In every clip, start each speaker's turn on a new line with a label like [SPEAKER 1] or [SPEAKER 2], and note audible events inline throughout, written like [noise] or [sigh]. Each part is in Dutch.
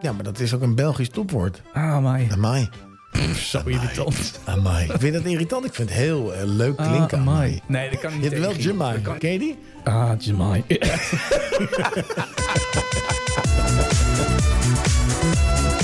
[SPEAKER 1] Ja, maar dat is ook een Belgisch topwoord.
[SPEAKER 2] Ah, amai.
[SPEAKER 1] [laughs] Amai.
[SPEAKER 2] Zo irritant.
[SPEAKER 1] Amai. Ik vind dat irritant. Ik vind het heel eh, leuk
[SPEAKER 2] Ah,
[SPEAKER 1] klinken.
[SPEAKER 2] amai.
[SPEAKER 1] amai.
[SPEAKER 2] Nee, dat kan niet.
[SPEAKER 1] Je hebt wel
[SPEAKER 2] tegen.
[SPEAKER 1] Jemai.
[SPEAKER 2] Dat kan-
[SPEAKER 1] Ken je die?
[SPEAKER 2] Ah, Jamai. [laughs]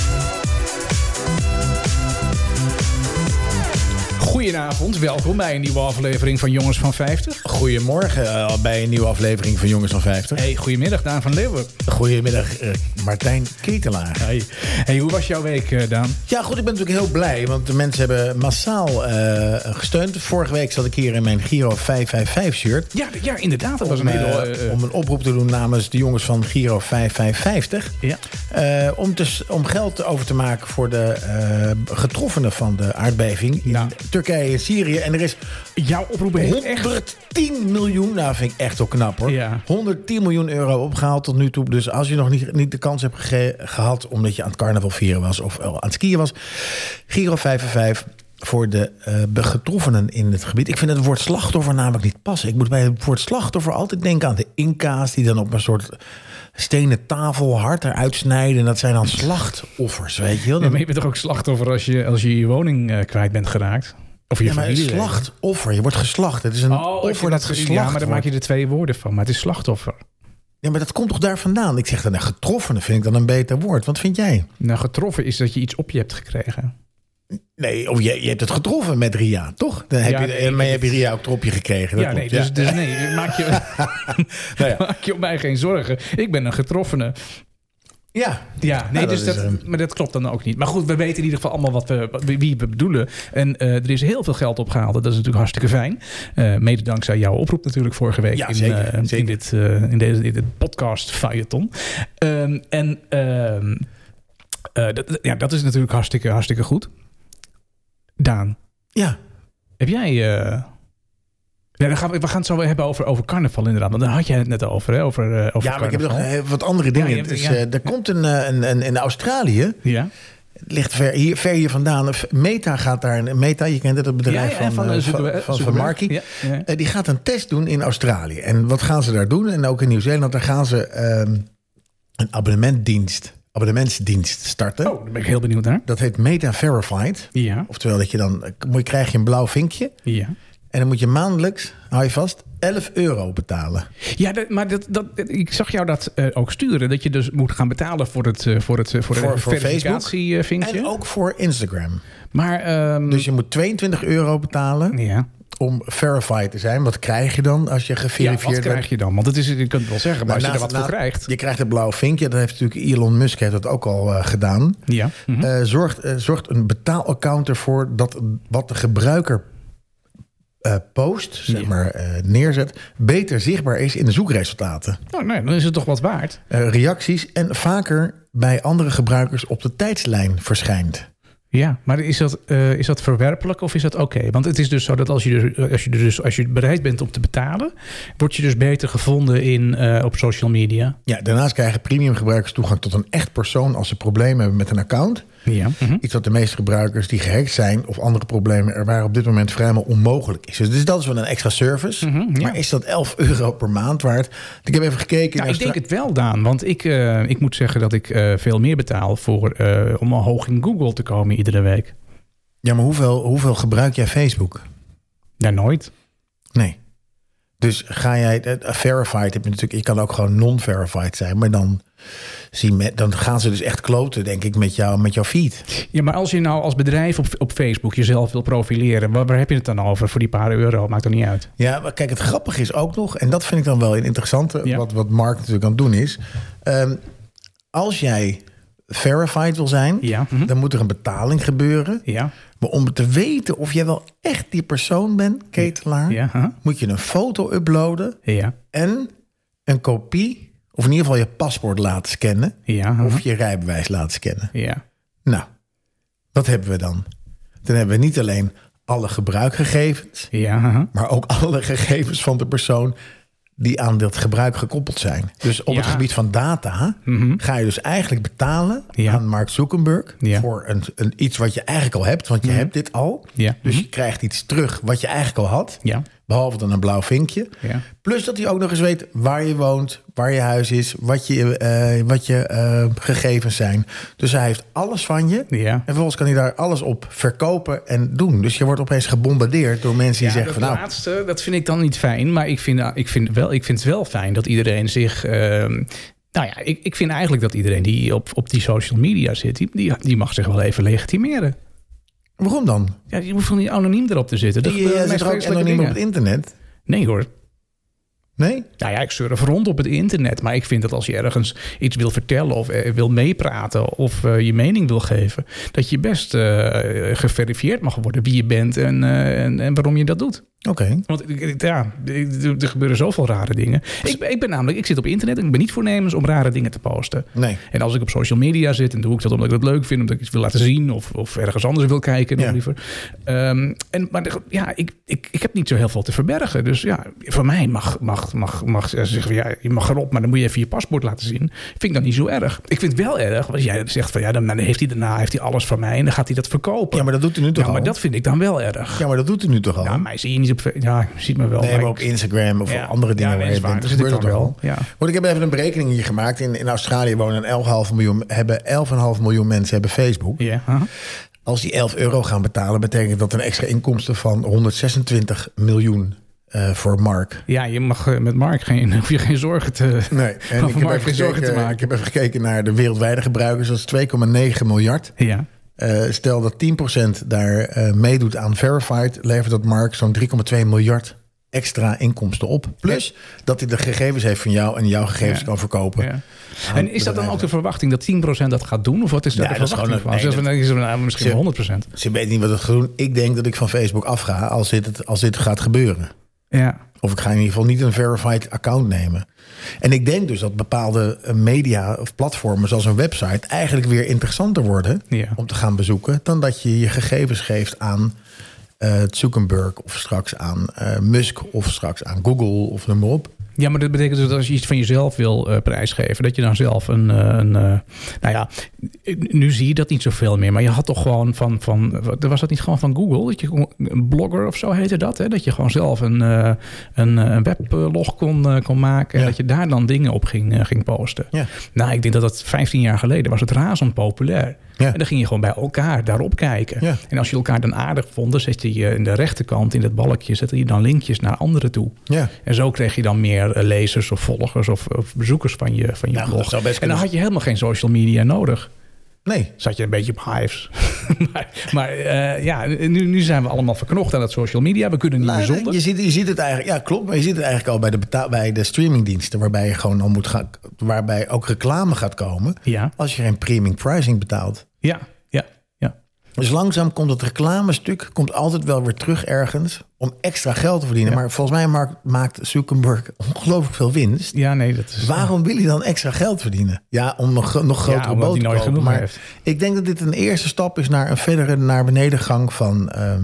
[SPEAKER 2] Goedenavond, welkom bij een nieuwe aflevering van Jongens van 50.
[SPEAKER 1] Goedemorgen eh, bij een nieuwe aflevering van Jongens van 50.
[SPEAKER 2] Hey, goedemiddag Daan van Leeuwen.
[SPEAKER 1] Goedemiddag, eh, Martijn Ketelaar.
[SPEAKER 2] Hey. hey, hoe was jouw week eh, Daan?
[SPEAKER 1] Ja, goed, ik ben natuurlijk heel blij, want de mensen hebben massaal eh, gesteund. Vorige week zat ik hier in mijn Giro 555-shirt.
[SPEAKER 2] Ja, ja inderdaad, dat was
[SPEAKER 1] Om,
[SPEAKER 2] een hele...
[SPEAKER 1] eh,
[SPEAKER 2] eh, eh,
[SPEAKER 1] om een oproep te doen namens de jongens van Giro 555.
[SPEAKER 2] ja.
[SPEAKER 1] Eh, om, te, s- om geld over te maken voor de eh, getroffenen van de aardbeving in
[SPEAKER 2] Ja.
[SPEAKER 1] Turkije en Syrië. En er is
[SPEAKER 2] Jouw oproep heeft echt...
[SPEAKER 1] 110 miljoen, nou vind ik echt wel knap hoor.
[SPEAKER 2] Ja.
[SPEAKER 1] 110 miljoen euro opgehaald tot nu toe. Dus als je nog niet, niet de kans hebt gege- gehad omdat je aan het carnaval vieren was of eh, aan het skiën was. Giro 55 voor de eh, be- getroffenen in het gebied. Ik vind het woord slachtoffer namelijk niet passen. Ik moet bij het woord slachtoffer altijd denken aan de Inca's die dan op een soort stenen tafel hard eruit snijden. En dat zijn dan slachtoffers, weet je wel.
[SPEAKER 2] Ja, maar je bent toch ook slachtoffer als je als je, je woning eh, kwijt bent geraakt? Of je
[SPEAKER 1] Ja, maar een
[SPEAKER 2] familie.
[SPEAKER 1] slachtoffer. Je wordt geslacht. Het is een
[SPEAKER 2] Oh, ik
[SPEAKER 1] offer dat
[SPEAKER 2] vind dat-
[SPEAKER 1] geslacht
[SPEAKER 2] Ja, maar
[SPEAKER 1] wordt.
[SPEAKER 2] dan maak je er twee woorden van. Maar het is slachtoffer.
[SPEAKER 1] Ja, maar dat komt toch daar vandaan? Ik zeg dan, nou, getroffen vind ik dan een beter woord. Wat vind jij?
[SPEAKER 2] Nou, getroffen is dat je iets op je hebt gekregen.
[SPEAKER 1] Nee, of je, je hebt het getroffen met Ria, toch? Dan heb
[SPEAKER 2] Ja,
[SPEAKER 1] je,
[SPEAKER 2] nee,
[SPEAKER 1] en- maar
[SPEAKER 2] ik-
[SPEAKER 1] je hebt Ria ook tropje gekregen. Dat
[SPEAKER 2] ja, nee,
[SPEAKER 1] klopt, ja.
[SPEAKER 2] Dus, dus nee, maak je,
[SPEAKER 1] [laughs] Nou ja.
[SPEAKER 2] [laughs] maak je op mij geen zorgen. Ik ben een getroffene.
[SPEAKER 1] ja,
[SPEAKER 2] Ja, nee,
[SPEAKER 1] Nou,
[SPEAKER 2] dus
[SPEAKER 1] dat
[SPEAKER 2] dat
[SPEAKER 1] is,
[SPEAKER 2] maar dat klopt dan ook niet. Maar goed, we weten in ieder geval allemaal wat we, wat- wie we bedoelen. En eh, er is heel veel geld opgehaald. Dat is natuurlijk hartstikke fijn. Eh, mede dankzij jouw oproep natuurlijk vorige week
[SPEAKER 1] Ja,
[SPEAKER 2] in,
[SPEAKER 1] zeker,
[SPEAKER 2] eh,
[SPEAKER 1] zeker.
[SPEAKER 2] In, dit, eh, in, deze, in dit podcast Feuilleton. Ehm, en ehm, eh, dat, ja, dat is natuurlijk hartstikke, hartstikke goed. Daan,
[SPEAKER 1] ja.
[SPEAKER 2] heb jij... eh, ja, dan gaan we, we gaan het zo weer hebben over, over carnaval inderdaad. Want daar had jij het net over, hè? Over, eh, over
[SPEAKER 1] ja maar ik heb nog
[SPEAKER 2] carnaval.
[SPEAKER 1] eh, wat andere dingen.
[SPEAKER 2] Ja, je hebt-
[SPEAKER 1] dus,
[SPEAKER 2] ja.
[SPEAKER 1] eh, er komt een, eh, een, een in Australië,
[SPEAKER 2] Ja,
[SPEAKER 1] het ligt ver hier, ver hier vandaan. Of Meta gaat daar, een- Meta, je kent het, het
[SPEAKER 2] ja,
[SPEAKER 1] bedrijf
[SPEAKER 2] ja,
[SPEAKER 1] van, eh, van,
[SPEAKER 2] eh, Zuckerberg-
[SPEAKER 1] van, van,
[SPEAKER 2] Zuckerberg.
[SPEAKER 1] Marky.
[SPEAKER 2] Ja, ja.
[SPEAKER 1] Eh, die gaat een test doen in Australië. En wat gaan ze daar doen? En ook in Nieuw-Zeeland, daar gaan ze ehm, een abonnementdienst, abonnementsdienst starten.
[SPEAKER 2] Oh, daar ben ik heel benieuwd naar.
[SPEAKER 1] Dat heet Meta Verified.
[SPEAKER 2] Ja,
[SPEAKER 1] Oftewel dat je dan, eh, moet je- krijg je een blauw vinkje.
[SPEAKER 2] ja.
[SPEAKER 1] En dan moet je maandelijks, hou je vast, 11 euro betalen.
[SPEAKER 2] Ja, dat- maar dat, dat, ik zag jou dat eh, ook sturen. Dat je dus moet gaan betalen voor het eh, voor het eh, voor,
[SPEAKER 1] Voor-
[SPEAKER 2] de
[SPEAKER 1] voor
[SPEAKER 2] verificatievinkje.
[SPEAKER 1] En ook voor Instagram.
[SPEAKER 2] Maar ehm,
[SPEAKER 1] Dus je moet 22 euro betalen
[SPEAKER 2] ja.
[SPEAKER 1] om verified te zijn. Wat krijg je dan als je
[SPEAKER 2] ja,
[SPEAKER 1] geverifieerd
[SPEAKER 2] wat
[SPEAKER 1] bent?
[SPEAKER 2] krijg je dan? Want het is, je kunt het wel zeggen, maar als je er
[SPEAKER 1] Nou,
[SPEAKER 2] wat
[SPEAKER 1] naast-
[SPEAKER 2] voor krijgt.
[SPEAKER 1] Je krijgt een blauw vinkje. Dat heeft natuurlijk Elon Musk heeft dat ook al eh, gedaan.
[SPEAKER 2] Ja. Mhm.
[SPEAKER 1] Eh, zorgt, eh, zorgt een betaalaccount ervoor dat wat de gebruiker eh, post, zeg
[SPEAKER 2] Ja.
[SPEAKER 1] maar, eh, neerzet, beter zichtbaar is in de zoekresultaten.
[SPEAKER 2] Nou, nee, dan is het toch wat waard.
[SPEAKER 1] eh, reacties en vaker bij andere gebruikers op de tijdslijn verschijnt.
[SPEAKER 2] Ja, maar is dat, eh, is dat verwerpelijk of is dat oké? Want het is dus zo dat als je, er- als, je er dus, als je bereid bent om te betalen, word je dus beter gevonden in, eh, op social media.
[SPEAKER 1] Ja, daarnaast krijgen premium gebruikers toegang tot een echt persoon als ze problemen hebben met een account.
[SPEAKER 2] Ja. Mhm.
[SPEAKER 1] Iets wat de meeste gebruikers die gehackt zijn of andere problemen er waren op dit moment vrijwel onmogelijk is. Dus dat is wel een extra service.
[SPEAKER 2] Mhm, ja.
[SPEAKER 1] Maar is dat 11 euro per maand waard? Ik heb even gekeken. in
[SPEAKER 2] Nou, ik
[SPEAKER 1] Austra-
[SPEAKER 2] denk het wel, Daan. Want ik, eh, ik moet zeggen dat ik eh, veel meer betaal voor, eh, om al hoog in Google te komen iedere week.
[SPEAKER 1] Ja, maar hoeveel, hoeveel gebruik jij Facebook?
[SPEAKER 2] Ja, nooit.
[SPEAKER 1] Nee. Dus ga jij eh, verified heb je natuurlijk. Je kan ook gewoon non-verified zijn, maar dan, zien me- dan gaan ze dus echt kloten, denk ik, met jou, met jouw feed.
[SPEAKER 2] Ja, maar als je nou als bedrijf op, op Facebook jezelf wil profileren, waar, waar heb je het dan over? Voor die paar euro, maakt toch niet uit.
[SPEAKER 1] Ja, maar kijk, het grappige is ook nog, en dat vind ik dan wel een interessante,
[SPEAKER 2] Ja.
[SPEAKER 1] wat, wat Mark natuurlijk aan het doen is. Ehm, als jij verified wil zijn,
[SPEAKER 2] Ja. mhm.
[SPEAKER 1] dan moet er een betaling gebeuren.
[SPEAKER 2] Ja.
[SPEAKER 1] Maar om te weten of jij wel echt die persoon bent, ketelaar,
[SPEAKER 2] Ja. huh?
[SPEAKER 1] moet je een foto uploaden
[SPEAKER 2] Ja.
[SPEAKER 1] en een kopie, of in ieder geval je paspoort laten scannen.
[SPEAKER 2] Ja. huh?
[SPEAKER 1] of je rijbewijs laten scannen.
[SPEAKER 2] Ja.
[SPEAKER 1] Nou, wat hebben we dan? Dan hebben we niet alleen alle gebruikgegevens,
[SPEAKER 2] Ja. huh?
[SPEAKER 1] maar ook [laughs] alle gegevens van de persoon die aan dat gebruik gekoppeld zijn. Dus op
[SPEAKER 2] Ja. Mhm.
[SPEAKER 1] het gebied van data ga je dus eigenlijk betalen
[SPEAKER 2] Ja.
[SPEAKER 1] aan Mark Zuckerberg
[SPEAKER 2] Ja. Mhm.
[SPEAKER 1] voor een, een, iets wat je eigenlijk al hebt, want je hebt dit al.
[SPEAKER 2] Ja. Mhm.
[SPEAKER 1] Dus je krijgt iets terug wat je eigenlijk al had.
[SPEAKER 2] Ja.
[SPEAKER 1] Behalve dan een blauw vinkje.
[SPEAKER 2] Ja.
[SPEAKER 1] Plus dat hij ook nog eens weet waar je woont, waar je huis is, wat je, eh, wat je eh, gegevens zijn. Dus hij heeft alles van je.
[SPEAKER 2] Ja.
[SPEAKER 1] En vervolgens kan hij daar alles op verkopen en doen. Dus je wordt opeens gebombardeerd door mensen die
[SPEAKER 2] Ja,
[SPEAKER 1] zeggen
[SPEAKER 2] dat
[SPEAKER 1] van nou,
[SPEAKER 2] laatste, dat vind ik dan niet fijn. Maar ik vind, ik vind, wel, ik vind het wel fijn dat iedereen zich... ehm, nou ja, ik, ik vind eigenlijk dat iedereen die op, op die social media zit... Die, die, die mag zich wel even legitimeren.
[SPEAKER 1] waarom dan?
[SPEAKER 2] Ja, je hoeft toch niet anoniem erop te zitten? Er
[SPEAKER 1] Die
[SPEAKER 2] gebeuren
[SPEAKER 1] eh, zit
[SPEAKER 2] meest
[SPEAKER 1] er ook
[SPEAKER 2] vreselijke
[SPEAKER 1] anoniem op
[SPEAKER 2] dingen.
[SPEAKER 1] het internet.
[SPEAKER 2] Nee hoor.
[SPEAKER 1] Nee?
[SPEAKER 2] Nou ja, ik surf rond op het internet. Maar ik vind dat als je ergens iets wil vertellen of eh, wil meepraten of eh, je mening wil geven, dat je best eh, geverifieerd mag worden wie je bent en, eh, en, en waarom je dat doet.
[SPEAKER 1] Oké.
[SPEAKER 2] Want ik- ik- ja, ik- er gebeuren zoveel rare dingen. Ik, ben- ik ben namelijk, ik zit op internet en ik ben niet voornemens om rare dingen te posten.
[SPEAKER 1] Nee.
[SPEAKER 2] En als ik op social media zit, dan doe ik dat omdat ik dat leuk vind, omdat ik iets wil laten zien of, of ergens anders wil kijken dan
[SPEAKER 1] Ja.
[SPEAKER 2] liever. Ehm, en, maar de- ja, ik, ik, ik heb niet zo heel veel te verbergen. Dus ja, voor mij mag, mag, mag, mag ze zeggen, ja, je mag erop, maar dan moet je even je paspoort laten zien. Vind ik dan niet zo erg. Ik vind het wel erg, want jij zegt van ja, dan, dan heeft hij daarna heeft hij alles van mij en dan gaat hij dat verkopen.
[SPEAKER 1] Ja, maar dat doet hij nu toch
[SPEAKER 2] Ja, maar
[SPEAKER 1] al?
[SPEAKER 2] dat vind ik dan wel erg.
[SPEAKER 1] Ja, maar dat doet hij nu toch al?
[SPEAKER 2] Ja, mij zie je niet op... Ja, je ziet me wel.
[SPEAKER 1] Nee,
[SPEAKER 2] maar
[SPEAKER 1] maar
[SPEAKER 2] ik-
[SPEAKER 1] op Instagram of
[SPEAKER 2] Ja.
[SPEAKER 1] andere dingen
[SPEAKER 2] Ja, nee,
[SPEAKER 1] waar je
[SPEAKER 2] is waar.
[SPEAKER 1] bent.
[SPEAKER 2] Dus dit
[SPEAKER 1] gebeurt dat
[SPEAKER 2] dan
[SPEAKER 1] wel.
[SPEAKER 2] wel, ja.
[SPEAKER 1] Want ik heb even een berekening hier gemaakt. In, in Australië wonen 11,5 miljoen, hebben 11,5 miljoen mensen hebben Facebook.
[SPEAKER 2] Ja. huh?
[SPEAKER 1] Als die 11 euro gaan betalen, betekent dat een extra inkomsten van 126 miljoen eh, voor Mark.
[SPEAKER 2] ja, je mag eh, met Mark geen, [laughs] hoef je geen zorgen te...
[SPEAKER 1] Nee, en ik
[SPEAKER 2] over
[SPEAKER 1] heb,
[SPEAKER 2] Mark
[SPEAKER 1] even
[SPEAKER 2] geen zorgen te
[SPEAKER 1] gekeken,
[SPEAKER 2] maken.
[SPEAKER 1] ik heb even gekeken naar de wereldwijde gebruikers. Dat is 2,9 miljard.
[SPEAKER 2] Ja.
[SPEAKER 1] Eh, stel dat 10% daar eh, meedoet aan Verified, levert dat Mark zo'n 3,2 miljard extra inkomsten op. Plus dat hij de gegevens heeft van jou en jouw gegevens
[SPEAKER 2] Ja.
[SPEAKER 1] kan verkopen.
[SPEAKER 2] ja. En is dat dan ook de verwachting dat 10% dat gaat doen? Of wat is daar
[SPEAKER 1] Ja,
[SPEAKER 2] de
[SPEAKER 1] dat is
[SPEAKER 2] verwachting
[SPEAKER 1] gewoon een-
[SPEAKER 2] van?
[SPEAKER 1] nee,
[SPEAKER 2] Zeggen we, nou, misschien
[SPEAKER 1] Ze-
[SPEAKER 2] wel 100%.
[SPEAKER 1] Ze weten Dus niet wat het gaat doen. Ik denk dat ik van Facebook afga als dit, het, als dit gaat gebeuren.
[SPEAKER 2] Ja.
[SPEAKER 1] Of ik ga in ieder geval niet een verified account nemen. En ik denk dus dat bepaalde eh, media of platformen zoals een website... eigenlijk weer interessanter worden
[SPEAKER 2] Ja.
[SPEAKER 1] om te gaan bezoeken... dan dat je je gegevens geeft aan eh, Zuckerberg of straks aan eh, Musk... of straks aan Google of noem maar op.
[SPEAKER 2] ja, maar dat betekent dus dat als je iets van jezelf wil eh, prijsgeven... dat je dan zelf een... eh, een eh, nou ja, nu zie je dat niet zoveel meer. Maar je had toch gewoon van... van was dat niet gewoon van Google? Dat je, kon- een blogger of zo heette dat? Hè? Dat je gewoon zelf een, eh, een, eh, een weblog kon, eh, kon maken... en
[SPEAKER 1] Ja.
[SPEAKER 2] dat je daar dan dingen op ging, eh, ging posten.
[SPEAKER 1] Ja.
[SPEAKER 2] Nou, ik denk dat dat 15 jaar geleden was het razend populair.
[SPEAKER 1] Ja.
[SPEAKER 2] En dan ging je gewoon bij elkaar daarop kijken.
[SPEAKER 1] Ja.
[SPEAKER 2] En als je elkaar dan aardig vond, dan zette je in de rechterkant in dat balkje zette je dan linkjes naar anderen toe.
[SPEAKER 1] Ja.
[SPEAKER 2] En zo kreeg je dan meer eh, lezers of volgers of, of bezoekers van je, van je
[SPEAKER 1] Nou, dat
[SPEAKER 2] blog.
[SPEAKER 1] zou best
[SPEAKER 2] en dan
[SPEAKER 1] kunnen.
[SPEAKER 2] had je helemaal geen social media nodig.
[SPEAKER 1] Nee.
[SPEAKER 2] Zat je een beetje op hives. [laughs] maar maar eh, ja, nu, nu zijn we allemaal verknocht aan dat social media. We kunnen niet meer
[SPEAKER 1] Nou,
[SPEAKER 2] zonder.
[SPEAKER 1] je, ziet, je ziet het eigenlijk, ja klopt, maar je ziet het eigenlijk al bij de, beta- bij de streamingdiensten... waarbij je gewoon al moet gaan, waarbij ook reclame gaat komen...
[SPEAKER 2] Ja,
[SPEAKER 1] als je geen premium pricing betaalt.
[SPEAKER 2] ja, ja, ja.
[SPEAKER 1] Dus langzaam komt het reclamestuk komt altijd wel weer terug ergens om extra geld te verdienen. Maar volgens mij maakt, maakt Zuckerberg [laughs] ongelooflijk veel winst.
[SPEAKER 2] Ja, nee, dat is...
[SPEAKER 1] Waarom wil hij dan extra geld verdienen? Ja, om een gro- nog grotere
[SPEAKER 2] omdat
[SPEAKER 1] boot
[SPEAKER 2] hij
[SPEAKER 1] te
[SPEAKER 2] nooit
[SPEAKER 1] kopen.
[SPEAKER 2] genoeg
[SPEAKER 1] maar
[SPEAKER 2] heeft.
[SPEAKER 1] ik denk dat dit een eerste stap is naar een verdere naar benedengang van, ehm,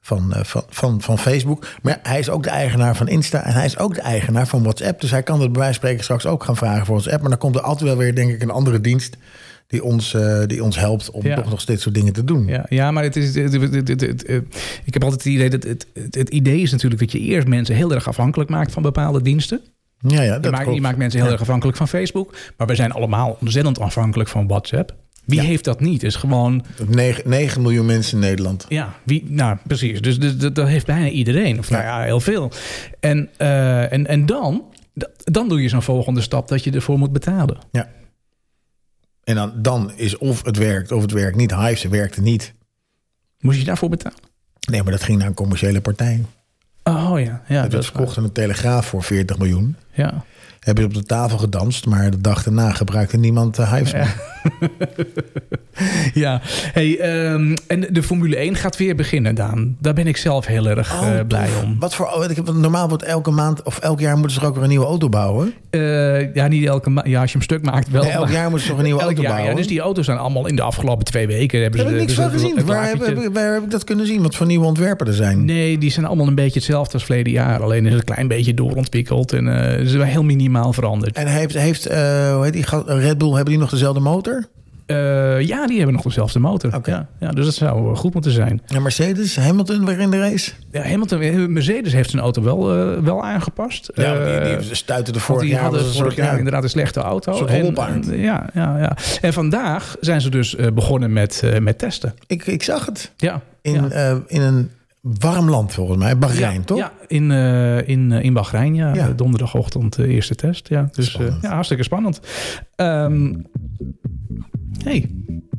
[SPEAKER 1] van, eh, van, van, van Facebook. Maar ja, hij is ook de eigenaar van Insta en hij is ook de eigenaar van WhatsApp. Dus hij kan het bij wijze van spreken straks ook gaan vragen voor WhatsApp. Maar dan komt er altijd wel weer, denk ik, een andere dienst die ons, eh, die ons helpt om
[SPEAKER 2] Ja.
[SPEAKER 1] toch nog steeds soort dingen te doen.
[SPEAKER 2] Ja, ja maar het is, het- het- het- het- het- eh, ik heb altijd het idee dat het, het, het idee is natuurlijk dat je eerst mensen heel erg afhankelijk maakt van bepaalde diensten.
[SPEAKER 1] Ja, ja, dat
[SPEAKER 2] Je, maakt, je
[SPEAKER 1] klopt.
[SPEAKER 2] maakt mensen heel erg afhankelijk van Facebook, maar we zijn allemaal ontzettend afhankelijk van WhatsApp. Wie
[SPEAKER 1] Ja.
[SPEAKER 2] heeft dat niet? Is gewoon,
[SPEAKER 1] 9, miljoen mensen in Nederland.
[SPEAKER 2] ja, wie, nou precies. Dus, dus dat, dat heeft bijna iedereen, of nou
[SPEAKER 1] Ja.
[SPEAKER 2] ja, heel veel. En, eh, en, en dan, d- dan doe je zo'n volgende stap dat je ervoor moet betalen.
[SPEAKER 1] Ja. En dan, dan is of het werkt of het werkt niet. Hives werkte niet.
[SPEAKER 2] Moest je daarvoor betalen?
[SPEAKER 1] Nee, maar dat ging naar een commerciële partij.
[SPEAKER 2] Oh ja, ja.
[SPEAKER 1] Dat werd
[SPEAKER 2] is
[SPEAKER 1] verkocht aan de Telegraaf voor 40 miljoen.
[SPEAKER 2] waar. Ja.
[SPEAKER 1] Hebben ze op de tafel gedanst, maar de dag daarna gebruikte niemand eh, Hives meer.
[SPEAKER 2] Ja, hey, ehm, en de Formule 1 gaat weer beginnen, Daan. Daar ben ik zelf heel erg
[SPEAKER 1] Oh,
[SPEAKER 2] eh, blij
[SPEAKER 1] tof.
[SPEAKER 2] om.
[SPEAKER 1] Wat voor, oh, ik heb- want normaal wordt elke maand of elk jaar moeten ze er ook weer een nieuwe auto bouwen.
[SPEAKER 2] Eh, ja, niet elke ma- ja, als je hem stuk maakt wel.
[SPEAKER 1] Nee, elk
[SPEAKER 2] maar-
[SPEAKER 1] jaar moeten ze toch een nieuwe
[SPEAKER 2] [laughs] elk
[SPEAKER 1] auto
[SPEAKER 2] jaar,
[SPEAKER 1] bouwen.
[SPEAKER 2] Ja, dus die auto's zijn allemaal in de afgelopen twee weken. Hebben
[SPEAKER 1] Daar
[SPEAKER 2] ze
[SPEAKER 1] heb ik niks
[SPEAKER 2] hebben
[SPEAKER 1] van
[SPEAKER 2] ze een-
[SPEAKER 1] gezien.
[SPEAKER 2] een
[SPEAKER 1] Waar heb,
[SPEAKER 2] plaatje-
[SPEAKER 1] ik- waar heb ik dat kunnen zien? Wat voor nieuwe ontwerpen er zijn?
[SPEAKER 2] Nee, die zijn allemaal een beetje hetzelfde als verleden jaar. Alleen is het een klein beetje doorontwikkeld en eh, ze zijn heel minimaal veranderd.
[SPEAKER 1] En heeft, heeft eh, hoe heet die, ga- Red Bull, hebben die nog dezelfde motor?
[SPEAKER 2] Eh, Eh, ja, die hebben nog dezelfde motor.
[SPEAKER 1] Oké.
[SPEAKER 2] Ja, ja, dus dat zou eh, goed moeten zijn.
[SPEAKER 1] En Mercedes, Hamilton weer in de race.
[SPEAKER 2] Ja, Hamilton, eh, Mercedes heeft zijn auto wel, eh, wel aangepast.
[SPEAKER 1] Ja, die,
[SPEAKER 2] Eh,
[SPEAKER 1] die stuiten er
[SPEAKER 2] want
[SPEAKER 1] vorig
[SPEAKER 2] die
[SPEAKER 1] jaar.
[SPEAKER 2] hadden
[SPEAKER 1] was een
[SPEAKER 2] vorig
[SPEAKER 1] soort-
[SPEAKER 2] jaar
[SPEAKER 1] ja.
[SPEAKER 2] inderdaad een slechte auto.
[SPEAKER 1] Een soort
[SPEAKER 2] En-
[SPEAKER 1] rolpaard.
[SPEAKER 2] en- ja, ja, ja. En vandaag zijn ze dus eh, begonnen met, eh, met testen.
[SPEAKER 1] Ik, ik zag het
[SPEAKER 2] Ja.
[SPEAKER 1] in,
[SPEAKER 2] ja.
[SPEAKER 1] eh, in een warm land volgens mij, Bahrein,
[SPEAKER 2] Ja,
[SPEAKER 1] toch?
[SPEAKER 2] Ja, in, eh, in, eh, in Bahrein, ja.
[SPEAKER 1] Ja.
[SPEAKER 2] Donderdagochtend de eerste test, ja. Dus eh,
[SPEAKER 1] Spannend.
[SPEAKER 2] ja, hartstikke spannend. Ehm, hey,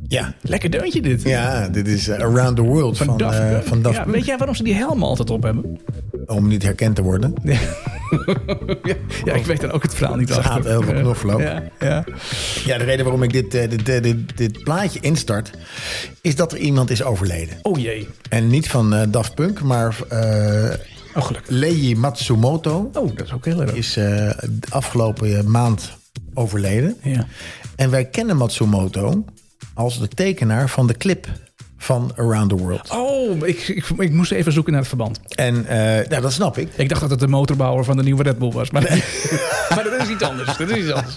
[SPEAKER 1] ja.
[SPEAKER 2] lekker deuntje dit.
[SPEAKER 1] Ja, dit is eh, Around the World van,
[SPEAKER 2] Van Daft
[SPEAKER 1] eh,
[SPEAKER 2] Punk.
[SPEAKER 1] van Daft
[SPEAKER 2] ja,
[SPEAKER 1] Punk.
[SPEAKER 2] weet jij waarom ze die helm altijd op hebben?
[SPEAKER 1] Om niet herkend te worden.
[SPEAKER 2] Ja, [laughs] ja ik weet dan ook het verhaal niet
[SPEAKER 1] Ze
[SPEAKER 2] achter.
[SPEAKER 1] haat heel veel knoflook.
[SPEAKER 2] Ja, ja.
[SPEAKER 1] Ja, de reden waarom ik dit, eh, dit, eh, dit, dit plaatje instart... is dat er iemand is overleden.
[SPEAKER 2] Oh jee.
[SPEAKER 1] En niet van eh, Daft Punk, maar eh
[SPEAKER 2] Oh, gelukkig.
[SPEAKER 1] Leiji Matsumoto...
[SPEAKER 2] Oh, dat is ook heel erg.
[SPEAKER 1] is eh, de afgelopen eh, maand overleden.
[SPEAKER 2] Ja.
[SPEAKER 1] En wij kennen Matsumoto als de tekenaar van de clip van Around the World.
[SPEAKER 2] Oh, ik, ik, ik moest even zoeken naar het verband.
[SPEAKER 1] En eh, nou, dat snap ik.
[SPEAKER 2] Ik dacht dat het de motorbouwer van de nieuwe Red Bull
[SPEAKER 1] [laughs]
[SPEAKER 2] was. Maar, [laughs] maar dat is iets anders. Dat is iets anders.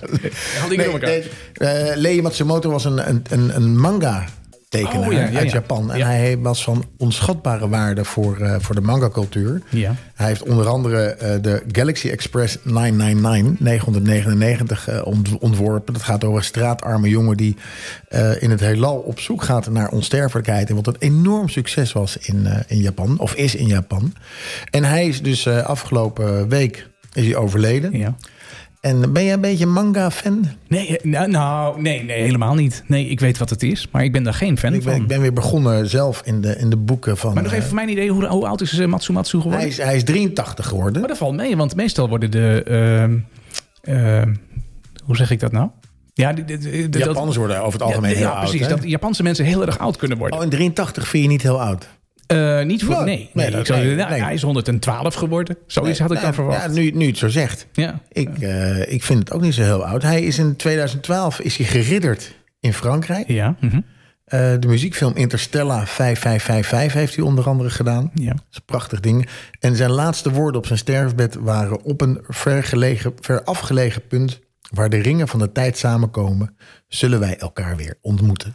[SPEAKER 2] Haal die door
[SPEAKER 1] Nee,
[SPEAKER 2] elkaar.
[SPEAKER 1] nee, eh, Leiji Matsumoto was een, een, een, een manga tekenaar
[SPEAKER 2] Oh, ja, ja,
[SPEAKER 1] uit
[SPEAKER 2] ja.
[SPEAKER 1] Japan. En
[SPEAKER 2] Ja.
[SPEAKER 1] hij was van onschatbare waarde voor, eh, voor de manga cultuur.
[SPEAKER 2] Ja.
[SPEAKER 1] Hij heeft onder andere eh, de Galaxy Express 999, 999 eh, ont- ontworpen. Dat gaat over een straatarme jongen die eh, in het heelal op zoek gaat naar onsterfelijkheid. En wat een enorm succes was in, eh, in Japan, of is in Japan. En hij is dus eh, afgelopen week is hij overleden.
[SPEAKER 2] Ja.
[SPEAKER 1] En ben jij een beetje manga-fan?
[SPEAKER 2] Nee, eh, nou, nou, nee, nee, helemaal niet. Nee, ik weet wat het is, maar ik ben daar geen fan
[SPEAKER 1] Ik ben,
[SPEAKER 2] van.
[SPEAKER 1] ik ben weer begonnen zelf in de, in de boeken van...
[SPEAKER 2] Maar nog
[SPEAKER 1] eh,
[SPEAKER 2] even voor mijn idee, hoe, hoe oud is eh, Matsumatsu geworden?
[SPEAKER 1] hij, is, hij is 83 geworden.
[SPEAKER 2] Maar dat valt mee, want meestal worden de... ehm, ehm, hoe zeg ik dat nou? Ja, de, de, de-
[SPEAKER 1] De
[SPEAKER 2] dat-
[SPEAKER 1] Japanners worden over het algemeen
[SPEAKER 2] ja,
[SPEAKER 1] heel
[SPEAKER 2] ja,
[SPEAKER 1] oud.
[SPEAKER 2] precies.
[SPEAKER 1] hè?
[SPEAKER 2] Dat Japanse mensen heel erg oud kunnen worden.
[SPEAKER 1] Oh, en 83 vind je niet heel oud.
[SPEAKER 2] Eh, niet voor...
[SPEAKER 1] Nou,
[SPEAKER 2] Nee, nee,
[SPEAKER 1] nee,
[SPEAKER 2] ik
[SPEAKER 1] dat-
[SPEAKER 2] zou-
[SPEAKER 1] nee,
[SPEAKER 2] nou,
[SPEAKER 1] nee.
[SPEAKER 2] hij is 112 geworden. Zoiets had ik
[SPEAKER 1] Nou,
[SPEAKER 2] dan verwacht.
[SPEAKER 1] Ja, nu, nu je het zo zegt.
[SPEAKER 2] Ja.
[SPEAKER 1] Ik, eh, ik vind het ook niet zo heel oud. Hij is in 2012 is hij geridderd in Frankrijk.
[SPEAKER 2] Ja. mhm.
[SPEAKER 1] Eh, de muziekfilm Interstella 5555 heeft hij onder andere gedaan.
[SPEAKER 2] Ja.
[SPEAKER 1] Dat is een prachtig ding. En zijn laatste woorden op zijn sterfbed waren... op een vergelegen, verafgelegen punt waar de ringen van de tijd samenkomen... zullen wij elkaar weer ontmoeten.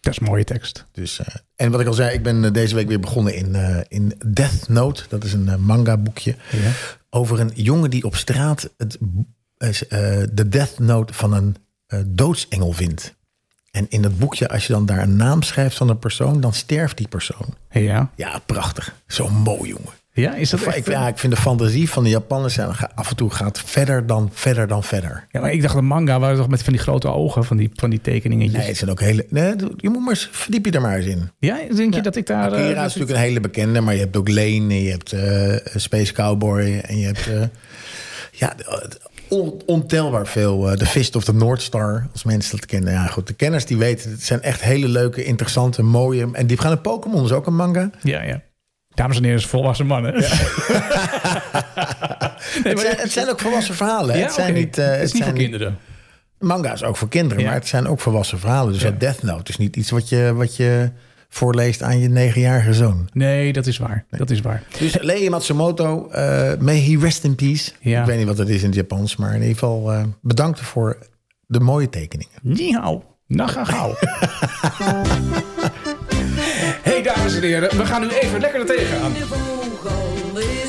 [SPEAKER 2] Dat is een mooie tekst.
[SPEAKER 1] Dus, eh, en wat ik al zei, ik ben eh, deze week weer begonnen in, eh, in Death Note. Dat is een eh, manga boekje.
[SPEAKER 2] Ja.
[SPEAKER 1] Over een jongen die op straat het, bo- is, eh, de Death Note van een eh, doodsengel vindt. En in dat boekje, als je dan daar een naam schrijft van een persoon, dan sterft die persoon.
[SPEAKER 2] Ja.
[SPEAKER 1] Ja, prachtig. Zo mooi, jongen.
[SPEAKER 2] Ja, is dat
[SPEAKER 1] Ik,
[SPEAKER 2] echt...
[SPEAKER 1] ja, ik vind de fantasie van de Japanners eh, ga- af en toe gaat verder dan verder dan verder.
[SPEAKER 2] Ja, maar ik dacht, de manga waren toch met van die grote ogen, van die, van die tekeningetjes.
[SPEAKER 1] Nee, het zijn ook hele. Nee, je moet maar eens- verdiep je er maar eens in.
[SPEAKER 2] Ja, denk je dat ik daar... eh,
[SPEAKER 1] Akira
[SPEAKER 2] dat
[SPEAKER 1] is
[SPEAKER 2] ik-
[SPEAKER 1] natuurlijk een hele bekende, maar je hebt ook Lane, en je hebt eh, Space Cowboy en je hebt eh, ja, het- on- ontelbaar veel. eh, The Fist of the North Star, als mensen dat kennen. Ja, goed, de kenners die weten, het zijn echt hele leuke, interessante, mooie. En die gaan een Pokémon, is ook een manga.
[SPEAKER 2] Ja, ja. Dames en heren, is volwassen
[SPEAKER 1] [laughs]
[SPEAKER 2] mannen. Ja. nee,
[SPEAKER 1] Het
[SPEAKER 2] maar
[SPEAKER 1] zijn, het zijn ook volwassen verhalen. hè.
[SPEAKER 2] Ja,
[SPEAKER 1] het zijn
[SPEAKER 2] oké.
[SPEAKER 1] niet, eh,
[SPEAKER 2] het is niet
[SPEAKER 1] zijn
[SPEAKER 2] voor kinderen.
[SPEAKER 1] Manga is ook voor kinderen,
[SPEAKER 2] Ja.
[SPEAKER 1] maar het zijn ook volwassen verhalen. Dus dat Death Note is niet iets wat je, wat je voorleest aan je negenjarige zoon.
[SPEAKER 2] Nee, dat is waar. Dat is waar.
[SPEAKER 1] Dus Lei Matsumoto, eh, may he rest in peace.
[SPEAKER 2] Ja.
[SPEAKER 1] Ik weet niet wat dat is in het Japans, maar in ieder geval eh, bedankt voor de mooie tekeningen.
[SPEAKER 2] Ni hao. Naga
[SPEAKER 1] [laughs]
[SPEAKER 2] gauw. hey, dames en heren. We gaan nu even lekker er tegenaan.
[SPEAKER 3] De vogel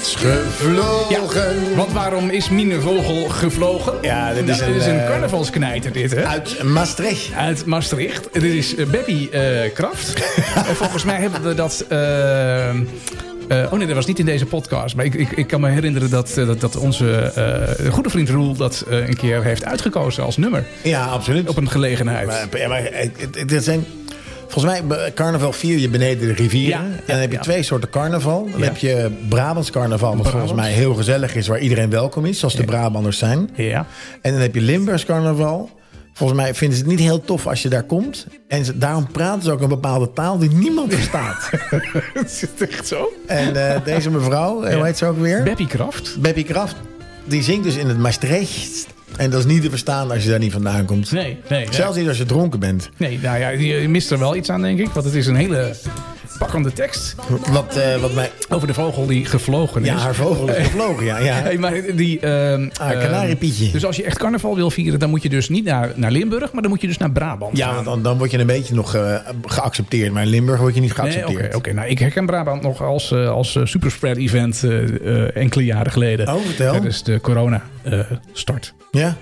[SPEAKER 3] is
[SPEAKER 1] Gevlogen
[SPEAKER 2] Want waarom is Mine Vogel gevlogen? Nou,
[SPEAKER 1] Ja, dit is
[SPEAKER 2] Dat
[SPEAKER 1] een,
[SPEAKER 2] is een
[SPEAKER 1] eh,
[SPEAKER 2] carnavalsknijter dit, hè?
[SPEAKER 1] uit Maastricht.
[SPEAKER 2] Uit Maastricht. Dit is eh, Bebby eh, Kraft. [laughs] en volgens mij hebben we dat. eh, eh, oh nee, dat was niet in deze podcast. Maar ik, ik, ik kan me herinneren dat, eh, dat, dat onze eh, goede vriend Roel dat eh, een keer heeft uitgekozen als nummer.
[SPEAKER 1] Ja, absoluut.
[SPEAKER 2] Op een gelegenheid.
[SPEAKER 1] Maar, ja, maar, eh, het- het- het zijn, volgens mij, be- carnaval vier je beneden de rivieren.
[SPEAKER 2] Ja,
[SPEAKER 1] en
[SPEAKER 2] ja,
[SPEAKER 1] dan heb je
[SPEAKER 2] ja.
[SPEAKER 1] twee soorten carnaval. Dan
[SPEAKER 2] Ja.
[SPEAKER 1] heb je Brabants carnaval, wat volgens mij heel gezellig is, waar iedereen welkom is, zoals de Brabanders zijn.
[SPEAKER 2] ja.
[SPEAKER 1] En dan heb je Limburgs carnaval. Volgens mij vinden ze het niet heel tof als je daar komt. En ze- daarom praten ze ook een bepaalde taal die niemand
[SPEAKER 2] [laughs]
[SPEAKER 1] verstaat.
[SPEAKER 2] [laughs] is het echt zo?
[SPEAKER 1] En eh, deze mevrouw, eh, hoe
[SPEAKER 2] Ja.
[SPEAKER 1] heet ze ook weer?
[SPEAKER 2] Bebby Kraft?
[SPEAKER 1] Beppie Kraft. Die zingt dus in het Maastricht. En dat is niet te verstaan als je daar niet vandaan komt.
[SPEAKER 2] Nee, nee. nee.
[SPEAKER 1] Zelfs niet als je dronken bent.
[SPEAKER 2] Nee, nou ja, je mist er wel iets aan, denk ik. Want het is een hele pakkende tekst
[SPEAKER 1] Wat, eh, wat mij...
[SPEAKER 2] over de vogel die gevlogen
[SPEAKER 1] Ja,
[SPEAKER 2] is.
[SPEAKER 1] haar vogel is gevlogen, ja. ja.
[SPEAKER 2] [laughs] Hey, maar die, ehm,
[SPEAKER 1] Haar
[SPEAKER 2] ehm,
[SPEAKER 1] Ah, kanariepietje.
[SPEAKER 2] dus als je echt carnaval wil vieren, dan moet je dus niet naar, naar Limburg, maar dan moet je dus naar Brabant.
[SPEAKER 1] Ja, want dan, dan word je een beetje nog eh, geaccepteerd. Maar in Limburg word je niet
[SPEAKER 2] Nee, oké,
[SPEAKER 1] geaccepteerd.
[SPEAKER 2] oké. nou, ik herken Brabant nog als, eh, als eh, superspread-event eh, eh, enkele jaren geleden.
[SPEAKER 1] Oh, vertel.
[SPEAKER 2] Tijdens de eh, corona-start.
[SPEAKER 1] Ja?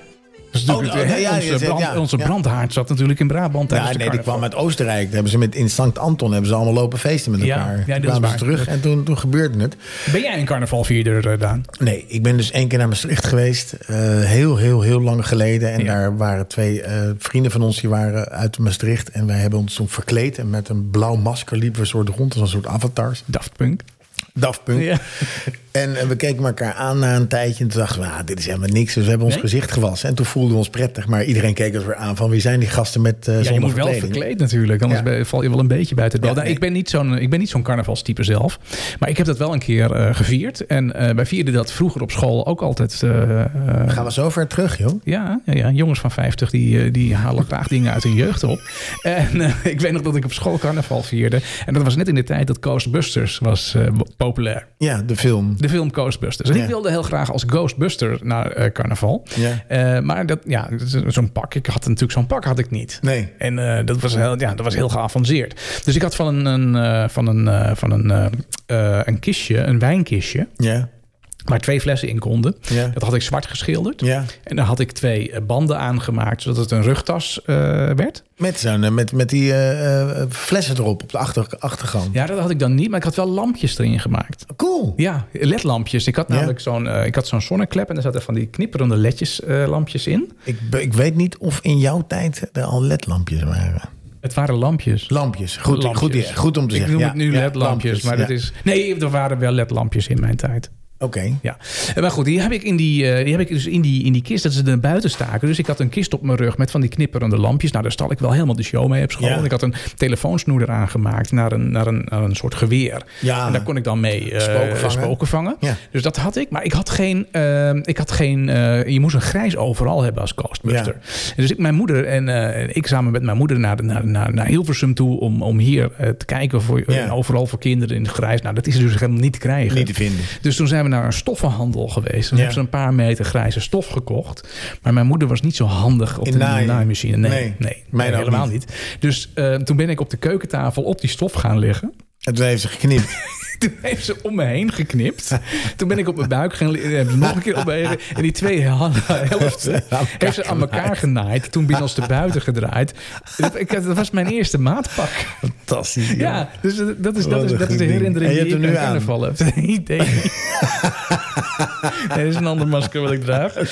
[SPEAKER 1] Oh, oh, ja, ja,
[SPEAKER 2] onze
[SPEAKER 1] je zegt,
[SPEAKER 2] brand,
[SPEAKER 1] ja,
[SPEAKER 2] onze
[SPEAKER 1] ja.
[SPEAKER 2] brandhaard zat natuurlijk in Brabant
[SPEAKER 1] Ja,
[SPEAKER 2] tijdens de
[SPEAKER 1] nee, die
[SPEAKER 2] carnaval.
[SPEAKER 1] kwam uit Oostenrijk. Daar hebben ze met, in Sankt Anton hebben ze allemaal lopen feesten met
[SPEAKER 2] Ja,
[SPEAKER 1] elkaar.
[SPEAKER 2] ja, dat
[SPEAKER 1] Toen
[SPEAKER 2] is
[SPEAKER 1] kwamen ze
[SPEAKER 2] waar.
[SPEAKER 1] terug en toen, toen gebeurde het.
[SPEAKER 2] Ben jij een carnavalvierder, eh, Daan?
[SPEAKER 1] Nee, ik ben dus één keer naar Maastricht geweest. eh, heel, heel, heel lang geleden. En
[SPEAKER 2] Ja.
[SPEAKER 1] daar waren twee eh, vrienden van ons die waren uit Maastricht. En wij hebben ons toen verkleed. En met een blauw masker liepen we soort rond als een soort avatars.
[SPEAKER 2] Daft Punk.
[SPEAKER 1] Daft Punk.
[SPEAKER 2] Ja.
[SPEAKER 1] En eh, we keken elkaar aan na een tijdje. En toen dachten we, ah, dit is helemaal niks. Dus we hebben ons
[SPEAKER 2] Nee?
[SPEAKER 1] gezicht gewassen. En toen voelden we ons prettig. Maar iedereen keek ons weer aan van, wie zijn die gasten met eh
[SPEAKER 2] Ja, je
[SPEAKER 1] zonder
[SPEAKER 2] moet wel
[SPEAKER 1] verkleding?
[SPEAKER 2] verkleed natuurlijk, anders
[SPEAKER 1] Ja.
[SPEAKER 2] ben- val je wel een beetje buiten het
[SPEAKER 1] Ja,
[SPEAKER 2] beeld. nou,
[SPEAKER 1] nee.
[SPEAKER 2] ik ben niet zo'n ik ben niet zo'n carnavalstype zelf, maar ik heb dat wel een keer eh, gevierd en eh, wij vierden dat vroeger op school ook altijd. eh, eh,
[SPEAKER 1] Gaan we zo ver terug, joh?
[SPEAKER 2] ja, ja, ja, jongens van 50 die, eh, die halen graag dingen uit hun jeugd op. En eh, ik weet nog dat ik op school carnaval vierde. En dat was net in de tijd dat Ghostbusters was eh, populair.
[SPEAKER 1] Ja, de film.
[SPEAKER 2] De film Ghostbusters. En
[SPEAKER 1] Ja.
[SPEAKER 2] ik wilde heel graag als Ghostbuster naar eh, carnaval.
[SPEAKER 1] Ja.
[SPEAKER 2] Eh, maar dat, ja, zo- zo'n pak, ik had natuurlijk zo'n pak had ik niet.
[SPEAKER 1] Nee.
[SPEAKER 2] En eh, dat, was heel, ja, dat was heel geavanceerd. Dus ik had van een, een, eh, van een, eh, van een, eh, eh, een kistje, een wijnkistje,
[SPEAKER 1] Ja,
[SPEAKER 2] waar twee flessen in konden.
[SPEAKER 1] Ja.
[SPEAKER 2] Dat had ik zwart geschilderd.
[SPEAKER 1] ja.
[SPEAKER 2] En daar had ik twee eh, banden aangemaakt, zodat het een rugtas eh, werd.
[SPEAKER 1] Met, zo'n, eh, met, met die eh, eh, flessen erop op de achter, achtergang.
[SPEAKER 2] Ja, dat had ik dan niet, maar ik had wel lampjes erin gemaakt.
[SPEAKER 1] Cool.
[SPEAKER 2] Ja, ledlampjes. Ik had
[SPEAKER 1] Ja.
[SPEAKER 2] namelijk zo'n, eh, ik had zo'n zonneklep en daar zaten van die knipperende ledjes eh, lampjes in.
[SPEAKER 1] Ik, be- ik weet niet of in jouw tijd er al ledlampjes waren.
[SPEAKER 2] Het waren lampjes.
[SPEAKER 1] Lampjes. Goed, Goed, ja, goed om te
[SPEAKER 2] ik
[SPEAKER 1] zeggen.
[SPEAKER 2] noem
[SPEAKER 1] Ja,
[SPEAKER 2] het nu
[SPEAKER 1] ja,
[SPEAKER 2] ledlampjes, maar dat
[SPEAKER 1] ja.
[SPEAKER 2] is... Nee, er waren wel ledlampjes in mijn tijd.
[SPEAKER 1] Oké.
[SPEAKER 2] Ja, Eh, maar goed, die heb ik, in die, eh, die heb ik dus in die, in die kist, dat ze er buiten staken. Dus ik had een kist op mijn rug met van die knipperende lampjes. Nou, daar stal ik wel helemaal de show mee op school.
[SPEAKER 1] Ja.
[SPEAKER 2] Ik had een telefoonsnoer eraan gemaakt naar een, naar een, naar een soort geweer.
[SPEAKER 1] Ja.
[SPEAKER 2] En daar kon ik dan mee eh,
[SPEAKER 1] Spoken vangen.
[SPEAKER 2] spoken vangen.
[SPEAKER 1] Ja.
[SPEAKER 2] Dus dat had ik. Maar ik had geen, eh, ik had geen eh, je moest een grijs overal hebben als Ghostbuster. En Dus ik, mijn moeder en eh, ik samen met mijn moeder naar, de- naar, naar, naar Hilversum toe om, om hier eh, te kijken voor,
[SPEAKER 1] Ja.
[SPEAKER 2] en overal voor kinderen in het grijs. Nou, dat is dus helemaal niet te krijgen.
[SPEAKER 1] Niet te vinden.
[SPEAKER 2] Dus toen zijn we naar een stoffenhandel geweest.
[SPEAKER 1] Ja.
[SPEAKER 2] Toen hebben ze een paar meter grijze stof gekocht. Maar mijn moeder was niet zo handig op
[SPEAKER 1] In
[SPEAKER 2] de
[SPEAKER 1] naaien.
[SPEAKER 2] naaimachine. Nee,
[SPEAKER 1] Nee,
[SPEAKER 2] nee,
[SPEAKER 1] mijn ook
[SPEAKER 2] helemaal
[SPEAKER 1] niet.
[SPEAKER 2] niet. Dus eh, toen ben ik op de keukentafel op die stof gaan liggen. [laughs]
[SPEAKER 1] En toen heeft ze geknipt.
[SPEAKER 2] Toen heeft ze om me heen geknipt. Toen ben ik op mijn buik gaan liggen. Hebben ze nog een keer op me heen. En die twee [laughs] hel- helften heeft ze aan elkaar genaaid. Toen binnen ons de buiten gedraaid. Dat, ik, dat was mijn eerste maatpak.
[SPEAKER 1] Fantastisch. joh.
[SPEAKER 2] Ja, dus dat is, dat is, dat
[SPEAKER 1] Wat een
[SPEAKER 2] is, dat is
[SPEAKER 1] goed
[SPEAKER 2] de
[SPEAKER 1] ding.
[SPEAKER 2] herinnering
[SPEAKER 1] En je
[SPEAKER 2] die
[SPEAKER 1] hebt
[SPEAKER 2] ik
[SPEAKER 1] hem
[SPEAKER 2] aan
[SPEAKER 1] nu aan.
[SPEAKER 2] carnaval heb. [laughs] Geen idee. nee, dat is een ander masker wat ik draag.
[SPEAKER 1] Oh,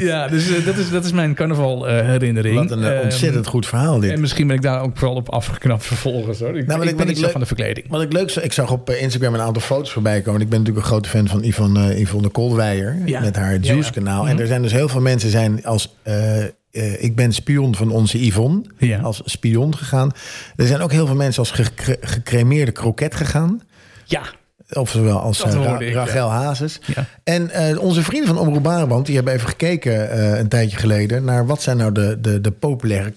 [SPEAKER 2] Ja, dus eh, dat, is, dat is mijn carnaval eh, herinnering.
[SPEAKER 1] Wat een eh,
[SPEAKER 2] Ehm,
[SPEAKER 1] ontzettend goed verhaal dit.
[SPEAKER 2] En misschien ben ik daar ook vooral op afgeknapt vervolgens hoor.
[SPEAKER 1] Nou,
[SPEAKER 2] Ik,
[SPEAKER 1] maar
[SPEAKER 2] ik
[SPEAKER 1] ik- wat
[SPEAKER 2] ben
[SPEAKER 1] ik
[SPEAKER 2] niet zo
[SPEAKER 1] leuk-
[SPEAKER 2] van de verkleding.
[SPEAKER 1] Wat ik leuk zag, ik zag op eh, Instagram een aantal foto's voorbij komen. Ik ben natuurlijk een grote fan van Yvonne, eh, Yvonne Koolweijer.
[SPEAKER 2] Ja.
[SPEAKER 1] Met haar
[SPEAKER 2] Ja, Mhm. ja.
[SPEAKER 1] Juice-kanaal. En er zijn dus heel veel mensen zijn als... eh, eh, ik ben spion van onze Yvonne.
[SPEAKER 2] Ja.
[SPEAKER 1] Als spion gegaan. Er zijn ook heel veel mensen als gecre- gecremeerde kroket gegaan.
[SPEAKER 2] Ja,
[SPEAKER 1] Oftewel als
[SPEAKER 2] Dat
[SPEAKER 1] eh, Ra-
[SPEAKER 2] hoorde ik, ja.
[SPEAKER 1] Rachel Hazes.
[SPEAKER 2] Ja.
[SPEAKER 1] En eh, onze vrienden van Omroep Brabant... die hebben even gekeken eh, een tijdje geleden... naar wat zijn nou de, de, de populaire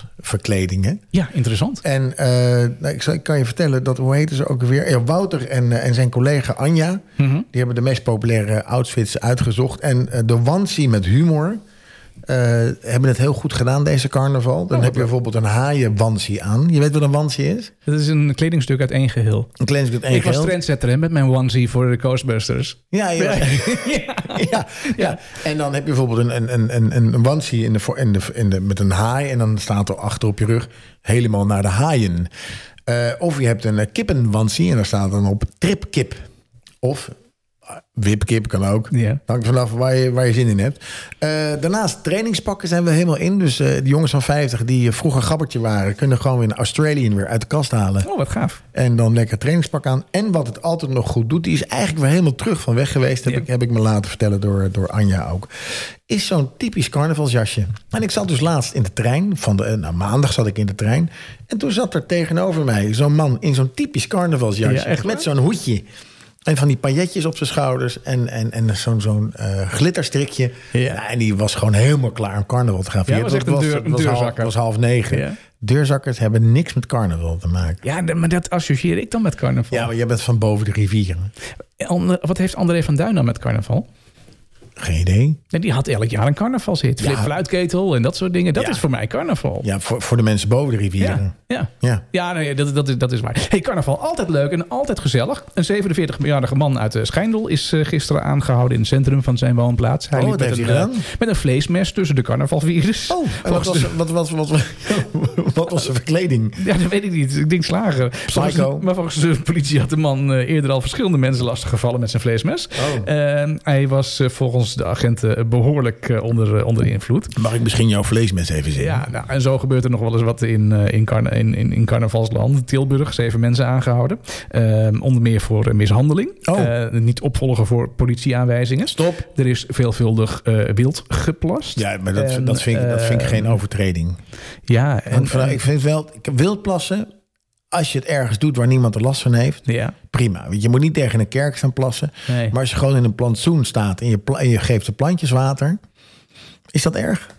[SPEAKER 1] carnavalsverkledingen.
[SPEAKER 2] ja interessant.
[SPEAKER 1] En eh, nou, ik, zal, ik kan je vertellen dat, hoe heten ze ook weer? Ja, Wouter en, eh, en zijn collega Anja...
[SPEAKER 2] Mhm.
[SPEAKER 1] die hebben de meest populaire outfits uitgezocht. En eh, de onesie met humor... eh, hebben het heel goed gedaan deze carnaval.
[SPEAKER 2] Oh,
[SPEAKER 1] Dan heb je bijvoorbeeld een haaien-wansie aan. Je weet wat een wansie is?
[SPEAKER 2] Dat is een kledingstuk uit één geheel.
[SPEAKER 1] Een kledingstuk één
[SPEAKER 2] ik was
[SPEAKER 1] geheel.
[SPEAKER 2] trendsetter hè, met mijn onesie voor de
[SPEAKER 1] [laughs]
[SPEAKER 2] Coastbusters.
[SPEAKER 1] Ja, je was-
[SPEAKER 2] ja.
[SPEAKER 1] [laughs] ja, ja. En dan heb je bijvoorbeeld een, een, een, een, een onesie in de, voor- in de, in de, met een haai. En dan staat er achter op je rug helemaal naar de haaien. Eh, of je hebt een eh, kippenwansie en daar staat dan op tripkip. Of ah, wipkip kan ook.
[SPEAKER 2] Ja.
[SPEAKER 1] Hangt vanaf waar je, waar je zin in hebt. Eh, daarnaast, trainingspakken zijn we helemaal in. Dus eh de jongens van 50 die eh, vroeger gabbertje waren... kunnen gewoon weer een Australian weer uit de kast halen.
[SPEAKER 2] Oh, wat gaaf.
[SPEAKER 1] En dan lekker trainingspak aan. En wat het altijd nog goed doet, die is eigenlijk weer helemaal terug van weg geweest. Heb,
[SPEAKER 2] Ja.
[SPEAKER 1] ik, heb ik me laten vertellen door, door Anja ook. Is zo'n typisch carnavalsjasje. En ik zat dus laatst in de trein. Van de, eh, nou, maandag zat ik in de trein. En toen zat er tegenover mij zo'n man in zo'n typisch carnavalsjasje.
[SPEAKER 2] Ja, echt waar?
[SPEAKER 1] met zo'n hoedje. En van die pailletjes op zijn schouders en, en, en zo'n zo'n eh, glitterstrikje.
[SPEAKER 2] Ja.
[SPEAKER 1] Nou, en die was gewoon helemaal klaar om carnaval te gaan
[SPEAKER 2] Ja,
[SPEAKER 1] vieren.
[SPEAKER 2] was echt een deur- een
[SPEAKER 1] was, half,
[SPEAKER 2] deurzakker.
[SPEAKER 1] was half negen.
[SPEAKER 2] Ja.
[SPEAKER 1] Deurzakkers hebben niks met carnaval te maken.
[SPEAKER 2] Ja, d- maar dat associeer ik dan met carnaval.
[SPEAKER 1] Ja, maar jij bent van boven de rivieren.
[SPEAKER 2] Ander- Wat heeft André van Duin dan met carnaval?
[SPEAKER 1] Geen idee.
[SPEAKER 2] Nee, die had elk jaar een carnavalshit.
[SPEAKER 1] Ja.
[SPEAKER 2] Flip fluitketel en dat soort dingen. Dat
[SPEAKER 1] Ja.
[SPEAKER 2] is voor mij carnaval.
[SPEAKER 1] Ja, voor, voor de mensen boven de rivieren.
[SPEAKER 2] ja.
[SPEAKER 1] Ja.
[SPEAKER 2] ja. Ja, nee, dat, dat, is, dat is waar. Hey, carnaval, altijd leuk en altijd gezellig. Een 47-jarige man uit eh, Schijndel is eh, gisteren aangehouden in het centrum van zijn woonplaats.
[SPEAKER 1] Oh, wat
[SPEAKER 2] met,
[SPEAKER 1] heeft
[SPEAKER 2] een,
[SPEAKER 1] hij
[SPEAKER 2] eh,
[SPEAKER 1] gedaan?
[SPEAKER 2] met een vleesmes tussen de carnavalvirus.
[SPEAKER 1] Oh, en wat
[SPEAKER 2] Volgens
[SPEAKER 1] was,
[SPEAKER 2] de-
[SPEAKER 1] wat, wat, wat, [laughs] wat was de verkleding?
[SPEAKER 2] [laughs] ja, dat weet ik niet. Ik denk slagen. Volgens de- maar volgens de politie had de man eh, eerder al verschillende mensen lastiggevallen met zijn vleesmes.
[SPEAKER 1] Oh.
[SPEAKER 2] Eh, hij was eh, volgens de agenten behoorlijk eh, onder, eh, onder invloed.
[SPEAKER 1] Mag ik misschien jouw vleesmes even zien?
[SPEAKER 2] Ja, nou, en zo gebeurt er nog wel eens wat in, eh, in, carna- in, in, in carnavalsland. Tilburg, zeven mensen aangehouden. Eh, onder meer voor eh, mishandeling.
[SPEAKER 1] Oh.
[SPEAKER 2] Eh, niet opvolgen voor politieaanwijzingen.
[SPEAKER 1] Stop.
[SPEAKER 2] Er is veelvuldig eh, wild geplast.
[SPEAKER 1] Ja, maar dat,
[SPEAKER 2] En,
[SPEAKER 1] dat, vind, ik- dat vind ik
[SPEAKER 2] eh,
[SPEAKER 1] geen overtreding.
[SPEAKER 2] Ja,
[SPEAKER 1] En,
[SPEAKER 2] en,
[SPEAKER 1] vanuit- ik vind wel, ik- wildplassen, als je het ergens doet waar niemand er last van heeft,
[SPEAKER 2] ja.
[SPEAKER 1] prima. Want je moet niet tegen een kerk staan plassen.
[SPEAKER 2] Nee.
[SPEAKER 1] Maar als je gewoon in een plantsoen staat en je, pla- en je geeft de plantjes water, is dat erg?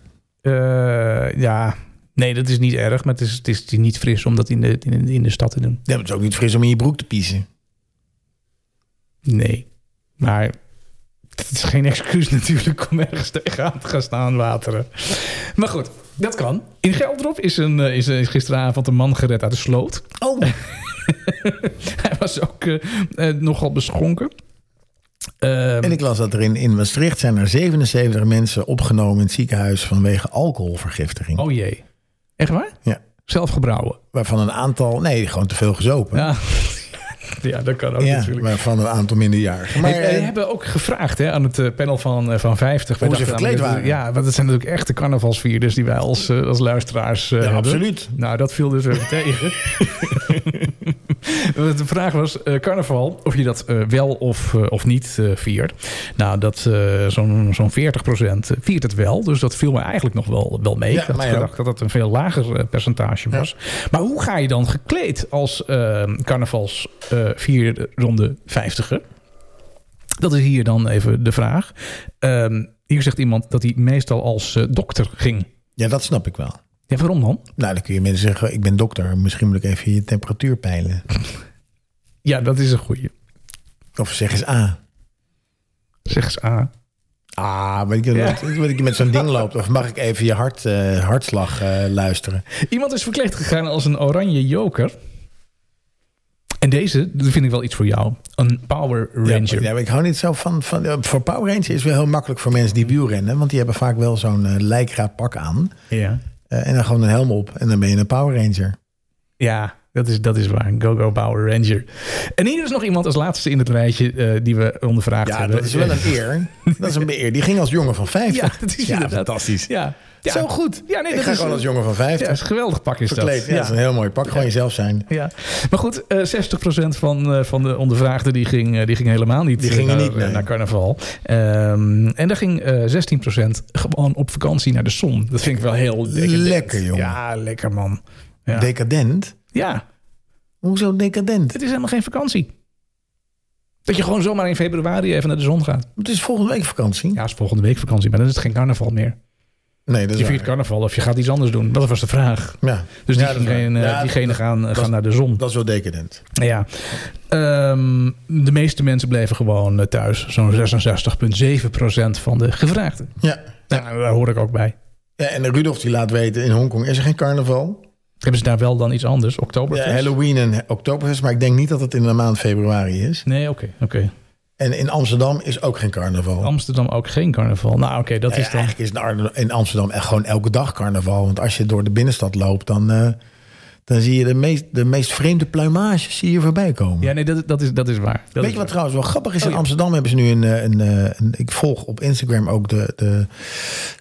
[SPEAKER 2] Eh, ja, nee, dat is niet erg. Maar het is, het is niet fris om dat in de, in, de- in de stad te doen.
[SPEAKER 1] Ja, maar het is ook niet fris om in je broek te piezen.
[SPEAKER 2] Nee, maar het is geen excuus [laughs] natuurlijk om ergens tegenaan te gaan staan wateren. Maar goed, dat kan. In Geldrop is, een, eh, is, eh, is gisteravond een man gered uit de sloot. [laughs]
[SPEAKER 1] Oh,
[SPEAKER 2] Hij was ook eh, eh, nogal beschonken. Ehm,
[SPEAKER 1] en ik las dat er in, in Maastricht zijn er 77 mensen opgenomen in het ziekenhuis vanwege alcoholvergiftiging.
[SPEAKER 2] Oh jee. Echt waar?
[SPEAKER 1] Ja.
[SPEAKER 2] Zelf gebrouwen.
[SPEAKER 1] Waarvan een aantal, nee, gewoon te veel gezopen.
[SPEAKER 2] Ja. [laughs] ja, dat kan ook
[SPEAKER 1] Ja,
[SPEAKER 2] natuurlijk.
[SPEAKER 1] waarvan een aantal minderjarigen. Maar
[SPEAKER 2] Maar, we
[SPEAKER 1] eh,
[SPEAKER 2] hebben ook gevraagd hè, aan het eh, panel van, eh, van 50. Wij
[SPEAKER 1] Hoe ze
[SPEAKER 2] dachten namelijk
[SPEAKER 1] verkleed
[SPEAKER 2] dat- Ja, want het zijn natuurlijk echte carnavalsvierders die wij als, eh, als luisteraars eh,
[SPEAKER 1] ja,
[SPEAKER 2] hebben.
[SPEAKER 1] absoluut.
[SPEAKER 2] Nou, dat viel dus even [laughs] tegen. Want De vraag was, eh, carnaval, of je dat eh, wel of, eh, of niet eh, viert. Nou, dat eh, zo'n zo'n 40% viert het wel. Dus dat viel me eigenlijk nog wel, wel mee.
[SPEAKER 1] Ja,
[SPEAKER 2] ik had
[SPEAKER 1] mij
[SPEAKER 2] gedacht dat dat een veel lager eh, percentage was. Maar hoe ga je dan gekleed als eh, carnavals eh vierronde 50er? Dat is hier dan even de vraag. Ehm, hier zegt iemand dat hij meestal als eh, dokter ging.
[SPEAKER 1] Ja, dat snap ik wel.
[SPEAKER 2] Ja, waarom dan?
[SPEAKER 1] Nou, dan kun je mensen zeggen, ik ben dokter. Misschien moet ik even je temperatuur peilen.
[SPEAKER 2] Ja, dat is een goeie.
[SPEAKER 1] Of zeg eens ah, A.
[SPEAKER 2] Zeg eens A.
[SPEAKER 1] Ah, weet je, dat, dat je met zo'n ding loopt. Of mag ik even je hart, eh, hartslag eh, luisteren?
[SPEAKER 2] Iemand is verkleed gegaan als een oranje joker. En deze, dat vind ik wel iets voor jou. Een Power
[SPEAKER 1] Ja,
[SPEAKER 2] Ranger.
[SPEAKER 1] maar- ja, maar ik hou niet zo van... van eh, voor Power Rangers is wel heel makkelijk voor mensen die wielrennen. Want die hebben vaak wel zo'n eh lycra pak aan.
[SPEAKER 2] Ja,
[SPEAKER 1] Eh, en dan gewoon een helm op. En dan ben je een Power Ranger.
[SPEAKER 2] ja dat, is, dat is waar. Go, go Power Ranger. En hier is nog iemand als laatste in het rijtje eh, die we ondervraagd
[SPEAKER 1] Ja,
[SPEAKER 2] hebben.
[SPEAKER 1] dat is wel een eer. [laughs] Dat is een eer. Die ging als jongen van 50.
[SPEAKER 2] Ja, dat is inderdaad.
[SPEAKER 1] fantastisch.
[SPEAKER 2] Ja. ja.
[SPEAKER 1] Zo goed.
[SPEAKER 2] Ja, nee,
[SPEAKER 1] ik
[SPEAKER 2] dat
[SPEAKER 1] ga
[SPEAKER 2] is, eh,
[SPEAKER 1] gewoon als jongen van
[SPEAKER 2] ja,
[SPEAKER 1] 50.
[SPEAKER 2] is een geweldig pak is
[SPEAKER 1] Verkleed.
[SPEAKER 2] dat.
[SPEAKER 1] Ja, dat is een heel mooi pak. Gewoon jezelf zijn.
[SPEAKER 2] Ja, maar goed, eh 60% van, eh, van de ondervraagden die ging, eh, die ging helemaal niet,
[SPEAKER 1] Die
[SPEAKER 2] eh,
[SPEAKER 1] gingen
[SPEAKER 2] naar,
[SPEAKER 1] niet, nee.
[SPEAKER 2] naar carnaval. Ehm, en daar ging eh 16% gewoon op vakantie naar de zon. Dat vind ik wel heel decadent.
[SPEAKER 1] Lekker, jongen.
[SPEAKER 2] Ja, lekker man. Ja.
[SPEAKER 1] Decadent?
[SPEAKER 2] ja,
[SPEAKER 1] Hoezo decadent?
[SPEAKER 2] het is helemaal geen vakantie. Dat je gewoon zomaar in februari even naar de zon gaat.
[SPEAKER 1] Het is volgende week vakantie.
[SPEAKER 2] Ja, is volgende week vakantie, maar dan is het geen carnaval meer.
[SPEAKER 1] Nee, dat
[SPEAKER 2] Je
[SPEAKER 1] is
[SPEAKER 2] viert
[SPEAKER 1] waar.
[SPEAKER 2] carnaval of je gaat iets anders doen. Dat was de vraag.
[SPEAKER 1] Ja.
[SPEAKER 2] Dus
[SPEAKER 1] Ja,
[SPEAKER 2] die
[SPEAKER 1] dat is
[SPEAKER 2] diegenen,
[SPEAKER 1] waar.
[SPEAKER 2] eh,
[SPEAKER 1] Ja,
[SPEAKER 2] diegenen
[SPEAKER 1] dat-
[SPEAKER 2] gaan, gaan naar de zon.
[SPEAKER 1] Dat is wel decadent.
[SPEAKER 2] Ja, Ehm, de meeste mensen bleven gewoon eh, thuis. Zo'n 66,7% van de gevraagden.
[SPEAKER 1] Ja.
[SPEAKER 2] Nou, daar hoor ik ook bij.
[SPEAKER 1] Ja, en Rudolf die laat weten, in Hongkong is er geen carnaval.
[SPEAKER 2] Hebben ze daar wel dan iets anders? Oktoberfest?
[SPEAKER 1] Ja, Halloween en Oktoberfest, maar ik denk niet dat het in de maand februari is.
[SPEAKER 2] Nee, oké. oké.
[SPEAKER 1] En in Amsterdam is ook geen carnaval.
[SPEAKER 2] Amsterdam ook geen carnaval. Nou, oké, dat
[SPEAKER 1] Ja, ja,
[SPEAKER 2] is dan...
[SPEAKER 1] Eigenlijk is in Arne- in Amsterdam echt gewoon elke dag carnaval. Want als je door de binnenstad loopt, dan, eh, dan zie je de meest, de meest vreemde pluimages zie je voorbij komen.
[SPEAKER 2] Ja, nee, dat, dat, is, dat is waar. Dat
[SPEAKER 1] Weet je
[SPEAKER 2] is
[SPEAKER 1] wat
[SPEAKER 2] waar.
[SPEAKER 1] trouwens wel grappig is?
[SPEAKER 2] Oh,
[SPEAKER 1] in
[SPEAKER 2] ja.
[SPEAKER 1] Amsterdam hebben ze nu een, eh, een, eh, een- Ik volg op Instagram ook de, de,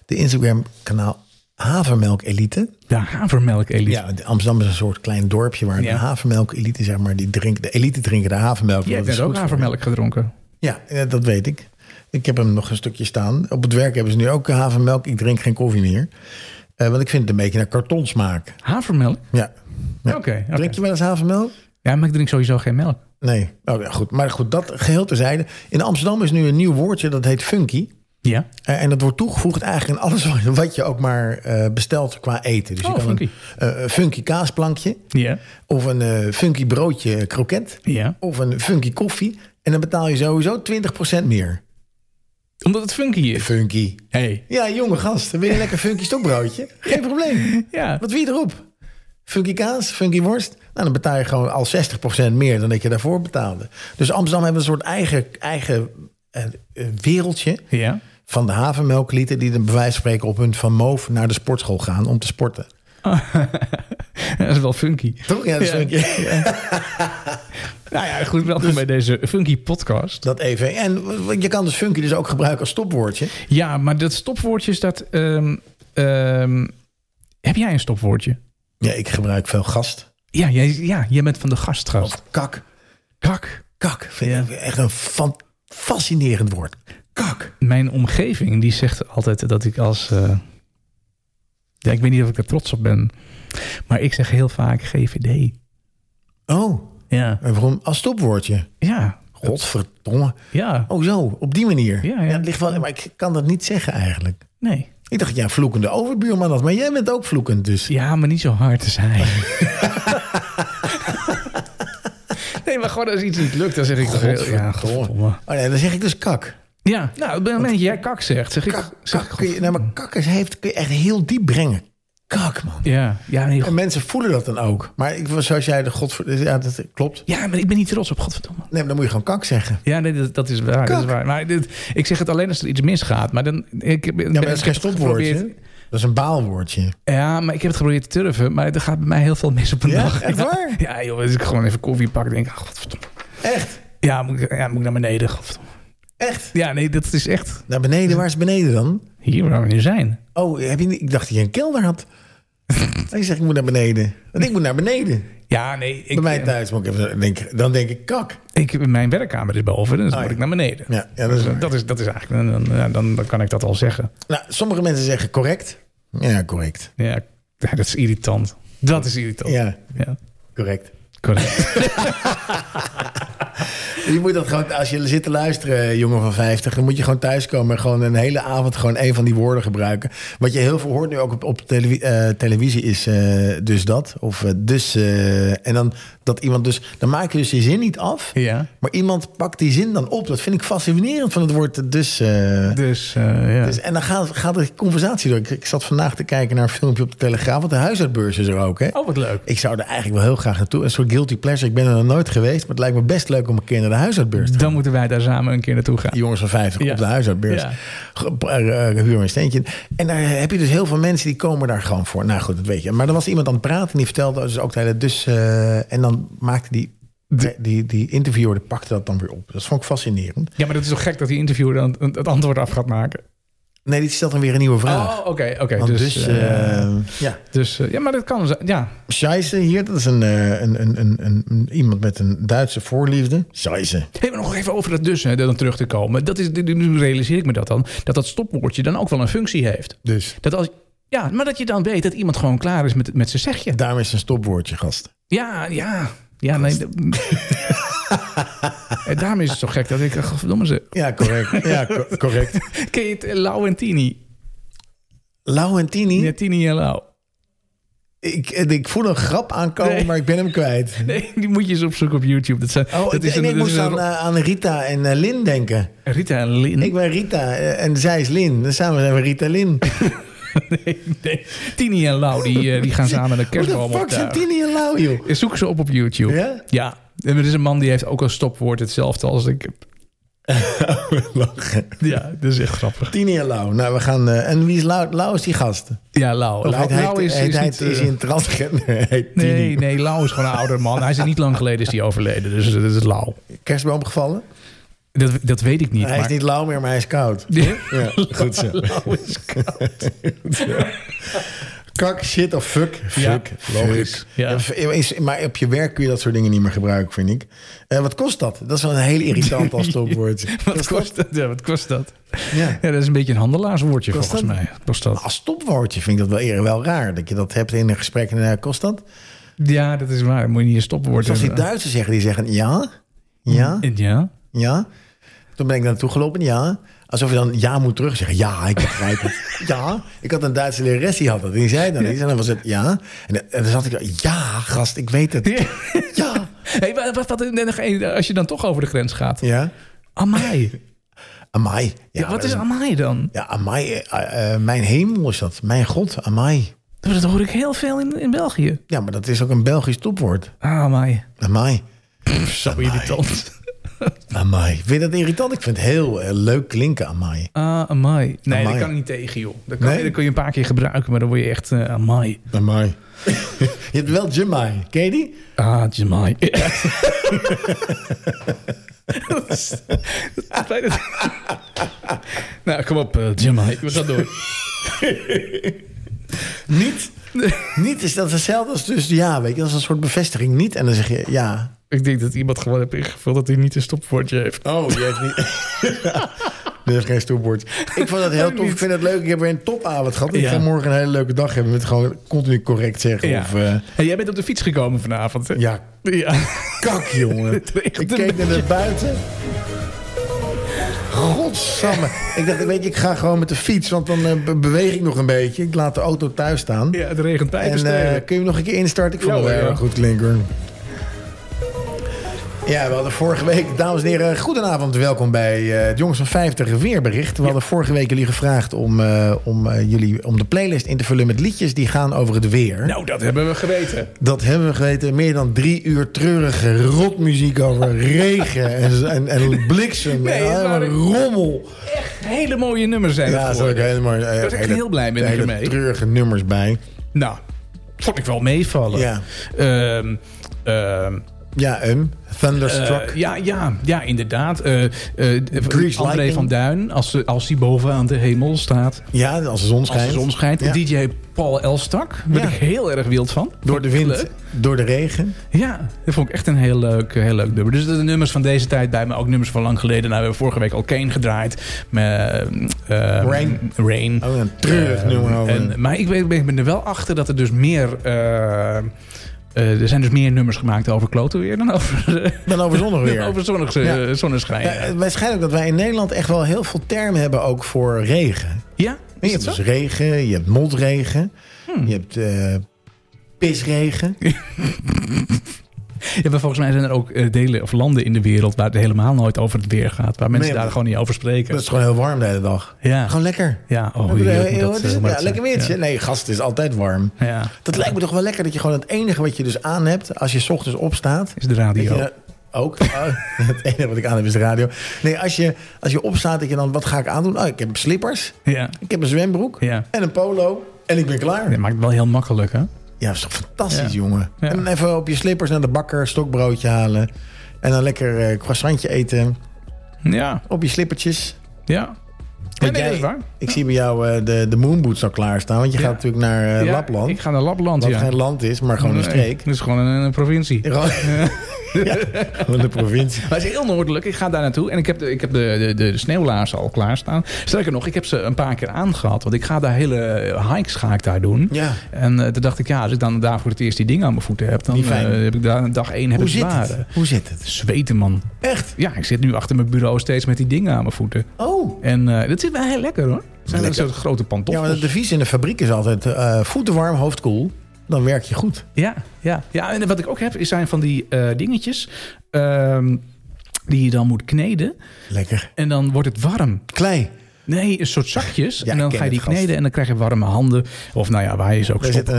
[SPEAKER 1] de Instagram-kanaal Havermelk Elite.
[SPEAKER 2] De havermelk-elite.
[SPEAKER 1] Ja, de- Amsterdam is een soort klein dorpje waar
[SPEAKER 2] Ja.
[SPEAKER 1] de havermelk-elite, zeg maar, die drinken, de elite drinken de havermelk.
[SPEAKER 2] Jij
[SPEAKER 1] want dat
[SPEAKER 2] hebt
[SPEAKER 1] is
[SPEAKER 2] ook
[SPEAKER 1] goed voor
[SPEAKER 2] havermelk gedronken.
[SPEAKER 1] je. Ja, eh, dat weet ik. Ik heb hem nog een stukje staan. Op het werk hebben ze nu ook havermelk. Ik drink geen koffie meer. Eh, want ik vind het een beetje naar karton smaak.
[SPEAKER 2] Havermelk?
[SPEAKER 1] Ja.
[SPEAKER 2] Oké, oké.
[SPEAKER 1] Drink je wel eens havermelk?
[SPEAKER 2] Ja, maar ik drink sowieso geen melk.
[SPEAKER 1] Nee, oh, ja, goed. Maar goed, dat geheel terzijde. In Amsterdam is nu een nieuw woordje, dat heet funky.
[SPEAKER 2] Ja.
[SPEAKER 1] Eh, En dat wordt toegevoegd eigenlijk in alles [laughs] wat- wat je ook maar eh, bestelt qua eten. Dus
[SPEAKER 2] Oh,
[SPEAKER 1] je kan
[SPEAKER 2] funky.
[SPEAKER 1] een eh, funky kaasplankje,
[SPEAKER 2] Ja.
[SPEAKER 1] of een eh, funky broodje kroket,
[SPEAKER 2] Ja.
[SPEAKER 1] of een funky koffie. En dan betaal je sowieso 20% meer.
[SPEAKER 2] Omdat het funky is.
[SPEAKER 1] Funky.
[SPEAKER 2] Hey.
[SPEAKER 1] Ja, jonge gast, wil je een lekker funky stokbroodje? Geen probleem.
[SPEAKER 2] Ja.
[SPEAKER 1] Wat wie erop? Funky kaas, funky worst. Nou, dan betaal je gewoon al 60% meer dan dat je daarvoor betaalde. Dus Amsterdam heeft een soort eigen, eigen eh, eh, wereldje
[SPEAKER 2] Ja.
[SPEAKER 1] van de havenmelklieten... die dan bij wijze van spreken op hun Van Moof naar de sportschool gaan om te sporten.
[SPEAKER 2] Dat is wel funky.
[SPEAKER 1] Toch? Ja, dat, is
[SPEAKER 2] Ja.
[SPEAKER 1] funky.
[SPEAKER 2] Nou ja, goed, welkom bij deze funky
[SPEAKER 1] [laughs]
[SPEAKER 2] podcast.
[SPEAKER 1] dat even. En je kan dus funky dus ook gebruiken als stopwoordje.
[SPEAKER 2] Ja, maar dat stopwoordje is dat... ehm, ehm, heb jij een stopwoordje?
[SPEAKER 1] Ja, ik gebruik veel gast.
[SPEAKER 2] Ja, jij, ja, jij bent van de gastgast.
[SPEAKER 1] Of kak.
[SPEAKER 2] Kak.
[SPEAKER 1] Kak. Vind ik echt een fan- fascinerend woord. Kak.
[SPEAKER 2] Mijn omgeving die zegt altijd dat ik als... eh, ja, ik weet niet of ik er trots op ben. Maar ik zeg heel vaak GVD.
[SPEAKER 1] Oh,
[SPEAKER 2] Ja.
[SPEAKER 1] en waarom als stopwoordje?
[SPEAKER 2] Ja.
[SPEAKER 1] Godverdomme.
[SPEAKER 2] Ja.
[SPEAKER 1] Oh zo, op die manier.
[SPEAKER 2] Ja, ja.
[SPEAKER 1] het ligt wel, maar ik kan dat niet zeggen eigenlijk.
[SPEAKER 2] Nee.
[SPEAKER 1] Ik dacht dat jij een vloekende overbuurman had, maar jij bent ook vloekend dus.
[SPEAKER 2] Ja, maar niet zo hard te zijn. [laughs] nee, maar gewoon als iets niet lukt, dan zeg ik toch heel... Ja, godverdomme.
[SPEAKER 1] Oh nee, dan zeg ik dus kak.
[SPEAKER 2] Ja, nou, op het moment dat jij kak zegt, zeg ik...
[SPEAKER 1] Kak,
[SPEAKER 2] zeg
[SPEAKER 1] kak
[SPEAKER 2] ik
[SPEAKER 1] kun je, nou, maar kak is, heeft, kun je echt heel diep brengen. Kak, man.
[SPEAKER 2] ja, ja, nee,
[SPEAKER 1] En
[SPEAKER 2] go-
[SPEAKER 1] mensen voelen dat dan ook. Maar ik, zoals jij de godver... Ja, dat klopt.
[SPEAKER 2] ja, maar ik ben niet trots op, godverdomme.
[SPEAKER 1] Nee, maar dan moet je gewoon kak zeggen.
[SPEAKER 2] Ja, nee, dat, dat is waar, dat is
[SPEAKER 1] Kak.
[SPEAKER 2] waar. Maar dit, ik zeg het alleen als er iets misgaat. Maar dan... Ik, heb-
[SPEAKER 1] Ja,
[SPEAKER 2] ben-
[SPEAKER 1] maar dat is
[SPEAKER 2] ik
[SPEAKER 1] geen
[SPEAKER 2] heb het geprobeerd-
[SPEAKER 1] stopwoordje. Dat is een baalwoordje.
[SPEAKER 2] Ja, maar ik heb het geprobeerd te turven. Maar er gaat bij mij heel veel mis op een
[SPEAKER 1] Ja,
[SPEAKER 2] dag.
[SPEAKER 1] echt
[SPEAKER 2] Ja.
[SPEAKER 1] waar?
[SPEAKER 2] Ja, joh, als ik gewoon even koffie pak, denk ik... ah, godverdomme.
[SPEAKER 1] Echt?
[SPEAKER 2] Ja, moet ik, ja, moet ik naar beneden, godverdomme.
[SPEAKER 1] Echt?
[SPEAKER 2] Ja, nee, dat is echt...
[SPEAKER 1] Naar beneden, waar is beneden dan?
[SPEAKER 2] Hier waar we nu zijn.
[SPEAKER 1] Oh, heb je, niet- ik dacht dat je een kelder [laughs] had. ik zeg, ik moet naar beneden. Want ik moet naar beneden.
[SPEAKER 2] Ja, nee. Ik,
[SPEAKER 1] Bij mij
[SPEAKER 2] eh,
[SPEAKER 1] thuis moet ik even denken. Dan denk ik kak.
[SPEAKER 2] ik, mijn werkkamer is boven, dus
[SPEAKER 1] Oh,
[SPEAKER 2] dan
[SPEAKER 1] ja.
[SPEAKER 2] moet ik naar beneden. Dus
[SPEAKER 1] Ja, ja, dat is waar.
[SPEAKER 2] dat, is, dat is eigenlijk... Dan, dan, ja, dan, dan kan ik dat al zeggen.
[SPEAKER 1] Nou, sommige mensen zeggen correct. Ja, correct.
[SPEAKER 2] Ja, ja, dat is irritant. Dat is irritant.
[SPEAKER 1] Ja,
[SPEAKER 2] Ja,
[SPEAKER 1] correct. [laughs]
[SPEAKER 2] correct.
[SPEAKER 1] Je moet dat gewoon, als je zit te luisteren, jongen van 50, dan moet je gewoon thuiskomen en gewoon een hele avond gewoon een van die woorden gebruiken. Wat je heel veel hoort nu ook op, op televi- eh, televisie is eh, dus dat. Of eh, dus. eh, en dan dat iemand dus. Dan maak je dus je zin niet af.
[SPEAKER 2] ja.
[SPEAKER 1] Maar iemand pakt die zin dan op. Dat vind ik fascinerend van het woord eh, dus. eh.
[SPEAKER 2] Dus eh, ja.
[SPEAKER 1] Dus, en dan gaat, gaat de conversatie door. Ik, ik zat vandaag te kijken naar een filmpje op de Telegraaf. Want de huisartbeurs is er ook, hè?
[SPEAKER 2] Oh, wat leuk.
[SPEAKER 1] Ik zou er eigenlijk wel heel graag naartoe. Een soort guilty pleasure. Ik ben er nog nooit geweest. Maar het lijkt me best leuk om een keer naar de huisartbeurs te gaan.
[SPEAKER 2] Dan moeten wij daar samen een keer naartoe gaan.
[SPEAKER 1] Die Jongens van 50
[SPEAKER 2] Ja.
[SPEAKER 1] op de huisartbeurs.
[SPEAKER 2] Ja.
[SPEAKER 1] Ge- eh, eh, Huur een steentje. En daar heb je dus heel veel mensen die komen daar gewoon voor. Nou goed, dat weet je. Maar er was iemand aan het praten en die vertelde dus ook de hele... Dus, eh, en dan maakte die, die, die interviewer die pakte dat dan weer op. Dat vond ik fascinerend.
[SPEAKER 2] Ja, maar dat is toch gek dat die interviewer dan het- het antwoord af gaat maken.
[SPEAKER 1] Nee, die stelt dan weer een nieuwe vraag.
[SPEAKER 2] Oh, oké, oké.
[SPEAKER 1] Want
[SPEAKER 2] Dus,
[SPEAKER 1] dus,
[SPEAKER 2] eh,
[SPEAKER 1] eh, ja.
[SPEAKER 2] dus eh, ja, maar dat kan zijn. Ja,
[SPEAKER 1] Scheisse hier, dat is een, eh, een, een, een, een- een- iemand met een Duitse voorliefde. Scheisse.
[SPEAKER 2] Hey, maar nog even over dat dus, hè, dan terug te komen. Dat is, nu realiseer ik me dat dan. Dat dat stopwoordje dan ook wel een functie heeft.
[SPEAKER 1] Dus.
[SPEAKER 2] Dat als, ja, maar dat je dan weet dat iemand gewoon klaar is met, met zijn zegje.
[SPEAKER 1] Daarom is het een stopwoordje, gast.
[SPEAKER 2] Ja, ja. Ja,
[SPEAKER 1] [laughs]
[SPEAKER 2] nee. dat- en daarom is het zo gek dat ik... ach, Verdomme ze.
[SPEAKER 1] Ja, correct. [laughs] ja, co- correct.
[SPEAKER 2] Ken je het eh, Lau en Tini?
[SPEAKER 1] Lauwentini.
[SPEAKER 2] Ja, Tini en Lau.
[SPEAKER 1] Ik, eh, ik voel een grap aankomen,
[SPEAKER 2] Nee.
[SPEAKER 1] maar ik ben hem kwijt.
[SPEAKER 2] Nee, die moet je eens opzoeken op YouTube. Dat, zijn,
[SPEAKER 1] Oh,
[SPEAKER 2] dat is
[SPEAKER 1] en
[SPEAKER 2] een,
[SPEAKER 1] ik
[SPEAKER 2] dat is
[SPEAKER 1] moest
[SPEAKER 2] een
[SPEAKER 1] aan, eh, aan Rita en eh, Lin denken.
[SPEAKER 2] ro- Rita en Lin.
[SPEAKER 1] Ik ben Rita eh, en zij is Lin. Dus samen zijn we Rita Lin.
[SPEAKER 2] nee, nee. Tini en Lau, die, eh, die gaan samen
[SPEAKER 1] [laughs]
[SPEAKER 2] de
[SPEAKER 1] Hoe
[SPEAKER 2] kerstboom
[SPEAKER 1] de fuck zijn
[SPEAKER 2] optuigen.
[SPEAKER 1] Tini en Lau, [laughs] joh?
[SPEAKER 2] Zoek ze op op YouTube.
[SPEAKER 1] Ja?
[SPEAKER 2] Ja. En er is een man die heeft ook als stopwoord hetzelfde als ik.
[SPEAKER 1] Lachen.
[SPEAKER 2] Ja, dat is echt grappig.
[SPEAKER 1] Tini en Lau. Nou, we gaan... eh, en wie is Lau? Lau is die gast.
[SPEAKER 2] Ja, Lau.
[SPEAKER 1] Of
[SPEAKER 2] Lau,
[SPEAKER 1] heet hij-
[SPEAKER 2] Lau is,
[SPEAKER 1] heet
[SPEAKER 2] is
[SPEAKER 1] hij-
[SPEAKER 2] niet...
[SPEAKER 1] is
[SPEAKER 2] eh,
[SPEAKER 1] [laughs] hij een transgender? Heet Tini.
[SPEAKER 2] nee, nee, Lau is gewoon een ouder man. Hij is niet lang geleden is die overleden, dus dat is Lau.
[SPEAKER 1] Kerstboom gevallen?
[SPEAKER 2] Dat, dat weet ik niet.
[SPEAKER 1] Hij is
[SPEAKER 2] maar...
[SPEAKER 1] niet lauw meer, maar hij is koud.
[SPEAKER 2] [laughs]
[SPEAKER 1] Ja, goed zo.
[SPEAKER 2] Lau
[SPEAKER 1] [laughs]
[SPEAKER 2] is
[SPEAKER 1] Kak, shit of fuck. Fuck,
[SPEAKER 2] logisch.
[SPEAKER 1] fuck.
[SPEAKER 2] Ja.
[SPEAKER 1] is- maar op je werk kun je dat soort dingen niet meer gebruiken, vind ik. Eh, wat kost dat? Dat is wel een heel irritant als stopwoord.
[SPEAKER 2] Wat kost dat? Ja, wat kost dat?
[SPEAKER 1] Ja.
[SPEAKER 2] Ja, dat is een beetje een handelaarswoordje
[SPEAKER 1] Kost
[SPEAKER 2] volgens
[SPEAKER 1] dat?
[SPEAKER 2] mij. Kost dat?
[SPEAKER 1] Als stopwoordje vind ik dat wel eerder wel raar. Dat je dat hebt in een gesprek en eh, kost dat?
[SPEAKER 2] Ja, dat is waar. Moet je niet een stopwoord
[SPEAKER 1] Zoals die
[SPEAKER 2] hebben.
[SPEAKER 1] Duitsers zeggen, die zeggen ja. Ja?
[SPEAKER 2] Ja.
[SPEAKER 1] Ja? Toen ben ik naartoe gelopen, ja. Alsof je dan ja moet terugzeggen. Ja, ik begrijp
[SPEAKER 2] [laughs]
[SPEAKER 1] het. Ja, ik had een Duitse lerares die had dat. Die zei dan iets en dan was het ja. En, dan- en dan zat ik daar, ja, gast, ik weet het. Ja.
[SPEAKER 2] Hey, wat, wat, wat- nee, nog één, als je dan toch over de grens gaat.
[SPEAKER 1] Ja.
[SPEAKER 2] Amai.
[SPEAKER 1] Amai. Ja,
[SPEAKER 2] Ja,
[SPEAKER 1] maar
[SPEAKER 2] wat
[SPEAKER 1] dat
[SPEAKER 2] is amai dan?
[SPEAKER 1] Ja, amai. eh, eh, mijn hemel is dat. Mijn god, amai.
[SPEAKER 2] Dat hoor ik heel veel in, in België.
[SPEAKER 1] Ja, maar dat is ook een Belgisch topwoord.
[SPEAKER 2] Ah, amai.
[SPEAKER 1] Amai.
[SPEAKER 2] Zo irritant.
[SPEAKER 1] Amai. Vind je dat irritant? Ik vind het heel eh, leuk klinken, amai.
[SPEAKER 2] Ah, amai. Nee,
[SPEAKER 1] Amai.
[SPEAKER 2] dat kan ik niet tegen, joh. Dat kan,
[SPEAKER 1] Nee?
[SPEAKER 2] dat kun je een paar keer gebruiken, maar dan word je echt eh, amai.
[SPEAKER 1] Amai. [laughs] je hebt wel Jemai. Ken je die?
[SPEAKER 2] Ah, amai. [laughs] Dat is- dat is bijna- nou, kom op, eh, Jamai. We gaan door.
[SPEAKER 1] Niet. Niet is dat hetzelfde als dus ja, weet je. Dat is een soort bevestiging. Niet. En dan zeg je ja.
[SPEAKER 2] [laughs] Ik denk dat iemand gewoon heeft ingevuld dat hij niet een stopwoordje heeft.
[SPEAKER 1] Oh, je hebt [laughs] niet... Er is geen stoepbord. Ik vond dat heel
[SPEAKER 2] Ook
[SPEAKER 1] tof. Ik
[SPEAKER 2] niet.
[SPEAKER 1] vind het leuk. Ik heb weer een topavond gehad. Ik
[SPEAKER 2] Ja.
[SPEAKER 1] ga morgen een hele leuke dag hebben met gewoon continu correct zeggen.
[SPEAKER 2] Ja.
[SPEAKER 1] Of, eh,
[SPEAKER 2] Hey, jij bent op de fiets gekomen vanavond, hè?
[SPEAKER 1] ja,
[SPEAKER 2] Ja. [laughs]
[SPEAKER 1] kak, jongen. [laughs]
[SPEAKER 2] Het regent
[SPEAKER 1] ik
[SPEAKER 2] een
[SPEAKER 1] keek naar het buiten. Godsamme. Ik dacht, weet je, ik ga gewoon met de fiets, want dan eh, be- beweeg ik nog een beetje. Ik laat de auto thuis staan.
[SPEAKER 2] Ja, het regent
[SPEAKER 1] en
[SPEAKER 2] pijpenstelen.
[SPEAKER 1] eh, kun je hem nog een keer instarten? Ik vond
[SPEAKER 2] Ja,
[SPEAKER 1] het wel
[SPEAKER 2] hoor,
[SPEAKER 1] heel
[SPEAKER 2] ja.
[SPEAKER 1] goed klinken. Ja, we hadden vorige week, dames en heren, goedenavond. Welkom bij eh, het Jongens van 50 Weerbericht. We hadden vorige week jullie gevraagd om, eh, om, eh, jullie, om de playlist in te vullen met liedjes die gaan over het weer.
[SPEAKER 2] nou, dat hebben we geweten.
[SPEAKER 1] Dat hebben we geweten. Meer dan drie uur treurige rotmuziek
[SPEAKER 2] [laughs]
[SPEAKER 1] over regen en, en, en bliksem.
[SPEAKER 2] Nee,
[SPEAKER 1] en
[SPEAKER 2] het
[SPEAKER 1] allemaal
[SPEAKER 2] waren-
[SPEAKER 1] rommel.
[SPEAKER 2] Hele mooie nummers zijn
[SPEAKER 1] Ja,
[SPEAKER 2] het
[SPEAKER 1] daar was ik
[SPEAKER 2] geworden.
[SPEAKER 1] helemaal... eh,
[SPEAKER 2] was ik heel blij ben ik ermee.
[SPEAKER 1] treurige nummers bij.
[SPEAKER 2] Nou, vond ik wel meevallen.
[SPEAKER 1] Ja.
[SPEAKER 2] Ehm, ehm,
[SPEAKER 1] Ja, um, Thunderstruck.
[SPEAKER 2] eh, ja, ja, ja, inderdaad. Eh, eh, André
[SPEAKER 1] Lightning.
[SPEAKER 2] van Duin, als, als hij bovenaan de hemel staat,
[SPEAKER 1] ja, als de zon
[SPEAKER 2] als
[SPEAKER 1] schijnt.
[SPEAKER 2] de zon schijnt.
[SPEAKER 1] Ja.
[SPEAKER 2] DJ Paul Elstak, daar ben
[SPEAKER 1] Ja.
[SPEAKER 2] ik heel erg wild van.
[SPEAKER 1] Door de
[SPEAKER 2] Vond ik
[SPEAKER 1] wind,
[SPEAKER 2] leuk.
[SPEAKER 1] door de regen.
[SPEAKER 2] Ja, dat vond ik echt een heel leuk, heel leuk nummer. Dus de nummers van deze tijd bij me, ook nummers van lang geleden. Nou, we hebben vorige week al Kane gedraaid. Met, eh,
[SPEAKER 1] Rain.
[SPEAKER 2] Rain.
[SPEAKER 1] Oh, een treurig
[SPEAKER 2] Ehm,
[SPEAKER 1] nummer. over-
[SPEAKER 2] en- maar ik, weet, ik ben er wel achter dat er dus meer. eh, eh, er zijn dus meer nummers gemaakt over kloten weer dan over, [laughs] eh,
[SPEAKER 1] dan over zonnig weer.
[SPEAKER 2] dan over zonnig, eh,
[SPEAKER 1] Ja.
[SPEAKER 2] zonneschijn.
[SPEAKER 1] Ja,
[SPEAKER 2] Ja,
[SPEAKER 1] eh, waarschijnlijk dat wij in Nederland echt wel heel veel termen hebben ook voor regen. Je
[SPEAKER 2] is
[SPEAKER 1] hebt
[SPEAKER 2] dat zo? Hmm.
[SPEAKER 1] dus regen, je hebt motregen, je hebt eh, pisregen.
[SPEAKER 2] Ja, maar volgens mij zijn er ook eh, delen of landen in de wereld waar het helemaal nooit over het weer gaat. Waar mensen
[SPEAKER 1] Nee,
[SPEAKER 2] daar
[SPEAKER 1] maar-
[SPEAKER 2] gewoon niet over spreken.
[SPEAKER 1] Dat is gewoon heel warm de hele dag.
[SPEAKER 2] ja.
[SPEAKER 1] Gewoon lekker.
[SPEAKER 2] ja, oh,
[SPEAKER 1] Wat
[SPEAKER 2] heerlijk
[SPEAKER 1] eh,
[SPEAKER 2] moet dat,
[SPEAKER 1] wat
[SPEAKER 2] eh,
[SPEAKER 1] is het?
[SPEAKER 2] moet
[SPEAKER 1] Ja,
[SPEAKER 2] dat
[SPEAKER 1] lekker
[SPEAKER 2] zijn.
[SPEAKER 1] weertje. Nee, gast, het is altijd warm.
[SPEAKER 2] Ja. Ja.
[SPEAKER 1] Dat lijkt me toch wel lekker dat je gewoon het enige wat je dus aan hebt als je 's ochtends opstaat.
[SPEAKER 2] Is de
[SPEAKER 1] dat
[SPEAKER 2] radio.
[SPEAKER 1] je dan- ook. Oh, [laughs] het enige wat ik aan heb is de radio. Nee, als je, als je opstaat, dat je dan wat ga ik aandoen? Oh, ik heb slippers,
[SPEAKER 2] Ja.
[SPEAKER 1] ik heb een zwembroek
[SPEAKER 2] Ja.
[SPEAKER 1] en een polo en ik ben klaar.
[SPEAKER 2] Dat maakt het wel heel makkelijk, hè?
[SPEAKER 1] Ja, dat is toch fantastisch,
[SPEAKER 2] Ja.
[SPEAKER 1] jongen.
[SPEAKER 2] Ja.
[SPEAKER 1] En dan even op je slippers naar de bakker, stokbroodje halen. En dan lekker eh, croissantje eten
[SPEAKER 2] Ja.
[SPEAKER 1] op je slippertjes.
[SPEAKER 2] Ja. Ja, nee,
[SPEAKER 1] jij-
[SPEAKER 2] dat is waar.
[SPEAKER 1] Ik zie bij jou eh, de, de moonboots al klaarstaan. Want je
[SPEAKER 2] Ja.
[SPEAKER 1] gaat natuurlijk naar eh,
[SPEAKER 2] Ja,
[SPEAKER 1] Lapland.
[SPEAKER 2] Ik ga naar Lapland,
[SPEAKER 1] wat
[SPEAKER 2] ja.
[SPEAKER 1] geen land is, maar gewoon een streek.
[SPEAKER 2] Het is gewoon een, een provincie.
[SPEAKER 1] Gewoon
[SPEAKER 2] [laughs]
[SPEAKER 1] ja, gewoon de provincie.
[SPEAKER 2] Maar het is heel noordelijk. Ik ga daar naartoe. En ik heb de, ik heb de, de, de sneeuwlaarzen al klaarstaan. Sterker nog, ik heb ze een paar keer aangehad. Want ik ga daar hele eh, hikes ga ik daar doen.
[SPEAKER 1] Ja.
[SPEAKER 2] En eh, toen dacht ik, ja, als ik dan daar voor het eerst die dingen aan mijn voeten heb... dan
[SPEAKER 1] Niet fijn.
[SPEAKER 2] eh, heb ik daar dag één heb
[SPEAKER 1] Hoe
[SPEAKER 2] ik
[SPEAKER 1] zit
[SPEAKER 2] zware.
[SPEAKER 1] het? Hoe zit het?
[SPEAKER 2] Zweten, man.
[SPEAKER 1] Echt?
[SPEAKER 2] Ja, ik zit nu achter mijn bureau steeds met die dingen aan mijn voeten.
[SPEAKER 1] Oh.
[SPEAKER 2] En eh, dat zit mij heel lekker, hoor. Het zijn
[SPEAKER 1] Lekker.
[SPEAKER 2] een soort grote
[SPEAKER 1] Ja,
[SPEAKER 2] pantoffels.
[SPEAKER 1] maar de devies in de fabriek is altijd eh, voeten warm, hoofd koel. Dan werk je goed.
[SPEAKER 2] Ja, ja, ja. En wat ik ook heb, is zijn van die eh, dingetjes ehm, die je dan moet kneden.
[SPEAKER 1] Lekker.
[SPEAKER 2] En dan wordt het warm.
[SPEAKER 1] Klei.
[SPEAKER 2] Nee, een soort zakjes.
[SPEAKER 1] Ja,
[SPEAKER 2] en
[SPEAKER 1] ik
[SPEAKER 2] dan
[SPEAKER 1] ken
[SPEAKER 2] ga je die
[SPEAKER 1] het, gast.
[SPEAKER 2] kneden en dan krijg je warme handen. Of nou ja, waar je ze ook
[SPEAKER 1] Er zit
[SPEAKER 2] stopt.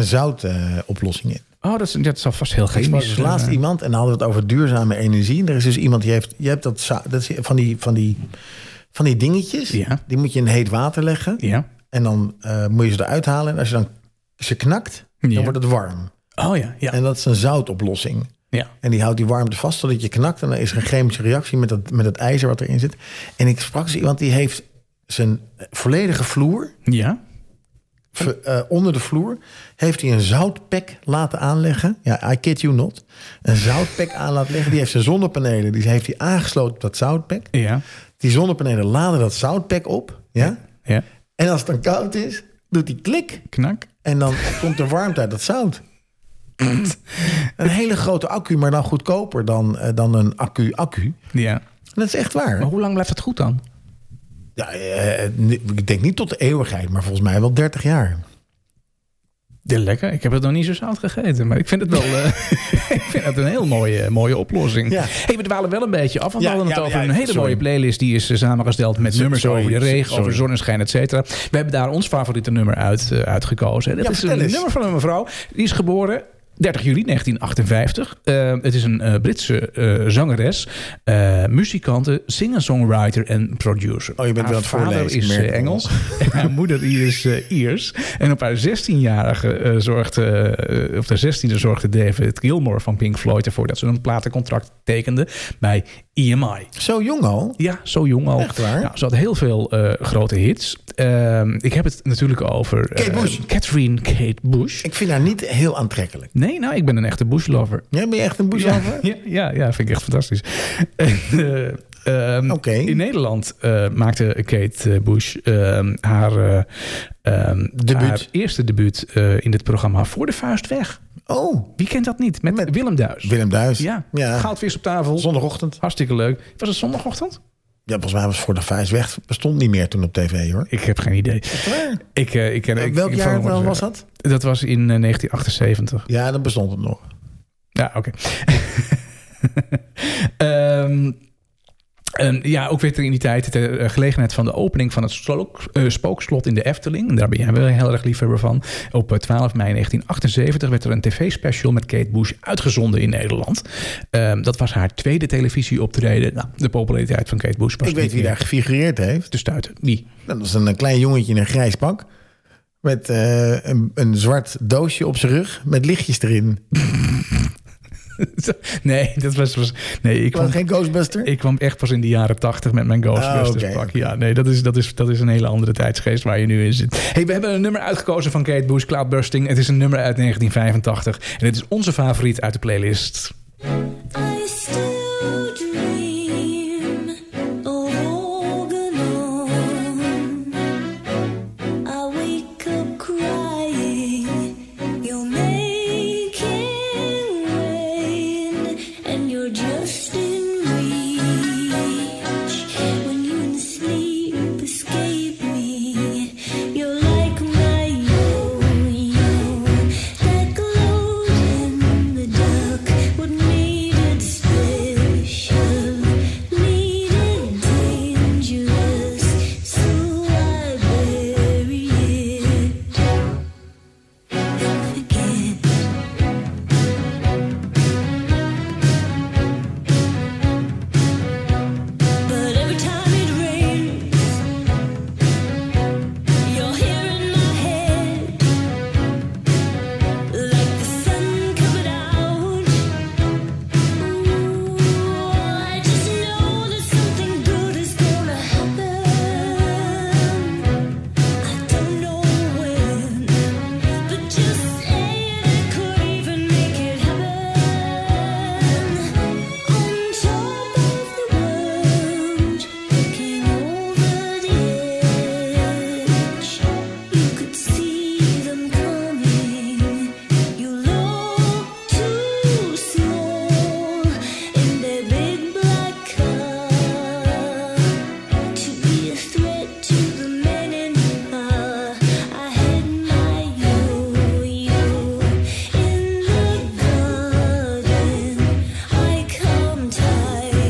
[SPEAKER 1] een zoutoplossing in.
[SPEAKER 2] Oh, dat, is, dat zal vast heel
[SPEAKER 1] Ik sprak
[SPEAKER 2] chemisch eh,
[SPEAKER 1] dus laatst
[SPEAKER 2] zijn.
[SPEAKER 1] iemand en dan hadden we het over duurzame energie. En er is dus iemand die heeft, je hebt dat, za- dat is van, die, van, die, van die dingetjes.
[SPEAKER 2] Ja.
[SPEAKER 1] Die moet je in heet water leggen.
[SPEAKER 2] Ja.
[SPEAKER 1] En dan eh, moet je ze eruit halen. En als je dan ze knakt,
[SPEAKER 2] Ja.
[SPEAKER 1] dan wordt het warm.
[SPEAKER 2] Oh ja, ja.
[SPEAKER 1] En dat is een zoutoplossing.
[SPEAKER 2] ja.
[SPEAKER 1] En die houdt die warmte vast zodat je knakt. En dan is er een chemische reactie met, dat, met het ijzer wat erin zit. En ik sprak dus iemand die heeft zijn volledige vloer,
[SPEAKER 2] Ja.
[SPEAKER 1] ver- eh, onder de vloer, heeft hij een zoutpek laten aanleggen. Ja, I kid you not. Een zoutpek aan laten leggen. Die heeft zijn zonnepanelen, die heeft hij aangesloten op dat zoutpek.
[SPEAKER 2] Ja.
[SPEAKER 1] Die zonnepanelen laden dat zoutpek op. Ja?
[SPEAKER 2] Ja.
[SPEAKER 1] En als het dan koud is, doet hij klik.
[SPEAKER 2] Knak.
[SPEAKER 1] En dan komt er warmte uit dat zout. En Een hele grote accu, maar dan goedkoper dan, eh, dan een accu-accu.
[SPEAKER 2] Ja.
[SPEAKER 1] Dat is echt waar.
[SPEAKER 2] Maar hoe lang blijft het goed dan?
[SPEAKER 1] Ja, eh, ni- ik denk niet tot de eeuwigheid, maar volgens mij wel 30 jaar.
[SPEAKER 2] Ja, lekker. Ik heb het nog niet zo zout gegeten. Maar ik vind het [laughs] wel eh, ik vind het een heel mooie, mooie oplossing.
[SPEAKER 1] Ja.
[SPEAKER 2] Hey, we dwalen wel een beetje af. Want
[SPEAKER 1] Ja,
[SPEAKER 2] we hadden het
[SPEAKER 1] ja,
[SPEAKER 2] over
[SPEAKER 1] ja,
[SPEAKER 2] een hele
[SPEAKER 1] sorry.
[SPEAKER 2] mooie playlist. Die is eh, samengesteld met
[SPEAKER 1] Zo-
[SPEAKER 2] nummers
[SPEAKER 1] sorry,
[SPEAKER 2] over de regen,
[SPEAKER 1] sorry.
[SPEAKER 2] over zonneschijn, et cetera. We hebben daar ons favoriete nummer uit eh, uitgekozen. En Dat
[SPEAKER 1] Ja,
[SPEAKER 2] is
[SPEAKER 1] vertel
[SPEAKER 2] een
[SPEAKER 1] eens.
[SPEAKER 2] nummer van een mevrouw. Die is geboren... 30 juli 1958. Eh, het is een eh, Britse eh, zangeres, eh, muzikante, singer-songwriter en producer.
[SPEAKER 1] Oh, je bent weer aan
[SPEAKER 2] haar
[SPEAKER 1] het
[SPEAKER 2] vader
[SPEAKER 1] voorlezen,
[SPEAKER 2] is
[SPEAKER 1] ik merk
[SPEAKER 2] eh,
[SPEAKER 1] het
[SPEAKER 2] Engels [laughs] en haar moeder die is eh, Iers. En op haar 16-jarige eh, zorgt, eh, eh, op de 16e zorgde David Gilmore van Pink Floyd ervoor dat ze een platencontract tekende bij EMI.
[SPEAKER 1] Zo jong al?
[SPEAKER 2] Ja, zo jong al.
[SPEAKER 1] Echt waar?
[SPEAKER 2] Nou, ze had heel veel eh, grote hits. Ehm, ik heb het natuurlijk over... eh,
[SPEAKER 1] Kate Bush.
[SPEAKER 2] Catherine Kate Bush.
[SPEAKER 1] Ik vind haar niet heel aantrekkelijk.
[SPEAKER 2] Nee, nou, ik ben een echte Bush-lover.
[SPEAKER 1] Jij bent echt een
[SPEAKER 2] Ja,
[SPEAKER 1] boezem.
[SPEAKER 2] ja, ja, ja, vind ik echt fantastisch. [laughs] En, eh, ehm,
[SPEAKER 1] Oké.
[SPEAKER 2] In Nederland eh, maakte Kate eh, Bush ehm, haar, eh, ehm,
[SPEAKER 1] Debuut.
[SPEAKER 2] haar eerste debuut eh, in dit programma Voor de Vuist Weg.
[SPEAKER 1] Oh,
[SPEAKER 2] Wie kent dat niet? Met,
[SPEAKER 1] Met-
[SPEAKER 2] Willem Duis.
[SPEAKER 1] Willem Duis.
[SPEAKER 2] ja.
[SPEAKER 1] ja.
[SPEAKER 2] goudvis op tafel.
[SPEAKER 1] Zondagochtend.
[SPEAKER 2] Hartstikke leuk. Was het zondagochtend?
[SPEAKER 1] Ja, volgens mij was Voor de Vijs weg. Bestond niet meer toen op tv, hoor.
[SPEAKER 2] Ik heb geen idee. Ik, eh, ik ken, ik,
[SPEAKER 1] Welk
[SPEAKER 2] ik-
[SPEAKER 1] jaar
[SPEAKER 2] van-
[SPEAKER 1] dan was dat?
[SPEAKER 2] Dat was in eh, 1978.
[SPEAKER 1] Ja, dan bestond het nog.
[SPEAKER 2] Ja, oké. [laughs] Ehm, ehm, ja, ook werd er in die tijd de eh, gelegenheid van de opening van het strook- eh, spookslot in de Efteling. En Daar ben jij wel heel erg liefhebber van. Op eh, 12 mei 1978 werd er een tv-special met Kate Bush uitgezonden in Nederland. Ehm, dat was haar tweede televisieoptreden. Nou, de populariteit van Kate Bush was
[SPEAKER 1] Ik weet
[SPEAKER 2] niet
[SPEAKER 1] wie
[SPEAKER 2] meer
[SPEAKER 1] daar gefigureerd heeft.
[SPEAKER 2] te stuiten. Wie? [laughs]
[SPEAKER 1] Dat was een eh, klein jongetje in een grijs pak. Met eh, een, een zwart doosje op zijn rug. Met lichtjes erin.
[SPEAKER 2] nee, dat was... was nee, ik
[SPEAKER 1] Ik was
[SPEAKER 2] vond
[SPEAKER 1] geen Ghostbuster.
[SPEAKER 2] Ik kwam echt pas in de jaren tachtig met mijn Ghostbusters
[SPEAKER 1] Ah, oké,
[SPEAKER 2] pak.
[SPEAKER 1] oké.
[SPEAKER 2] Ja, nee, dat is, dat, is, dat is een hele andere tijdsgeest waar je nu in zit. Hey, we hebben een nummer uitgekozen van Kate Bush, Cloudbursting. Het is een nummer uit 1985. En het is onze favoriet uit de playlist.
[SPEAKER 4] I still dream of Organon. I wake up crying. You're making rain, and you're just in reach. When you in sleep escape me, you're like my yo-yo that glows in the dark with me.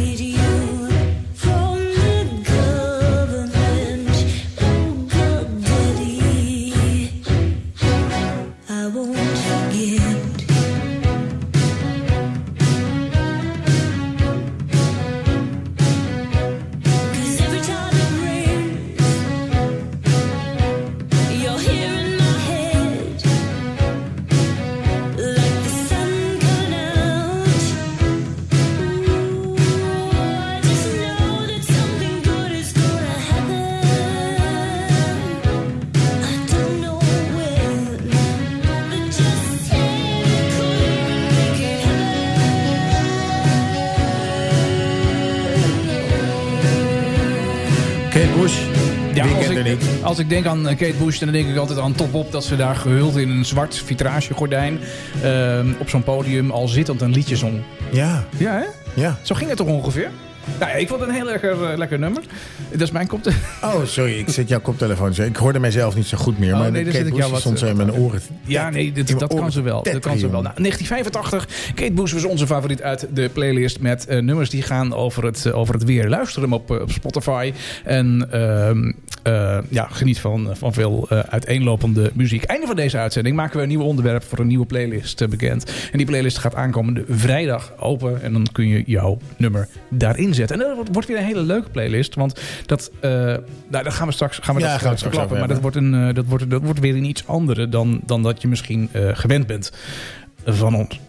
[SPEAKER 4] Oh,
[SPEAKER 2] Ja, als
[SPEAKER 1] Weekend er
[SPEAKER 2] ik,
[SPEAKER 1] niet.
[SPEAKER 2] als ik denk aan eh, Kate Bush, dan denk ik altijd aan Top Op. Dat ze daar gehuld in een zwart vitragegordijn ehm, op zo'n podium al zittend een liedje zong.
[SPEAKER 1] Ja,
[SPEAKER 2] Ja, hè?
[SPEAKER 1] ja.
[SPEAKER 2] Zo ging het toch ongeveer? Nou ja, ik vond het een heel lekker, eh, lekker nummer. Dat is mijn kop.
[SPEAKER 1] Oh, sorry, ik zet jouw koptelefoon. zo. Ik hoorde mijzelf niet zo goed meer.
[SPEAKER 2] Oh,
[SPEAKER 1] maar
[SPEAKER 2] nee,
[SPEAKER 1] nee,
[SPEAKER 2] dan
[SPEAKER 1] Kate
[SPEAKER 2] zit ik
[SPEAKER 1] Bush
[SPEAKER 2] jou
[SPEAKER 1] stond
[SPEAKER 2] wat-
[SPEAKER 1] zo in mijn oren. te
[SPEAKER 2] Ja,
[SPEAKER 1] tetteren.
[SPEAKER 2] nee,
[SPEAKER 1] In
[SPEAKER 2] dit,
[SPEAKER 1] mijn
[SPEAKER 2] dat
[SPEAKER 1] oren
[SPEAKER 2] kan
[SPEAKER 1] te
[SPEAKER 2] ze wel. Dat kan
[SPEAKER 1] tetteren,
[SPEAKER 2] ze wel.
[SPEAKER 1] jongen.
[SPEAKER 2] Nou, 1985, Kate Bush was onze favoriet uit de playlist met eh, nummers die gaan over het, eh, over het weer. Luister hem op, eh, op Spotify en ehm, eh, ja, geniet van, van veel eh, uiteenlopende muziek. Einde van deze uitzending maken we een nieuw onderwerp voor een nieuwe playlist eh, bekend. En die playlist gaat aankomende vrijdag open en dan kun je jouw nummer daarin zetten. En dat wordt- wordt weer een hele leuke playlist, want dat, eh, nou, dat gaan we straks, gaan we
[SPEAKER 1] Ja,
[SPEAKER 2] dat
[SPEAKER 1] gaan we
[SPEAKER 2] straks
[SPEAKER 1] straks
[SPEAKER 2] verklappen. Maar
[SPEAKER 1] over hebben.
[SPEAKER 2] dat wordt, een, eh, dat, wordt, dat wordt weer een iets andere dan, dan dat je misschien eh, gewend bent van ons.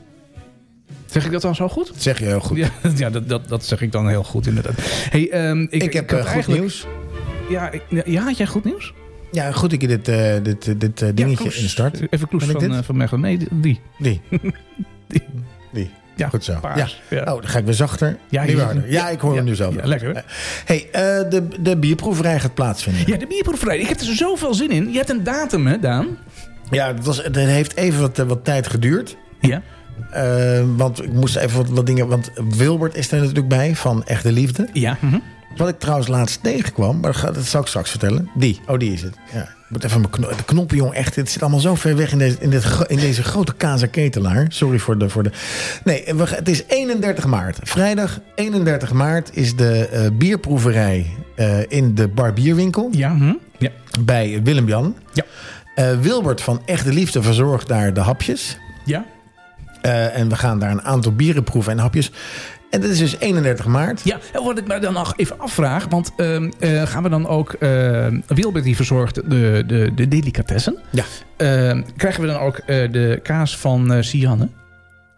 [SPEAKER 2] Zeg ik dat dan zo goed?
[SPEAKER 1] Dat zeg je heel goed.
[SPEAKER 2] Ja, [laughs] ja dat, dat, dat zeg ik dan heel goed inderdaad. Hey, ehm, ik,
[SPEAKER 1] Ik heb
[SPEAKER 2] had
[SPEAKER 1] eh, goed
[SPEAKER 2] eigenlijk-
[SPEAKER 1] nieuws.
[SPEAKER 2] Ja, ik- ja, had jij goed nieuws?
[SPEAKER 1] Ja, goed dat je dit, eh, dit, eh, dit eh, dingetje
[SPEAKER 2] ja,
[SPEAKER 1] in
[SPEAKER 2] [laughs]
[SPEAKER 1] start.
[SPEAKER 2] Even Kloes
[SPEAKER 1] Ben ik
[SPEAKER 2] van,
[SPEAKER 1] dit?
[SPEAKER 2] eh, van Mechelen. Nee, die.
[SPEAKER 1] Die.
[SPEAKER 2] Die.
[SPEAKER 1] Die.
[SPEAKER 2] Ja,
[SPEAKER 1] Goed zo.
[SPEAKER 2] paars.
[SPEAKER 1] Ja.
[SPEAKER 2] Ja.
[SPEAKER 1] Oh, dan ga ik weer zachter.
[SPEAKER 2] Ja,
[SPEAKER 1] Ja,
[SPEAKER 2] je-
[SPEAKER 1] harder. ja ik hoor hem
[SPEAKER 2] Ja,
[SPEAKER 1] nu zelf.
[SPEAKER 2] ja, lekker, hè?
[SPEAKER 1] Eh, hey, eh, de, de bierproeverij gaat plaatsvinden.
[SPEAKER 2] Ja, de bierproeverij. Ik heb er zoveel zin in. Je hebt een datum, hè, Daan?
[SPEAKER 1] Ja, dat, was, dat heeft even wat, eh, wat tijd geduurd.
[SPEAKER 2] Ja.
[SPEAKER 1] Eh, want ik moest even wat, wat dingen... Want Wilbert is er natuurlijk bij van Echte Liefde.
[SPEAKER 2] Ja. mhm.
[SPEAKER 1] Wat ik trouwens laatst tegenkwam, maar dat, ga- dat zal ik straks vertellen. Die, oh die is het. Ja. Ik Moet even mijn kno de knoppen, jong, echt. Het zit allemaal zo ver weg in deze, in dit, gro- in deze grote Kaza Ketelaar. Sorry voor de... Voor de... Nee, we, ga- het is 31 maart. Vrijdag 31 maart is de eh, bierproeverij eh, in de barbierwinkel
[SPEAKER 2] Ja. mhm. ja.
[SPEAKER 1] bij Willem-Jan.
[SPEAKER 2] Ja.
[SPEAKER 1] Eh, Wilbert van Echte Liefde verzorgt daar de hapjes.
[SPEAKER 2] Ja.
[SPEAKER 1] Eh, en we gaan daar een aantal bieren proeven en hapjes. En dat is dus 31 maart.
[SPEAKER 2] Ja, en wat ik me dan nog even afvraag, want ehm, eh, gaan we dan ook... ehm Wilbert die verzorgt de, de, de delicatessen.
[SPEAKER 1] Ja.
[SPEAKER 2] Ehm, krijgen we dan ook eh, de kaas van eh Sianne?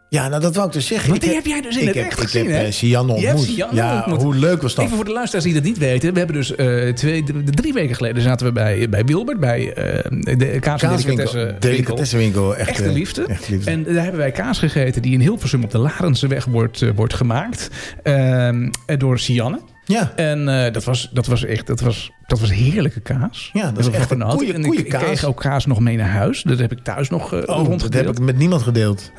[SPEAKER 1] Ja, nou dat wou ik dus zeggen.
[SPEAKER 2] Want
[SPEAKER 1] Ik
[SPEAKER 2] die
[SPEAKER 1] heb-
[SPEAKER 2] heb jij dus in het
[SPEAKER 1] ik heb,
[SPEAKER 2] echt
[SPEAKER 1] ik
[SPEAKER 2] gezien,
[SPEAKER 1] heb
[SPEAKER 2] hè?
[SPEAKER 1] eh, Sianne
[SPEAKER 2] Je hebt
[SPEAKER 1] ontmoet.
[SPEAKER 2] Sianne
[SPEAKER 1] ja,
[SPEAKER 2] ontmoet.
[SPEAKER 1] hoe leuk was dat?
[SPEAKER 2] Even voor de luisteraars die dat niet weten. We hebben dus eh, twee, d- drie weken geleden zaten we bij, bij Wilbert, bij eh, de kaas en
[SPEAKER 1] Kaaswinkel,
[SPEAKER 2] delicatessen.
[SPEAKER 1] delicatessenwinkel. Echt,
[SPEAKER 2] Echte
[SPEAKER 1] eh,
[SPEAKER 2] liefde.
[SPEAKER 1] Echte liefde.
[SPEAKER 2] En daar hebben wij kaas gegeten die in Hilversum op de Larenseweg wordt, eh, wordt gemaakt. Ehm, eh, door Sianne.
[SPEAKER 1] ja.
[SPEAKER 2] En eh, dat, was, dat was echt, dat was, dat was heerlijke kaas.
[SPEAKER 1] Ja, dat is
[SPEAKER 2] Daar
[SPEAKER 1] echt
[SPEAKER 2] van
[SPEAKER 1] een
[SPEAKER 2] had.
[SPEAKER 1] koeien-
[SPEAKER 2] En ik- ik,
[SPEAKER 1] koeienkaas.
[SPEAKER 2] kreeg ook kaas nog mee naar huis. Dat heb ik thuis nog eh
[SPEAKER 1] Oh, dat heb
[SPEAKER 2] [laughs] rondgedeeld.
[SPEAKER 1] ik met niemand gedeeld.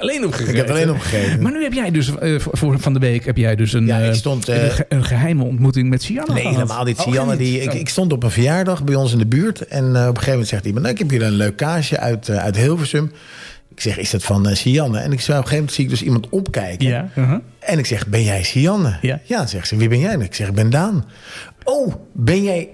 [SPEAKER 2] alleen opgegeten.
[SPEAKER 1] Ik heb alleen opgegeven.
[SPEAKER 2] Maar nu heb jij dus, eh, voor, voor van de week heb jij dus een,
[SPEAKER 1] Ja, ik
[SPEAKER 2] eh,
[SPEAKER 1] stond,
[SPEAKER 2] een,
[SPEAKER 1] eh,
[SPEAKER 2] ge- een geheime ontmoeting met Sianne
[SPEAKER 1] Nee,
[SPEAKER 2] gehad.
[SPEAKER 1] helemaal niet.
[SPEAKER 2] Oh,
[SPEAKER 1] Sianne,
[SPEAKER 2] niet?
[SPEAKER 1] die, ik,
[SPEAKER 2] Oh.
[SPEAKER 1] ik stond op een verjaardag bij ons in de buurt. En eh, op een gegeven moment zegt iemand... Nou, ik heb hier een leuk kaasje uit, eh, uit Hilversum. Ik zeg, is dat van eh, Sianne? En ik, zei, op een gegeven moment zie ik dus iemand opkijken.
[SPEAKER 2] Ja, uh-huh.
[SPEAKER 1] En ik zeg, ben jij Sianne?
[SPEAKER 2] Ja.
[SPEAKER 1] zegt ze, wie ben jij? En ik zeg, ik ben Daan. Oh, ben jij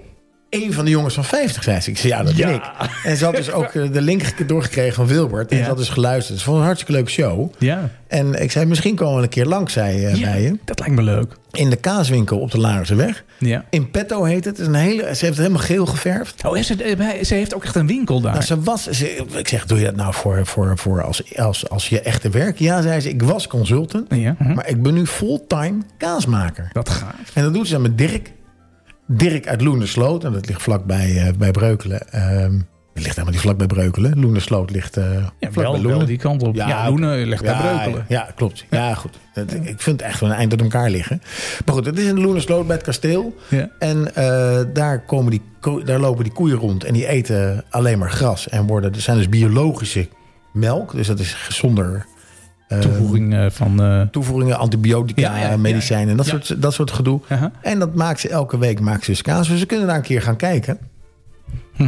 [SPEAKER 1] een van de jongens van 50, zei ze. Ik zeg, ja, dat ben
[SPEAKER 2] Ja.
[SPEAKER 1] ik. En ze had dus ook eh, de link ge- doorgekregen van Wilbert. En
[SPEAKER 2] Ja.
[SPEAKER 1] ze had dus geluisterd. Ze vond het een hartstikke leuke show.
[SPEAKER 2] ja.
[SPEAKER 1] En ik zei, misschien komen we een keer langs, zei eh, bij
[SPEAKER 2] ja,
[SPEAKER 1] je.
[SPEAKER 2] dat lijkt me leuk.
[SPEAKER 1] In de kaaswinkel op de Larenseweg.
[SPEAKER 2] Ja.
[SPEAKER 1] In petto heet het. Het is een hele, ze heeft het helemaal geel geverfd.
[SPEAKER 2] Oh, en ze, eh, bij- ze heeft ook echt een winkel daar.
[SPEAKER 1] Nou, ze was, ze- ik zeg, doe je dat nou voor, voor, voor als, als, als je echte werk? Ja, zei ze, ik was consultant.
[SPEAKER 2] Ja, mhm.
[SPEAKER 1] Maar ik ben nu fulltime kaasmaker.
[SPEAKER 2] Dat gaaf.
[SPEAKER 1] En dat doet ze dan met Dirk. Dirk uit Loenersloot. En dat ligt vlakbij eh, bij Breukelen. Ehm het ligt helemaal niet vlak bij Breukelen. Loenersloot ligt eh
[SPEAKER 2] Ja,
[SPEAKER 1] vlak
[SPEAKER 2] wel,
[SPEAKER 1] bij
[SPEAKER 2] wel
[SPEAKER 1] Loenen.
[SPEAKER 2] die kant op. Ja,
[SPEAKER 1] oké.
[SPEAKER 2] Loenen ligt
[SPEAKER 1] ja,
[SPEAKER 2] bij Breukelen.
[SPEAKER 1] Ja, ja, klopt. Ja, goed. Dat- Ik vind het echt wel een eind uit elkaar liggen. Maar goed, het is in Loenersloot bij het kasteel.
[SPEAKER 2] Ja.
[SPEAKER 1] En eh, daar, komen die, ko- daar lopen die koeien rond. En die eten alleen maar gras. En worden, er zijn dus biologische melk. Dus dat is zonder eh,
[SPEAKER 2] Toevoeging eh, van... eh,
[SPEAKER 1] toevoegingen, antibiotica,
[SPEAKER 2] Ja, ja, ja.
[SPEAKER 1] medicijnen. Dat,
[SPEAKER 2] Ja.
[SPEAKER 1] soort, dat soort gedoe.
[SPEAKER 2] Aha.
[SPEAKER 1] En dat maakt ze elke week maakt ze dus kaas. Dus ze kunnen daar een keer gaan kijken.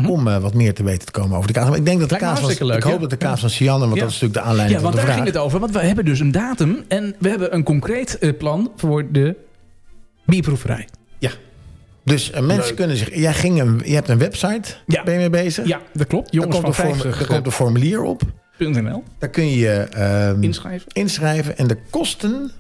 [SPEAKER 1] Om eh, wat meer te weten te komen over de kaas. Maar ik denk dat de
[SPEAKER 2] Mhm. Lijkt me
[SPEAKER 1] kaas van,
[SPEAKER 2] hartstikke leuk,
[SPEAKER 1] ik hoop
[SPEAKER 2] ja.
[SPEAKER 1] dat de kaas van Sianne, want
[SPEAKER 2] Ja.
[SPEAKER 1] dat is natuurlijk de aanleiding
[SPEAKER 2] Ja, want
[SPEAKER 1] van
[SPEAKER 2] daar
[SPEAKER 1] de vraag.
[SPEAKER 2] ging het over. Want we hebben dus een datum en we hebben een concreet eh, plan voor de bierproeverij.
[SPEAKER 1] Ja. Dus eh, mensen kunnen zich. Jij ging een, je hebt een website.
[SPEAKER 2] Ja.
[SPEAKER 1] Ben je mee bezig?
[SPEAKER 2] Ja, dat klopt.
[SPEAKER 1] Daar
[SPEAKER 2] Jongens
[SPEAKER 1] komt,
[SPEAKER 2] van eh.
[SPEAKER 1] een form, daar komt een formulier op.
[SPEAKER 2] 50.nl
[SPEAKER 1] Daar kun je je ehm,
[SPEAKER 2] inschrijven.
[SPEAKER 1] inschrijven. En de kosten.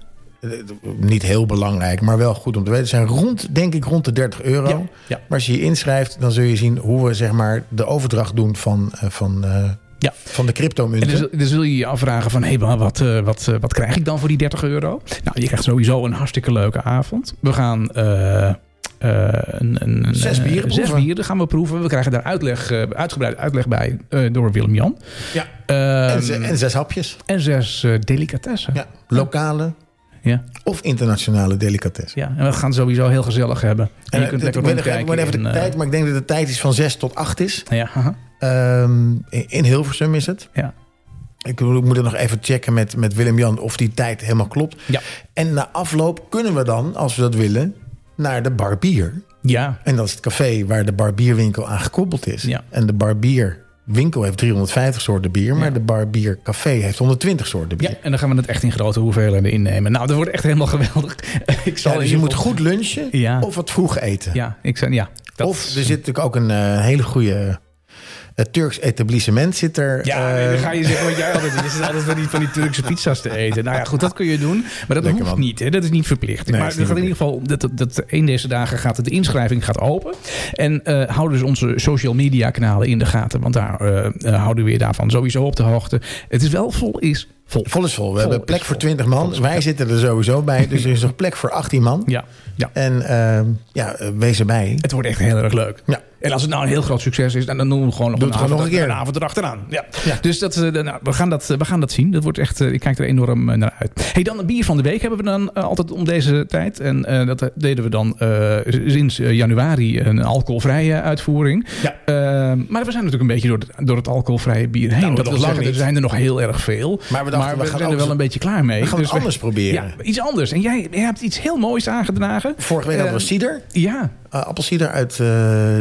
[SPEAKER 1] eh, Niet heel belangrijk, maar wel goed om te weten. Zijn rond, denk ik, rond de 30 euro.
[SPEAKER 2] Ja, ja.
[SPEAKER 1] Maar als je je inschrijft, dan zul je zien hoe we zeg maar, de overdracht doen van, eh, van, eh,
[SPEAKER 2] Ja.
[SPEAKER 1] van de
[SPEAKER 2] En
[SPEAKER 1] cryptomunten.
[SPEAKER 2] dan, zul- dan zul je je afvragen van, hé, maar wat, eh, wat, eh, wat krijg ik dan voor die 30 euro? Nou, je krijgt sowieso een hartstikke leuke avond. We gaan... eh, eh, een, een, een-
[SPEAKER 1] Zes
[SPEAKER 2] eh,
[SPEAKER 1] bieren
[SPEAKER 2] Zes
[SPEAKER 1] proeven.
[SPEAKER 2] bieren gaan we proeven. We krijgen daar uitleg, eh, uitgebreid uitleg bij eh, door Willem-Jan.
[SPEAKER 1] ja.
[SPEAKER 2] Ehm,
[SPEAKER 1] en, ze- en zes hapjes.
[SPEAKER 2] en zes eh, delicatessen.
[SPEAKER 1] Ja. Lokale,
[SPEAKER 2] Ja,
[SPEAKER 1] Of internationale delicatessen. Eh,
[SPEAKER 2] ja. En we gaan het sowieso heel gezellig hebben. En, je
[SPEAKER 1] het-
[SPEAKER 2] kunt lekker
[SPEAKER 1] ik ben er- ik
[SPEAKER 2] rondkijken.
[SPEAKER 1] ben even de
[SPEAKER 2] en, eh,
[SPEAKER 1] tijd, maar ik denk dat de tijd is van 6 tot 8 is.
[SPEAKER 2] Ja, haha.
[SPEAKER 1] Ehm, in in Hilversum is het.
[SPEAKER 2] ja.
[SPEAKER 1] Ik, bedoel, ik moet het nog even checken met, met Willem-Jan of die tijd helemaal klopt.
[SPEAKER 2] Ja.
[SPEAKER 1] En na afloop kunnen we dan, als we dat willen, naar de barbier.
[SPEAKER 2] ja,
[SPEAKER 1] En dat is het café waar de barbierwinkel aan gekoppeld is.
[SPEAKER 2] Ja.
[SPEAKER 1] En de barbierwinkel heeft 350 soorten bier, maar de barbiercafé heeft 120 soorten bier.
[SPEAKER 2] ja, en dan gaan we het echt in grote hoeveelheden innemen. Nou, dat wordt echt helemaal geweldig. [laughs] ik zal
[SPEAKER 1] Ja, dus
[SPEAKER 2] in
[SPEAKER 1] je
[SPEAKER 2] ieder
[SPEAKER 1] moet
[SPEAKER 2] geval-
[SPEAKER 1] goed lunchen
[SPEAKER 2] Ja.
[SPEAKER 1] of wat vroeg eten.
[SPEAKER 2] Ja, ik zei, ja. dat-
[SPEAKER 1] Of er zit natuurlijk ook een eh, hele goede eh, Turks etablissement zit er.
[SPEAKER 2] Ja,
[SPEAKER 1] eh,
[SPEAKER 2] nee, dan ga je zeggen wat jij altijd doet. Je zit altijd van die, van die Turkse pizza's te eten. Nou ja, goed, dat kun je doen. Maar dat
[SPEAKER 1] Lekker,
[SPEAKER 2] hoeft
[SPEAKER 1] man.
[SPEAKER 2] niet. Hè? Dat is niet verplicht.
[SPEAKER 1] Nee,
[SPEAKER 2] maar
[SPEAKER 1] is niet
[SPEAKER 2] dat gaat in ieder geval, dat, dat, dat een deze dagen gaat het- de inschrijving gaat open. En eh hou dus onze social media kanalen in de gaten. Want daar eh, eh, houden we je daarvan sowieso op de hoogte. Het is wel vol is vol.
[SPEAKER 1] Vol is vol. We
[SPEAKER 2] Vol
[SPEAKER 1] hebben
[SPEAKER 2] is
[SPEAKER 1] plek
[SPEAKER 2] vol.
[SPEAKER 1] voor 20 man. Wij zitten er sowieso bij. Dus er is nog plek voor 18 man.
[SPEAKER 2] Ja, ja.
[SPEAKER 1] En eh, ja, eh, wees erbij.
[SPEAKER 2] Het wordt echt heel erg leuk.
[SPEAKER 1] Ja.
[SPEAKER 2] En als het nou een heel groot succes is, dan dan doen we gewoon nog
[SPEAKER 1] Doe
[SPEAKER 2] een,
[SPEAKER 1] het gewoon
[SPEAKER 2] avond,
[SPEAKER 1] nog een keer.
[SPEAKER 2] een avond erachteraan. Ja.
[SPEAKER 1] Ja.
[SPEAKER 2] Dus dat, eh, nou, we, gaan dat, eh, we gaan dat zien. Dat wordt echt, eh, ik kijk er enorm eh, naar uit. Hey, dan een bier van de week hebben we dan eh, altijd om deze tijd. En eh, dat eh, deden we dan eh, sinds eh, januari een alcoholvrije uitvoering.
[SPEAKER 1] Ja.
[SPEAKER 2] Eh, maar we zijn natuurlijk een beetje door, het- door het alcoholvrije bier heen.
[SPEAKER 1] nog
[SPEAKER 2] dat wil
[SPEAKER 1] lang
[SPEAKER 2] zeggen, er
[SPEAKER 1] Nou, niet.
[SPEAKER 2] zijn er nog heel erg veel.
[SPEAKER 1] Maar we dachten, we gaan
[SPEAKER 2] zijn er
[SPEAKER 1] ook
[SPEAKER 2] wel
[SPEAKER 1] zo-
[SPEAKER 2] een beetje klaar mee. Dus
[SPEAKER 1] we gaan het
[SPEAKER 2] we-
[SPEAKER 1] anders proberen.
[SPEAKER 2] Ja, iets anders. En jij, jij hebt iets heel moois aangedragen.
[SPEAKER 1] Vorige week hadden we
[SPEAKER 2] Eh,
[SPEAKER 1] cider.
[SPEAKER 2] Ja,
[SPEAKER 1] eh, appelsieder uit eh,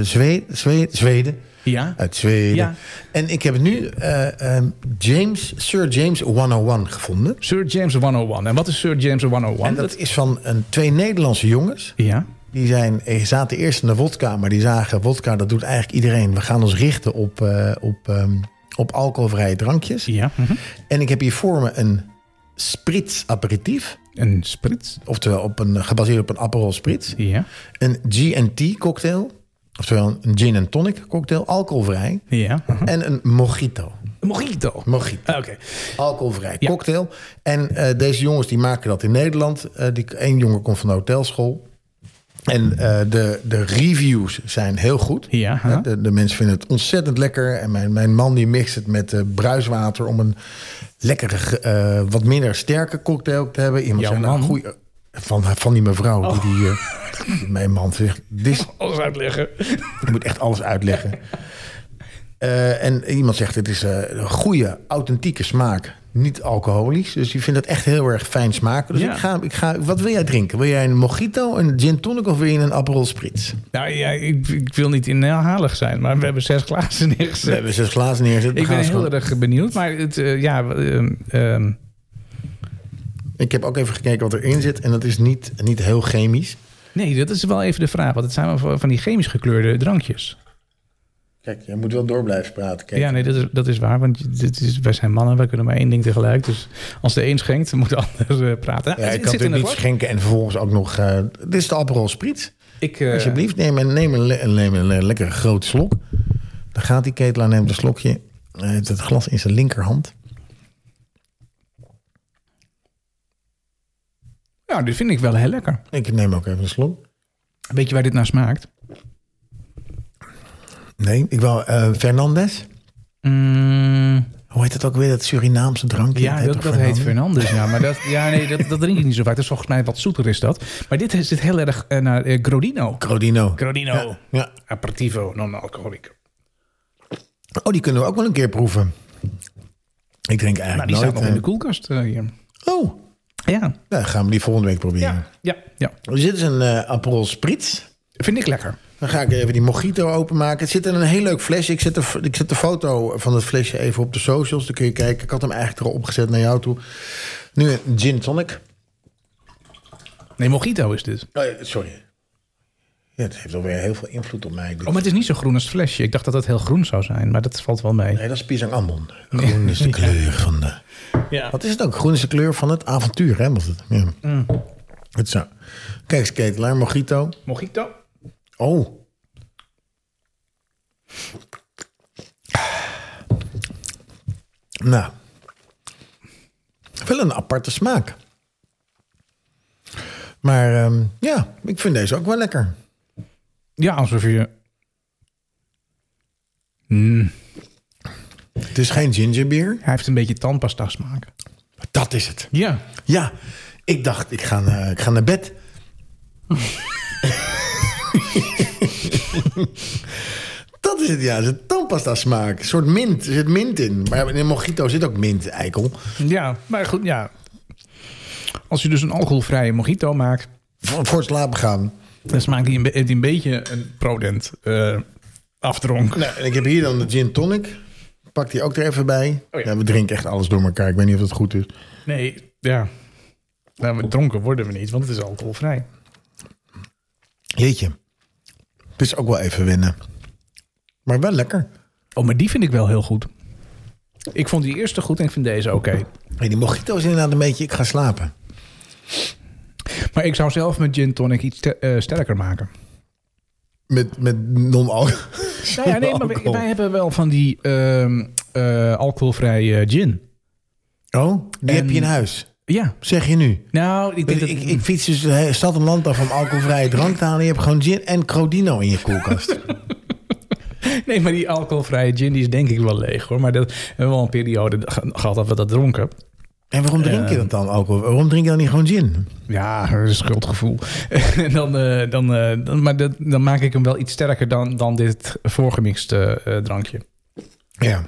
[SPEAKER 1] Zweden, Zweden, Zweden.
[SPEAKER 2] ja.
[SPEAKER 1] Uit Zweden.
[SPEAKER 2] Ja.
[SPEAKER 1] En ik heb nu eh, ehm, James, Sir James 101 gevonden.
[SPEAKER 2] Sir James 101. En wat is Sir James 101?
[SPEAKER 1] En dat is van een, twee Nederlandse jongens.
[SPEAKER 2] Ja,
[SPEAKER 1] Die zijn, eh, zaten eerst in de wodka, maar die zagen... wodka, dat doet eigenlijk iedereen. We gaan ons richten op, eh, op, ehm, op alcoholvrije drankjes.
[SPEAKER 2] ja. mhm.
[SPEAKER 1] En ik heb hier voor me een spritz aperitief.
[SPEAKER 2] Een spritz.
[SPEAKER 1] Oftewel op een, gebaseerd op een Aperol spritz.
[SPEAKER 2] Ja,
[SPEAKER 1] Een G&T cocktail. Oftewel een gin en tonic cocktail. Alcoholvrij.
[SPEAKER 2] ja. mhm.
[SPEAKER 1] En een mojito.
[SPEAKER 2] Mojito.
[SPEAKER 1] Mojito.
[SPEAKER 2] Ah, Oké.
[SPEAKER 1] Alcoholvrij cocktail. En eh, deze jongens die maken dat in Nederland. Eh die, één jongen komt van de hotelschool. En eh, de, de reviews zijn heel goed.
[SPEAKER 2] Ja,
[SPEAKER 1] Hè,
[SPEAKER 2] aha.
[SPEAKER 1] de, de mensen vinden het ontzettend lekker. En mijn, mijn man die mixt het met eh, bruiswater om een lekkere, eh, wat minder sterke cocktail te hebben. Iemand
[SPEAKER 2] Jouw
[SPEAKER 1] zei, nou,
[SPEAKER 2] man? Oh.
[SPEAKER 1] goeie- van, van die mevrouw die, [laughs] die hier. Mijn man zegt, dit is
[SPEAKER 2] Alles uitleggen.
[SPEAKER 1] ik moet echt alles uitleggen.
[SPEAKER 2] [laughs]
[SPEAKER 1] Eh, en iemand zegt, het is eh, een goede, authentieke smaak. Niet alcoholisch. Dus je vindt het echt heel erg fijn smaken. Dus
[SPEAKER 2] Ja.
[SPEAKER 1] ik, ga, ik ga... Wat wil jij drinken? Wil jij een mojito, een gin tonic of wil je een Aperol Spritz?
[SPEAKER 2] Nou ja, ik, ik wil niet inhalig zijn, maar we hebben zes glazen
[SPEAKER 1] We
[SPEAKER 2] neergezet.
[SPEAKER 1] hebben zes glazen neergezet. We
[SPEAKER 2] Ik
[SPEAKER 1] gaan
[SPEAKER 2] ben
[SPEAKER 1] eens
[SPEAKER 2] heel
[SPEAKER 1] gewoon-
[SPEAKER 2] erg benieuwd, maar het, eh, ja, ehm, ehm,
[SPEAKER 1] Ik heb ook even gekeken wat erin zit. En dat is niet, niet heel chemisch.
[SPEAKER 2] nee, dat is wel even de vraag. Want het zijn wel van- van die chemisch gekleurde drankjes.
[SPEAKER 1] Kijk, je moet wel door blijven praten. Kijk.
[SPEAKER 2] Ja, nee, dat is, dat is waar. Want dit is, wij zijn mannen, wij kunnen maar één ding tegelijk. Dus als de een schenkt, [laughs] moet de ander eh, praten.
[SPEAKER 1] Ja,
[SPEAKER 2] Het-
[SPEAKER 1] ik
[SPEAKER 2] het
[SPEAKER 1] kan
[SPEAKER 2] zit
[SPEAKER 1] natuurlijk
[SPEAKER 2] in een
[SPEAKER 1] niet
[SPEAKER 2] glas.
[SPEAKER 1] schenken en vervolgens ook nog... eh, dit is de Aperol Spritz.
[SPEAKER 2] Ik, eh,
[SPEAKER 1] Alsjeblieft, neem een, neem een, le- neem een, le- lekkere grote slok. Dan gaat die ketelaar, neemt een slokje. Hij heeft het glas in zijn linkerhand.
[SPEAKER 2] Ja, dit vind ik wel heel lekker.
[SPEAKER 1] Ik neem ook even een slok.
[SPEAKER 2] Weet je waar dit naar smaakt?
[SPEAKER 1] Nee, ik wou eh Fernandez. Hoe heet dat ook weer, dat Surinaamse drankje?
[SPEAKER 2] Mm, ja, dat,
[SPEAKER 1] toch
[SPEAKER 2] dat heet Fernandes. Ja, maar dat, ja, nee, dat, dat drink ik niet zo vaak. Dat is volgens mij wat zoeter is dat. Maar dit zit heel erg eh, naar eh, Grodino.
[SPEAKER 1] Crodino.
[SPEAKER 2] Grodino.
[SPEAKER 1] Ja.
[SPEAKER 2] Aperitivo, non-alcoholico.
[SPEAKER 1] Oh, die kunnen we ook wel een keer proeven. Ik drink
[SPEAKER 2] Nou,
[SPEAKER 1] eigenlijk
[SPEAKER 2] die staat
[SPEAKER 1] nooit...
[SPEAKER 2] nog in de
[SPEAKER 1] eh,
[SPEAKER 2] koelkast eh, hier.
[SPEAKER 1] Oh,
[SPEAKER 2] Ja.
[SPEAKER 1] nou, gaan we die volgende week proberen.
[SPEAKER 2] Ja. ja, ja.
[SPEAKER 1] Dus dit is een eh Aperol Spritz.
[SPEAKER 2] Vind ik lekker.
[SPEAKER 1] Dan ga ik even die mojito openmaken. Het zit in een heel leuk flesje. Ik zet, de, ik zet de foto van het flesje even op de socials. Dan kun je kijken. Ik had hem eigenlijk erop gezet naar jou toe. Nu een gin tonic.
[SPEAKER 2] Nee, mojito is dit.
[SPEAKER 1] Oh, ja, sorry. Ja, het heeft alweer heel veel invloed op mij. Dit-
[SPEAKER 2] Oh, maar het is niet zo groen als het flesje. Ik dacht dat dat heel groen zou zijn, maar dat valt wel mee.
[SPEAKER 1] Nee, dat is pisang ambon. Groen is de kleur van de...
[SPEAKER 2] Ja. Mm.
[SPEAKER 1] Wat is het ook? Groen is de kleur van het avontuur, hè? Was het? Ja. Goed zo. Kijk eens, Ketelaar, mojito.
[SPEAKER 2] Mojito?
[SPEAKER 1] Oh. Nou. Wel een aparte smaak. Maar ehm, ja, ik vind deze ook wel lekker.
[SPEAKER 2] Ja, alsof je...
[SPEAKER 1] Het is geen gingerbeer.
[SPEAKER 2] Hij heeft een beetje tandpasta smaak.
[SPEAKER 1] Dat is het.
[SPEAKER 2] Ja.
[SPEAKER 1] Ja, Ik dacht, ik ga, naar- ik ga naar bed. [laughs] dat is het, ja. Het is een tandpasta smaak. Een soort mint. Er zit mint in. Maar in een mojito zit ook mint, eikel.
[SPEAKER 2] Ja, maar goed, ja. Als je dus een alcoholvrije mojito maakt,
[SPEAKER 1] Voor voor het slapen gaan.
[SPEAKER 2] dan smaakt die een, be- die een beetje een prodent eh afdronk.
[SPEAKER 1] Nou, en ik heb hier dan de gin tonic. Pak die ook er even bij.
[SPEAKER 2] Oh ja.
[SPEAKER 1] Ja, we drinken echt alles door elkaar. Ik weet niet of dat goed is.
[SPEAKER 2] Nee, ja. Nou, we dronken worden we niet, want het is alcoholvrij.
[SPEAKER 1] Jeetje. Het is ook wel even winnen. Maar wel lekker.
[SPEAKER 2] Oh, maar die vind ik wel heel goed. Ik vond die eerste goed en ik vind deze oké.
[SPEAKER 1] Hey, die mojito is inderdaad een beetje, ik ga slapen.
[SPEAKER 2] [laughs] Maar ik zou zelf met gin tonic iets te- eh, sterker maken.
[SPEAKER 1] Met, met non-alcohol.
[SPEAKER 2] [laughs] Nou ja, nee, maar wij, wij hebben wel van die ehm, eh, alcoholvrije gin.
[SPEAKER 1] Oh, die heb je in huis.
[SPEAKER 2] Ja.
[SPEAKER 1] Zeg je nu.
[SPEAKER 2] Nou, ik
[SPEAKER 1] Ik,
[SPEAKER 2] denk
[SPEAKER 1] ik,
[SPEAKER 2] dat...
[SPEAKER 1] ik fiets dus de hele stad en land af om alcoholvrije drank te halen. Je hebt gewoon gin en Crodino in je
[SPEAKER 2] [laughs]
[SPEAKER 1] koelkast.
[SPEAKER 2] [laughs] Nee, maar die alcoholvrije gin die is denk ik wel leeg hoor. Maar dat we hebben wel een periode ge- gehad dat we dat dronken.
[SPEAKER 1] En waarom drink je
[SPEAKER 2] Ehm.
[SPEAKER 1] dat dan alcohol? Waarom drink je dan niet gewoon gin?
[SPEAKER 2] Ja, een schuldgevoel. [laughs] en dan, eh, dan, eh, dan, maar dat, dan maak ik hem wel iets sterker dan, dan dit voorgemixte eh, drankje.
[SPEAKER 1] Ja.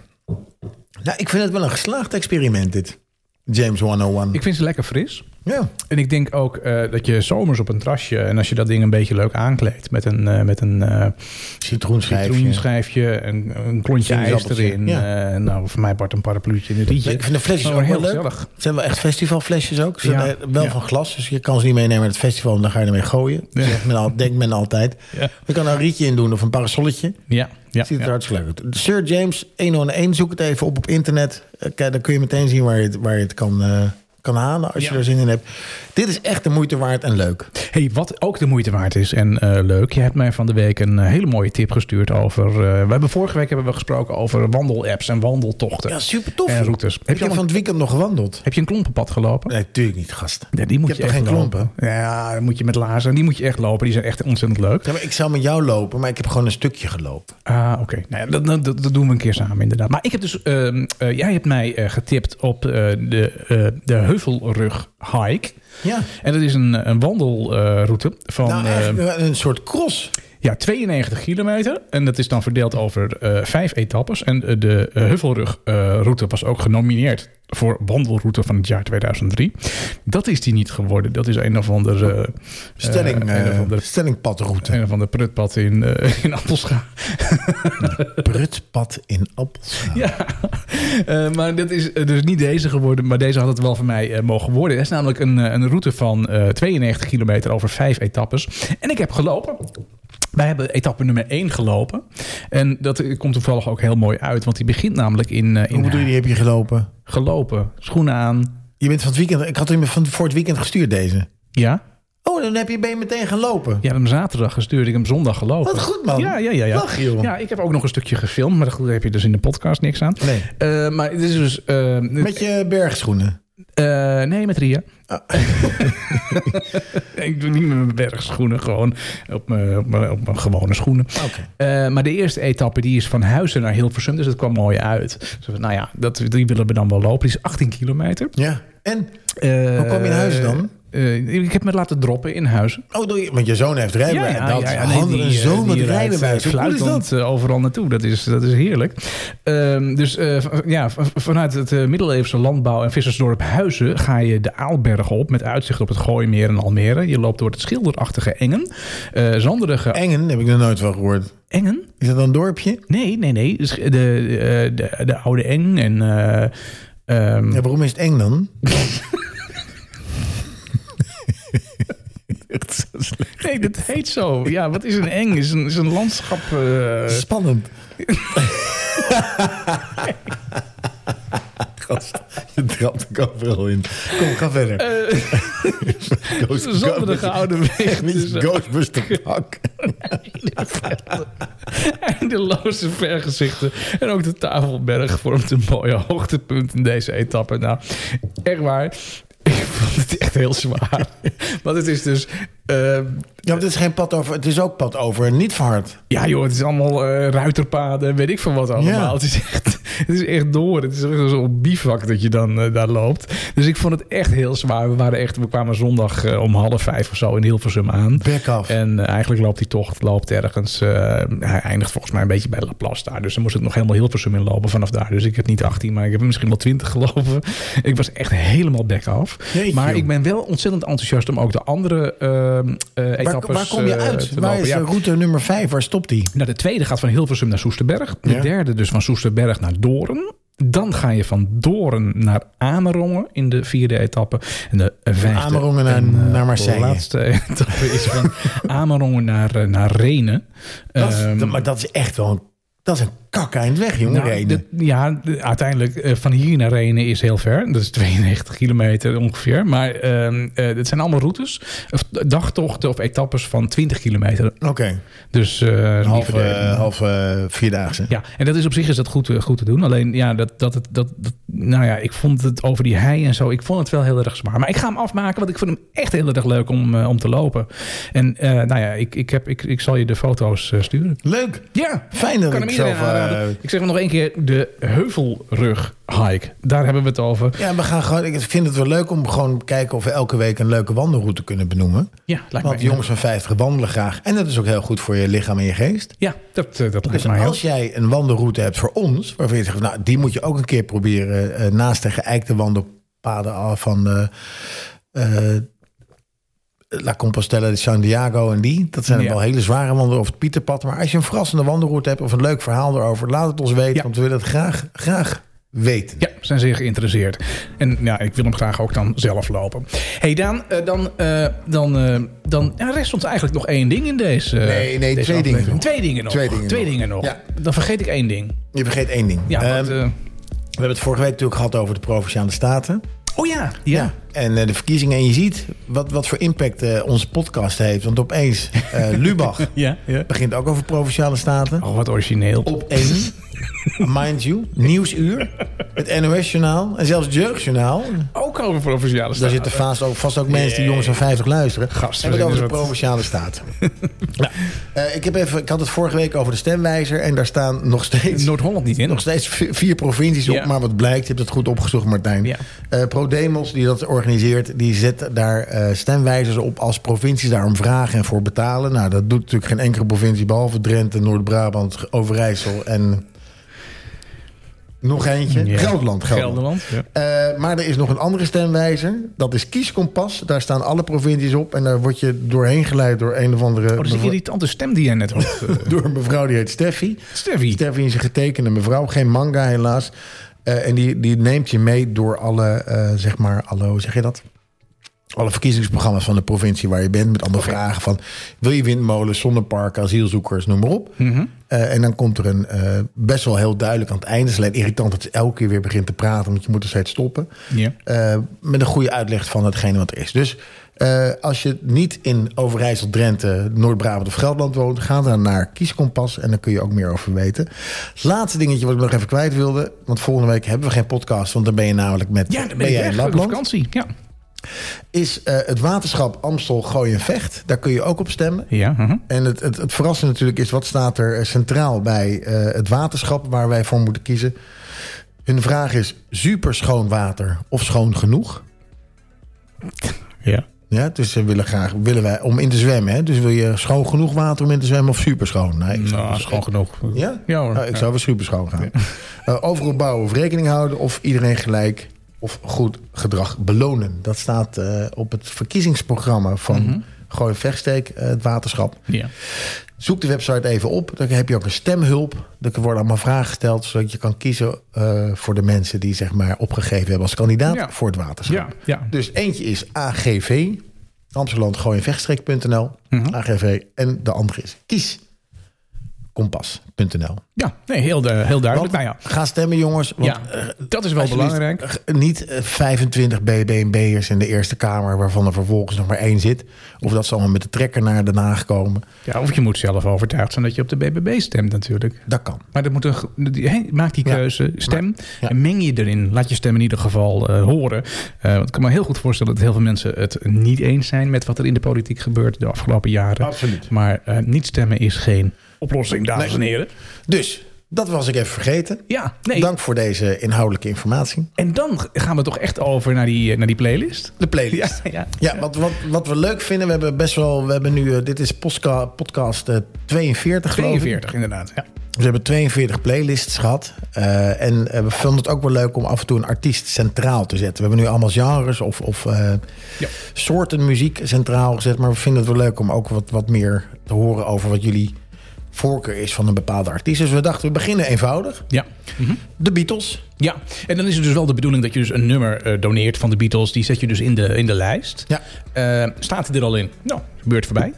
[SPEAKER 1] Nou, ik vind het wel een geslaagd experiment dit. James 101.
[SPEAKER 2] Ik vind ze lekker fris.
[SPEAKER 1] ja.
[SPEAKER 2] En ik denk ook eh, dat je zomers op een trasje... en als je dat ding een beetje leuk aankleedt... met een, eh, met een eh
[SPEAKER 1] Citroenschijfje.
[SPEAKER 2] citroenschijfje, een, een klontje ijs
[SPEAKER 1] Sinaasappeltje,
[SPEAKER 2] erin...
[SPEAKER 1] ja.
[SPEAKER 2] eh, nou, voor mij part een parapluutje en een rietje.
[SPEAKER 1] Ik vind de flesjes
[SPEAKER 2] Oh,
[SPEAKER 1] ook
[SPEAKER 2] heel
[SPEAKER 1] wel leuk.
[SPEAKER 2] gezellig.
[SPEAKER 1] Het zijn wel echt festivalflesjes ook. Ze zijn
[SPEAKER 2] Ja.
[SPEAKER 1] eh, wel
[SPEAKER 2] Ja.
[SPEAKER 1] van glas, dus je kan ze niet meenemen naar het festival... en dan ga je ermee gooien. Dat zegt men al, denkt men altijd.
[SPEAKER 2] Ja.
[SPEAKER 1] Je kan er een rietje in doen of een parasolletje.
[SPEAKER 2] Ja, ja,
[SPEAKER 1] Ziet er
[SPEAKER 2] ja.
[SPEAKER 1] hartstikke leuk uit. Sir James 101, zoek het even op op internet. Eh, Kijk, dan kun je meteen zien waar je het, waar je het kan, eh, kan halen als
[SPEAKER 2] Ja.
[SPEAKER 1] je er zin in hebt. Dit is echt de moeite waard en leuk.
[SPEAKER 2] Hey, wat ook de moeite waard is en eh, leuk. Je hebt mij van de week een eh, hele mooie tip gestuurd over. eh, we hebben vorige week hebben we gesproken over wandelapps en wandeltochten.
[SPEAKER 1] Ja, super tof.
[SPEAKER 2] En
[SPEAKER 1] joh.
[SPEAKER 2] routes.
[SPEAKER 1] Heb je
[SPEAKER 2] al
[SPEAKER 1] van
[SPEAKER 2] een-
[SPEAKER 1] het weekend nog gewandeld?
[SPEAKER 2] heb je een klompenpad gelopen?
[SPEAKER 1] Nee, natuurlijk niet, gast.
[SPEAKER 2] Ja, die moet
[SPEAKER 1] ik
[SPEAKER 2] je
[SPEAKER 1] heb
[SPEAKER 2] echt
[SPEAKER 1] toch geen
[SPEAKER 2] lopen.
[SPEAKER 1] klompen?
[SPEAKER 2] Ja, dan moet je met laarzen. Die moet je echt lopen. Die zijn echt ontzettend leuk.
[SPEAKER 1] Ja, maar ik zou met jou lopen, maar ik heb gewoon een stukje gelopen.
[SPEAKER 2] Ah, oké. Nou ja, dat, dat, dat- dat doen we een keer samen inderdaad. Maar ik heb dus, ehm, eh, jij hebt mij eh, getipt op eh, de, eh, de Heuvelrug Hike.
[SPEAKER 1] Ja.
[SPEAKER 2] En dat is een, een wandelroute van... eh,
[SPEAKER 1] Nou,
[SPEAKER 2] ehm,
[SPEAKER 1] eigenlijk een soort cross.
[SPEAKER 2] Ja, 92 kilometer. En dat is dan verdeeld over eh, vijf etappes. En eh, de Huffelrug-route was ook genomineerd voor wandelroute van het jaar 2003. Dat is die niet geworden. Dat is een of ander, eh,
[SPEAKER 1] Stelling,
[SPEAKER 2] eh, een of
[SPEAKER 1] eh,
[SPEAKER 2] ander- [laughs]
[SPEAKER 1] stellingpadroute.
[SPEAKER 2] een of ander prutpad in, eh in Appelscha.
[SPEAKER 1] Prutpad in Appelscha.
[SPEAKER 2] Ja, Eh, maar dat is eh, dus niet deze geworden. Maar deze had het wel voor mij eh, mogen worden. Het is namelijk een, eh, een route van eh, 92 kilometer over vijf etappes. En ik heb gelopen. Wij hebben etappe nummer 1 gelopen. En dat eh, komt toevallig ook heel mooi uit. Want die begint namelijk in, eh,
[SPEAKER 1] Hoe
[SPEAKER 2] in
[SPEAKER 1] bedoel je, die heb je gelopen?
[SPEAKER 2] gelopen. Schoenen aan.
[SPEAKER 1] Je bent van het weekend... Ik had hem van voor het weekend gestuurd, deze.
[SPEAKER 2] Ja?
[SPEAKER 1] Oh, dan heb je, ben je meteen gelopen.
[SPEAKER 2] Ja, hem zaterdag gestuurd. Ik heb hem zondag gelopen.
[SPEAKER 1] Wat goed, man.
[SPEAKER 2] Ja, ja, ja. ja.
[SPEAKER 1] Lach, joh.
[SPEAKER 2] Ja, ik heb ook nog een stukje gefilmd. Maar goed, daar heb je dus in de podcast niks aan.
[SPEAKER 1] Nee.
[SPEAKER 2] Eh, maar dit is dus... eh,
[SPEAKER 1] Met je bergschoenen.
[SPEAKER 2] Eh, nee, met Ria.
[SPEAKER 1] Ah.
[SPEAKER 2] [laughs] ik doe niet met mijn bergschoenen, gewoon op mijn, op mijn, op mijn gewone schoenen.
[SPEAKER 1] Ah, Oké.
[SPEAKER 2] Eh, maar de eerste etappe die is van Huizen naar Hilversum, dus dat kwam mooi uit. Dus, we- nou ja, dat, die willen we dan wel lopen. Die is 18 kilometer.
[SPEAKER 1] Ja. En?
[SPEAKER 2] Eh,
[SPEAKER 1] Hoe kwam je in Huizen dan?
[SPEAKER 2] eh, ik heb me laten droppen in Huizen.
[SPEAKER 1] Oh, doe je, want je zoon heeft rijbewijs. dat is
[SPEAKER 2] nee,
[SPEAKER 1] handig.
[SPEAKER 2] die,
[SPEAKER 1] Een
[SPEAKER 2] eh,
[SPEAKER 1] zoon met
[SPEAKER 2] die rijdt,
[SPEAKER 1] rijbewijs.
[SPEAKER 2] eh,
[SPEAKER 1] Hoe cool is
[SPEAKER 2] fluitend,
[SPEAKER 1] dat?
[SPEAKER 2] eh, overal naartoe. Dat is, eh, dat is heerlijk. Ehm, dus eh, v- ja, v- vanuit het eh, middeleeuwse landbouw en vissersdorp Huizen ga je de Aalbergen op met uitzicht op het Gooimeer en Almere. Je loopt door het schilderachtige Engen, eh, zanderige
[SPEAKER 1] Engen heb ik nog nooit van gehoord.
[SPEAKER 2] Engen.
[SPEAKER 1] Is dat dan een dorpje?
[SPEAKER 2] Nee, nee, nee. Dus De, de, de, de oude Eng en eh, ehm,
[SPEAKER 1] Ja, waarom is het eng dan?
[SPEAKER 2] nee, dat heet zo. Ja, wat is een eng? Is een, is een landschap. eh,
[SPEAKER 1] Spannend. [laughs] Gast, je trapt ik overal in. Kom, ga verder.
[SPEAKER 2] Eh.
[SPEAKER 1] [laughs]
[SPEAKER 2] [laughs]
[SPEAKER 1] Ghost-
[SPEAKER 2] zanderige oude
[SPEAKER 1] [laughs]
[SPEAKER 2] weg.
[SPEAKER 1] Niet Ghostbuster pak.
[SPEAKER 2] [laughs] Eindeloze vergezichten. En ook de Tafelberg vormt een mooi hoogtepunt in deze etappe. Nou, echt waar. Ik vond het echt heel zwaar. Want het is dus... eh,
[SPEAKER 1] Ja, maar het is geen pad over. Het is ook pad over. Niet verhard.
[SPEAKER 2] ja joh, het is allemaal eh, ruiterpaden, weet ik veel wat allemaal.
[SPEAKER 1] Ja.
[SPEAKER 2] Het is echt... [laughs] Het is echt door. Het is echt zo'n bivak dat je dan eh, daar loopt. Dus ik vond het echt heel zwaar. We, waren echt, we kwamen zondag eh, om half vijf of zo in Hilversum aan.
[SPEAKER 1] Bek af.
[SPEAKER 2] En eh, eigenlijk loopt die tocht loopt ergens. eh, hij eindigt volgens mij een beetje bij Laplace daar. Dus dan moest ik nog helemaal Hilversum in lopen vanaf daar. Dus ik heb niet 18, maar ik heb misschien wel 20 [laughs] gelopen. Ik was echt helemaal bek af.
[SPEAKER 1] Jeetje,
[SPEAKER 2] Maar ik
[SPEAKER 1] joh.
[SPEAKER 2] ben wel ontzettend enthousiast om ook de andere ehm eh
[SPEAKER 1] Waar,
[SPEAKER 2] etappes
[SPEAKER 1] waar kom je
[SPEAKER 2] eh,
[SPEAKER 1] uit?
[SPEAKER 2] te
[SPEAKER 1] Waar
[SPEAKER 2] lopen.
[SPEAKER 1] is
[SPEAKER 2] Ja.
[SPEAKER 1] eh, route nummer 5? Waar stopt die?
[SPEAKER 2] Nou, de tweede gaat van Hilversum naar Soesterberg. De
[SPEAKER 1] Ja.
[SPEAKER 2] derde dus van Soesterberg naar Doorn. Dan ga je van Doorn naar Amerongen in de vierde etappe. En de vijfde
[SPEAKER 1] Amerongen naar-
[SPEAKER 2] en, eh,
[SPEAKER 1] naar Marseille.
[SPEAKER 2] laatste [laughs] etappe is van Amerongen naar, eh, naar Renen.
[SPEAKER 1] Dat is-
[SPEAKER 2] Ehm,
[SPEAKER 1] dat- maar dat is echt wel een, dat is een kak eind weg, jongen.
[SPEAKER 2] nou,
[SPEAKER 1] Renen.
[SPEAKER 2] dit- ja, d- uiteindelijk eh, van hier naar Renen is heel ver. Dat is 92 kilometer ongeveer. Maar ehm eh, het zijn allemaal routes, of dagtochten of etappes van 20 kilometer.
[SPEAKER 1] Oké,
[SPEAKER 2] Dus eh,
[SPEAKER 1] een halve,
[SPEAKER 2] niet verder.
[SPEAKER 1] eh, halve, eh, vierdaagse.
[SPEAKER 2] Ja, en dat is op zich is dat goed, eh, goed te doen. Alleen ja, dat, dat, het- dat, dat, nou ja, ik vond het over die hei en zo. Ik vond het wel heel erg zwaar. Maar ik ga hem afmaken, want ik vond hem echt heel erg leuk om, eh, om te lopen. En eh, nou ja, ik, ik, heb, ik, ik zal je de foto's eh, sturen.
[SPEAKER 1] Leuk.
[SPEAKER 2] Ja,
[SPEAKER 1] Fijn dat
[SPEAKER 2] kan hem
[SPEAKER 1] ik
[SPEAKER 2] iedereen
[SPEAKER 1] zelf... eh,
[SPEAKER 2] aanraden. Ik zeg hem nog één keer, de Heuvelrug Hike. Daar hebben we het over.
[SPEAKER 1] ja, we gaan gewoon, ik vind het wel leuk om gewoon te kijken of we elke week een leuke wandelroute kunnen benoemen.
[SPEAKER 2] Ja, lijkt
[SPEAKER 1] Want
[SPEAKER 2] mij.
[SPEAKER 1] jongens van 50 wandelen graag. En dat is ook heel goed voor je lichaam en je geest.
[SPEAKER 2] Ja, dat, eh, dat lijkt
[SPEAKER 1] Dus
[SPEAKER 2] mij heel.
[SPEAKER 1] als jij een wandelroute hebt voor ons, waarvan je zegt, nou, die moet je ook een keer proberen eh, naast de geëikte wandelpaden al van eh, eh, La Compostela de Santiago en die. Dat zijn
[SPEAKER 2] Ja.
[SPEAKER 1] wel hele zware wandelen of het Pieterpad. Maar als je een verrassende wandelroute hebt of een leuk verhaal erover, laat het ons weten,
[SPEAKER 2] Ja.
[SPEAKER 1] want we willen het graag, graag weten.
[SPEAKER 2] Ja, zijn zeer geïnteresseerd. En ja, ik wil hem graag ook dan zelf lopen. hey Daan, eh, dan, eh, dan, eh, dan ja, rest ons eigenlijk nog één ding in deze Nee,
[SPEAKER 1] nee, twee dingen nog.
[SPEAKER 2] Twee dingen nog.
[SPEAKER 1] Twee dingen nog.
[SPEAKER 2] nog.
[SPEAKER 1] Ja.
[SPEAKER 2] Dan vergeet ik één ding.
[SPEAKER 1] Je vergeet één ding.
[SPEAKER 2] Ja,
[SPEAKER 1] Ehm,
[SPEAKER 2] want,
[SPEAKER 1] we
[SPEAKER 2] eh,
[SPEAKER 1] hebben het vorige week natuurlijk gehad over de Provinciale Staten.
[SPEAKER 2] oh ja, ja.
[SPEAKER 1] En eh, de verkiezingen. En je ziet wat, wat voor impact eh, onze podcast heeft. Want opeens, eh,
[SPEAKER 2] [laughs]
[SPEAKER 1] Lubach
[SPEAKER 2] Ja, ja.
[SPEAKER 1] begint ook over Provinciale Staten.
[SPEAKER 2] Oh, wat origineel.
[SPEAKER 1] Op één,
[SPEAKER 2] [laughs]
[SPEAKER 1] mind you, Nieuwsuur, het NOS-journaal en zelfs het Jeugdjournaal.
[SPEAKER 2] Ook over provinciale
[SPEAKER 1] Daar
[SPEAKER 2] staten.
[SPEAKER 1] zitten vast ook, vast ook mensen die jongens van 50 luisteren.
[SPEAKER 2] Gast, we
[SPEAKER 1] hebben het
[SPEAKER 2] zijn
[SPEAKER 1] over de
[SPEAKER 2] dus wat-
[SPEAKER 1] Provinciale
[SPEAKER 2] [laughs]
[SPEAKER 1] Staten. nou, eh, ik, heb even, ik had het vorige week over de stemwijzer. En daar staan nog steeds...
[SPEAKER 2] Noord-Holland niet in.
[SPEAKER 1] Nog
[SPEAKER 2] Nog
[SPEAKER 1] steeds vi- vier provincies op,
[SPEAKER 2] Ja.
[SPEAKER 1] maar wat blijkt, je hebt het goed opgezocht, Martijn.
[SPEAKER 2] Ja.
[SPEAKER 1] Eh, ProDemos, die dat organiseert, die zet daar eh, stemwijzers op als provincies daarom vragen en voor betalen. Nou, dat doet natuurlijk geen enkele provincie, behalve Drenthe, Noord-Brabant, Overijssel en nog eentje.
[SPEAKER 2] Ja.
[SPEAKER 1] Gelderland, Gelderland.
[SPEAKER 2] Gelderland. Ja. Oh,
[SPEAKER 1] Eh, maar er is nog een andere stemwijzer. Dat is Kieskompas. Daar staan alle provincies op. En daar word je doorheen geleid door een of andere...
[SPEAKER 2] Oh, dat is die
[SPEAKER 1] mevrouw-
[SPEAKER 2] irritante stem die jij net hoort.
[SPEAKER 1] [laughs]
[SPEAKER 2] eh,
[SPEAKER 1] door een mevrouw die heet Steffi.
[SPEAKER 2] Steffi.
[SPEAKER 1] Steffi is een getekende mevrouw, geen manga helaas. Eh, en die, die neemt je mee door alle, eh, zeg maar, alle, hoe zeg je dat? Alle verkiezingsprogramma's van de provincie waar je bent. Met allemaal vragen van, wil je windmolens, zonneparken, asielzoekers, noem maar op.
[SPEAKER 2] Mhm.
[SPEAKER 1] Eh, en dan komt er een, eh, best wel heel duidelijk aan het einde. Het is alleen irritant dat ze elke keer weer begint te praten. Want je moet er steeds stoppen.
[SPEAKER 2] Ja.
[SPEAKER 1] Eh, met een goede uitleg van hetgene wat er is. Dus eh, als je niet in Overijssel, Drenthe, Noord-Brabant of Gelderland woont, ga dan naar Kieskompas en dan kun je ook meer over weten. Het laatste dingetje wat ik nog even kwijt wilde, want volgende week hebben we geen podcast, want dan ben je namelijk met
[SPEAKER 2] ja, dan ben je
[SPEAKER 1] jij in
[SPEAKER 2] weg. Leuk Op
[SPEAKER 1] Lapland.
[SPEAKER 2] vakantie. Ja.
[SPEAKER 1] Is eh, het waterschap Amstel Gooi en Vecht, daar kun je ook op stemmen.
[SPEAKER 2] Ja, mhm.
[SPEAKER 1] En het, het, het verrassende natuurlijk is, wat staat er eh, centraal bij eh, het waterschap waar wij voor moeten kiezen? Hun vraag is, super schoon water of schoon genoeg?
[SPEAKER 2] ja.
[SPEAKER 1] Ja, dus ze willen graag willen wij om in te zwemmen. Hè? Dus wil je schoon genoeg water om in te zwemmen of superschoon? Nee, ik zou-
[SPEAKER 2] Nou, is gewoon genoeg.
[SPEAKER 1] Ja?
[SPEAKER 2] Ja hoor.
[SPEAKER 1] Nou, ik
[SPEAKER 2] Ja.
[SPEAKER 1] zou weer superschoon gaan. Eh, overal bouwen of rekening houden of iedereen gelijk of goed gedrag belonen. Dat staat eh, op het verkiezingsprogramma van
[SPEAKER 2] Mhm.
[SPEAKER 1] Gooi Vechtsteek, eh, het waterschap.
[SPEAKER 2] Ja.
[SPEAKER 1] Zoek de website even op. Dan heb je ook een stemhulp. Er worden allemaal vragen gesteld, zodat je kan kiezen eh, voor de mensen die zeg maar, opgegeven hebben als kandidaat
[SPEAKER 2] Ja.
[SPEAKER 1] voor het waterschap.
[SPEAKER 2] Ja, ja.
[SPEAKER 1] Dus eentje is AGV, Amsterdam gooienvechtstreek.nl,
[SPEAKER 2] Mhm.
[SPEAKER 1] AGV. En de andere is kieskompas.nl.
[SPEAKER 2] Ja, nee, heel, eh, heel duidelijk. nou ja,
[SPEAKER 1] Ga stemmen, jongens. Want
[SPEAKER 2] ja,
[SPEAKER 1] eh,
[SPEAKER 2] dat is wel
[SPEAKER 1] alsjeblieft,
[SPEAKER 2] belangrijk.
[SPEAKER 1] eh, Niet eh, 25 BBNB'ers in de Eerste Kamer, waarvan er vervolgens nog maar één zit. Of dat ze allemaal met de trekker naar Den Haag komen.
[SPEAKER 2] Ja, of je moet zelf overtuigd zijn dat je op de BBB stemt natuurlijk.
[SPEAKER 1] Dat kan.
[SPEAKER 2] Maar dat moet een, ge- die- hè, maak die
[SPEAKER 1] Ja.
[SPEAKER 2] keuze, stem
[SPEAKER 1] Ja.
[SPEAKER 2] en meng je erin. Laat je stem in ieder geval eh, horen. Eh, want ik kan me heel goed voorstellen dat heel veel mensen het niet eens zijn met wat er in de politiek gebeurt de afgelopen jaren.
[SPEAKER 1] Absoluut.
[SPEAKER 2] Maar eh, niet stemmen is geen oplossing, dames en heren.
[SPEAKER 1] Dus Dat was ik even vergeten.
[SPEAKER 2] Ja, nee.
[SPEAKER 1] Dank voor deze inhoudelijke informatie.
[SPEAKER 2] En dan gaan we toch echt over naar die, eh, naar die playlist.
[SPEAKER 1] De playlist.
[SPEAKER 2] Ja, ja.
[SPEAKER 1] Ja, wat, wat, wat we leuk vinden, we hebben best wel, we hebben nu, eh, dit is postka- podcast eh, 42 geloof ik.
[SPEAKER 2] 42 inderdaad. Ja.
[SPEAKER 1] Dus we hebben 42 playlists gehad. Eh, en eh, we vonden het ook wel leuk om af en toe een artiest centraal te zetten. We hebben nu allemaal genres of, of eh,
[SPEAKER 2] Ja.
[SPEAKER 1] soorten muziek centraal gezet. Maar we vinden het wel leuk om ook wat, wat meer te horen over wat jullie voorkeur is van een bepaalde artiest. Dus we dachten, we beginnen eenvoudig.
[SPEAKER 2] Ja. Mhm.
[SPEAKER 1] De
[SPEAKER 2] [laughs]
[SPEAKER 1] Beatles.
[SPEAKER 2] ja, en dan is het dus wel de bedoeling dat je dus een nummer eh, doneert van de Beatles. Die zet je dus in de, in de lijst.
[SPEAKER 1] Ja.
[SPEAKER 2] Eh, staat hij er al in? Nou, beurt voorbij.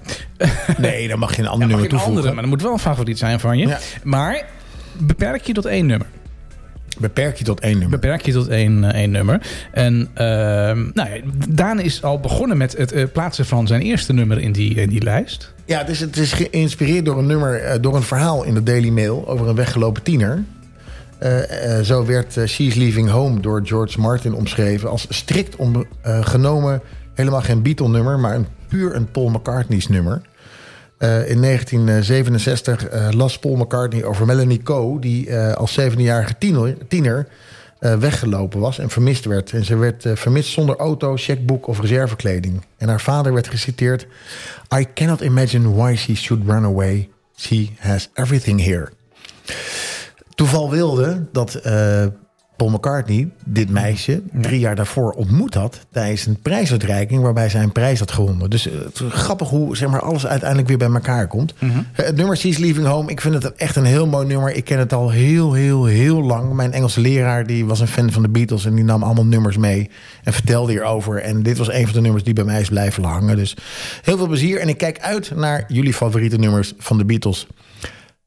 [SPEAKER 1] Nee, dan mag je een ander
[SPEAKER 2] Ja,
[SPEAKER 1] nummer
[SPEAKER 2] mag je een
[SPEAKER 1] toevoegen.
[SPEAKER 2] andere, maar dat moet wel een favoriet zijn van je.
[SPEAKER 1] Ja.
[SPEAKER 2] Maar beperk je tot één nummer.
[SPEAKER 1] Beperk je tot één nummer.
[SPEAKER 2] Beperk je tot één, eh, één nummer. En ehm, nou ja, Daan is al begonnen met het eh, plaatsen van zijn eerste nummer in die, in die lijst.
[SPEAKER 1] Ja, dus het is geïnspireerd door een nummer, eh, door een verhaal in de Daily Mail over een weggelopen tiener. Eh, eh, zo werd eh, She's Leaving Home door George Martin omschreven als strikt om, eh, genomen helemaal geen Beatle-nummer, maar een, puur een Paul McCartney's nummer. Eh, in 1967 eh, las Paul McCartney over Melanie Coe, die eh, als 17-jarige tiener, tiener eh, weggelopen was en vermist werd. En ze werd eh, vermist zonder auto, checkboek of reservekleding. En haar vader werd geciteerd: I cannot imagine why she should run away. She has everything here. Toeval wilde dat eh, Paul McCartney dit meisje drie jaar daarvoor ontmoet had tijdens een prijsuitreiking waarbij zij een prijs had gewonnen. Dus eh, het is grappig hoe zeg maar, alles uiteindelijk weer bij elkaar komt. Eh, Het nummer She's Leaving Home, ik vind het echt een heel mooi nummer. Ik ken het al heel, heel, heel lang. Mijn Engelse leraar die was een fan van de Beatles en die nam allemaal nummers mee en vertelde hierover. En dit was een van de nummers die bij mij is blijven hangen. Dus heel veel plezier en ik kijk uit naar jullie favoriete nummers van de Beatles.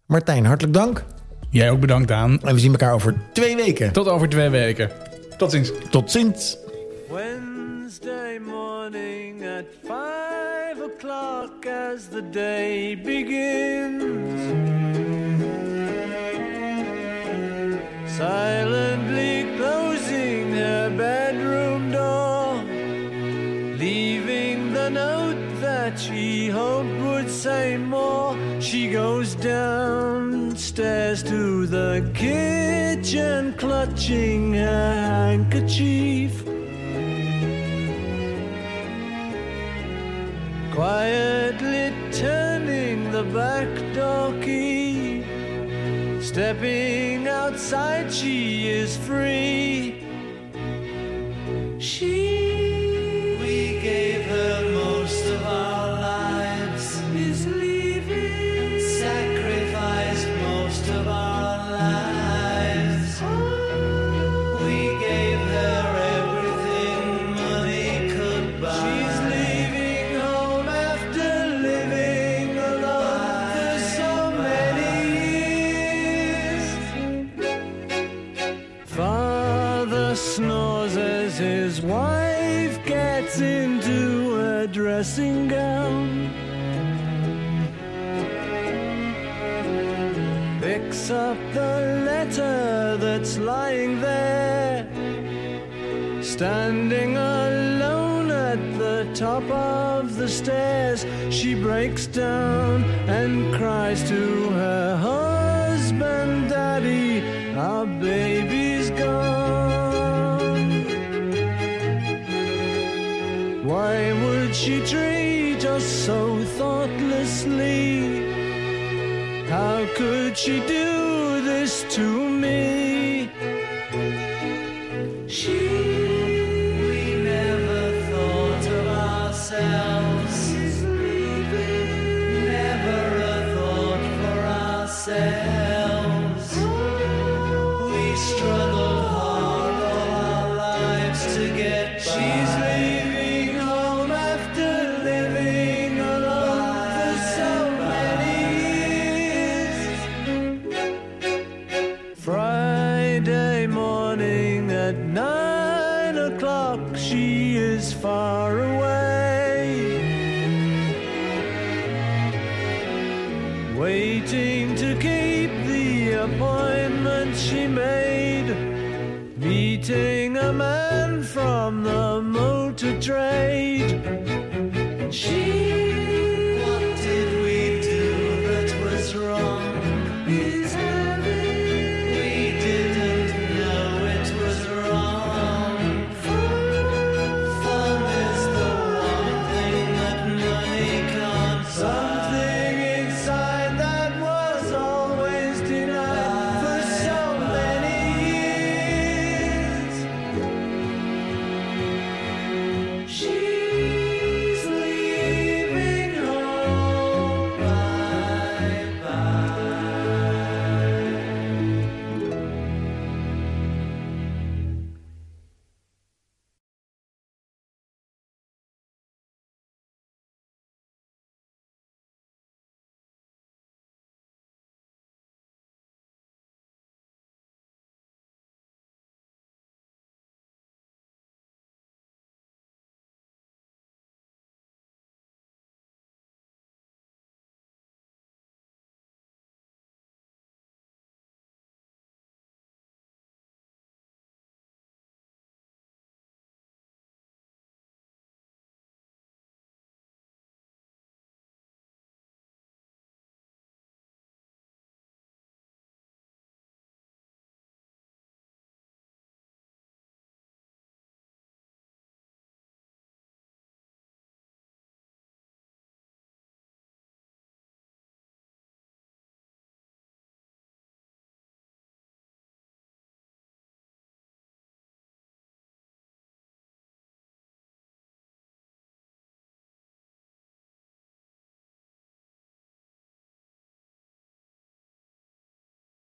[SPEAKER 1] Martijn, hartelijk dank.
[SPEAKER 2] Jij ook bedankt, Daan.
[SPEAKER 1] En we zien elkaar over twee weken.
[SPEAKER 2] Tot over twee weken. Tot ziens.
[SPEAKER 1] Tot ziens.
[SPEAKER 5] Wednesday morning at five o'clock as the day begins. Silently closing her bedroom door, leaving the note that she hoped would say more. She goes downstairs to the kitchen, clutching her handkerchief. quietly turning the back door key. Stepping outside, she is free. She, we gave her most of our lives, is leaving. Sacrificed most of our lives. We gave her everything money could buy. She's leaving home after living alone for so many years. Father snores as his wife gets into a dressing gown. picks up the letter that's lying there, standing alone at the top of the stairs. She breaks down and cries to her husband, Daddy, our baby's gone. Why would she treat us so thoughtlessly? How could she do this to me? She, we never thought of ourselves. Never a thought for ourselves. We struggled hard all our lives to get by. She's leaving home after living alone for so many years. Friday morning at nine o'clock, she is far away. Waiting to keep the appointment she made. Meeting a man from the motor trade. She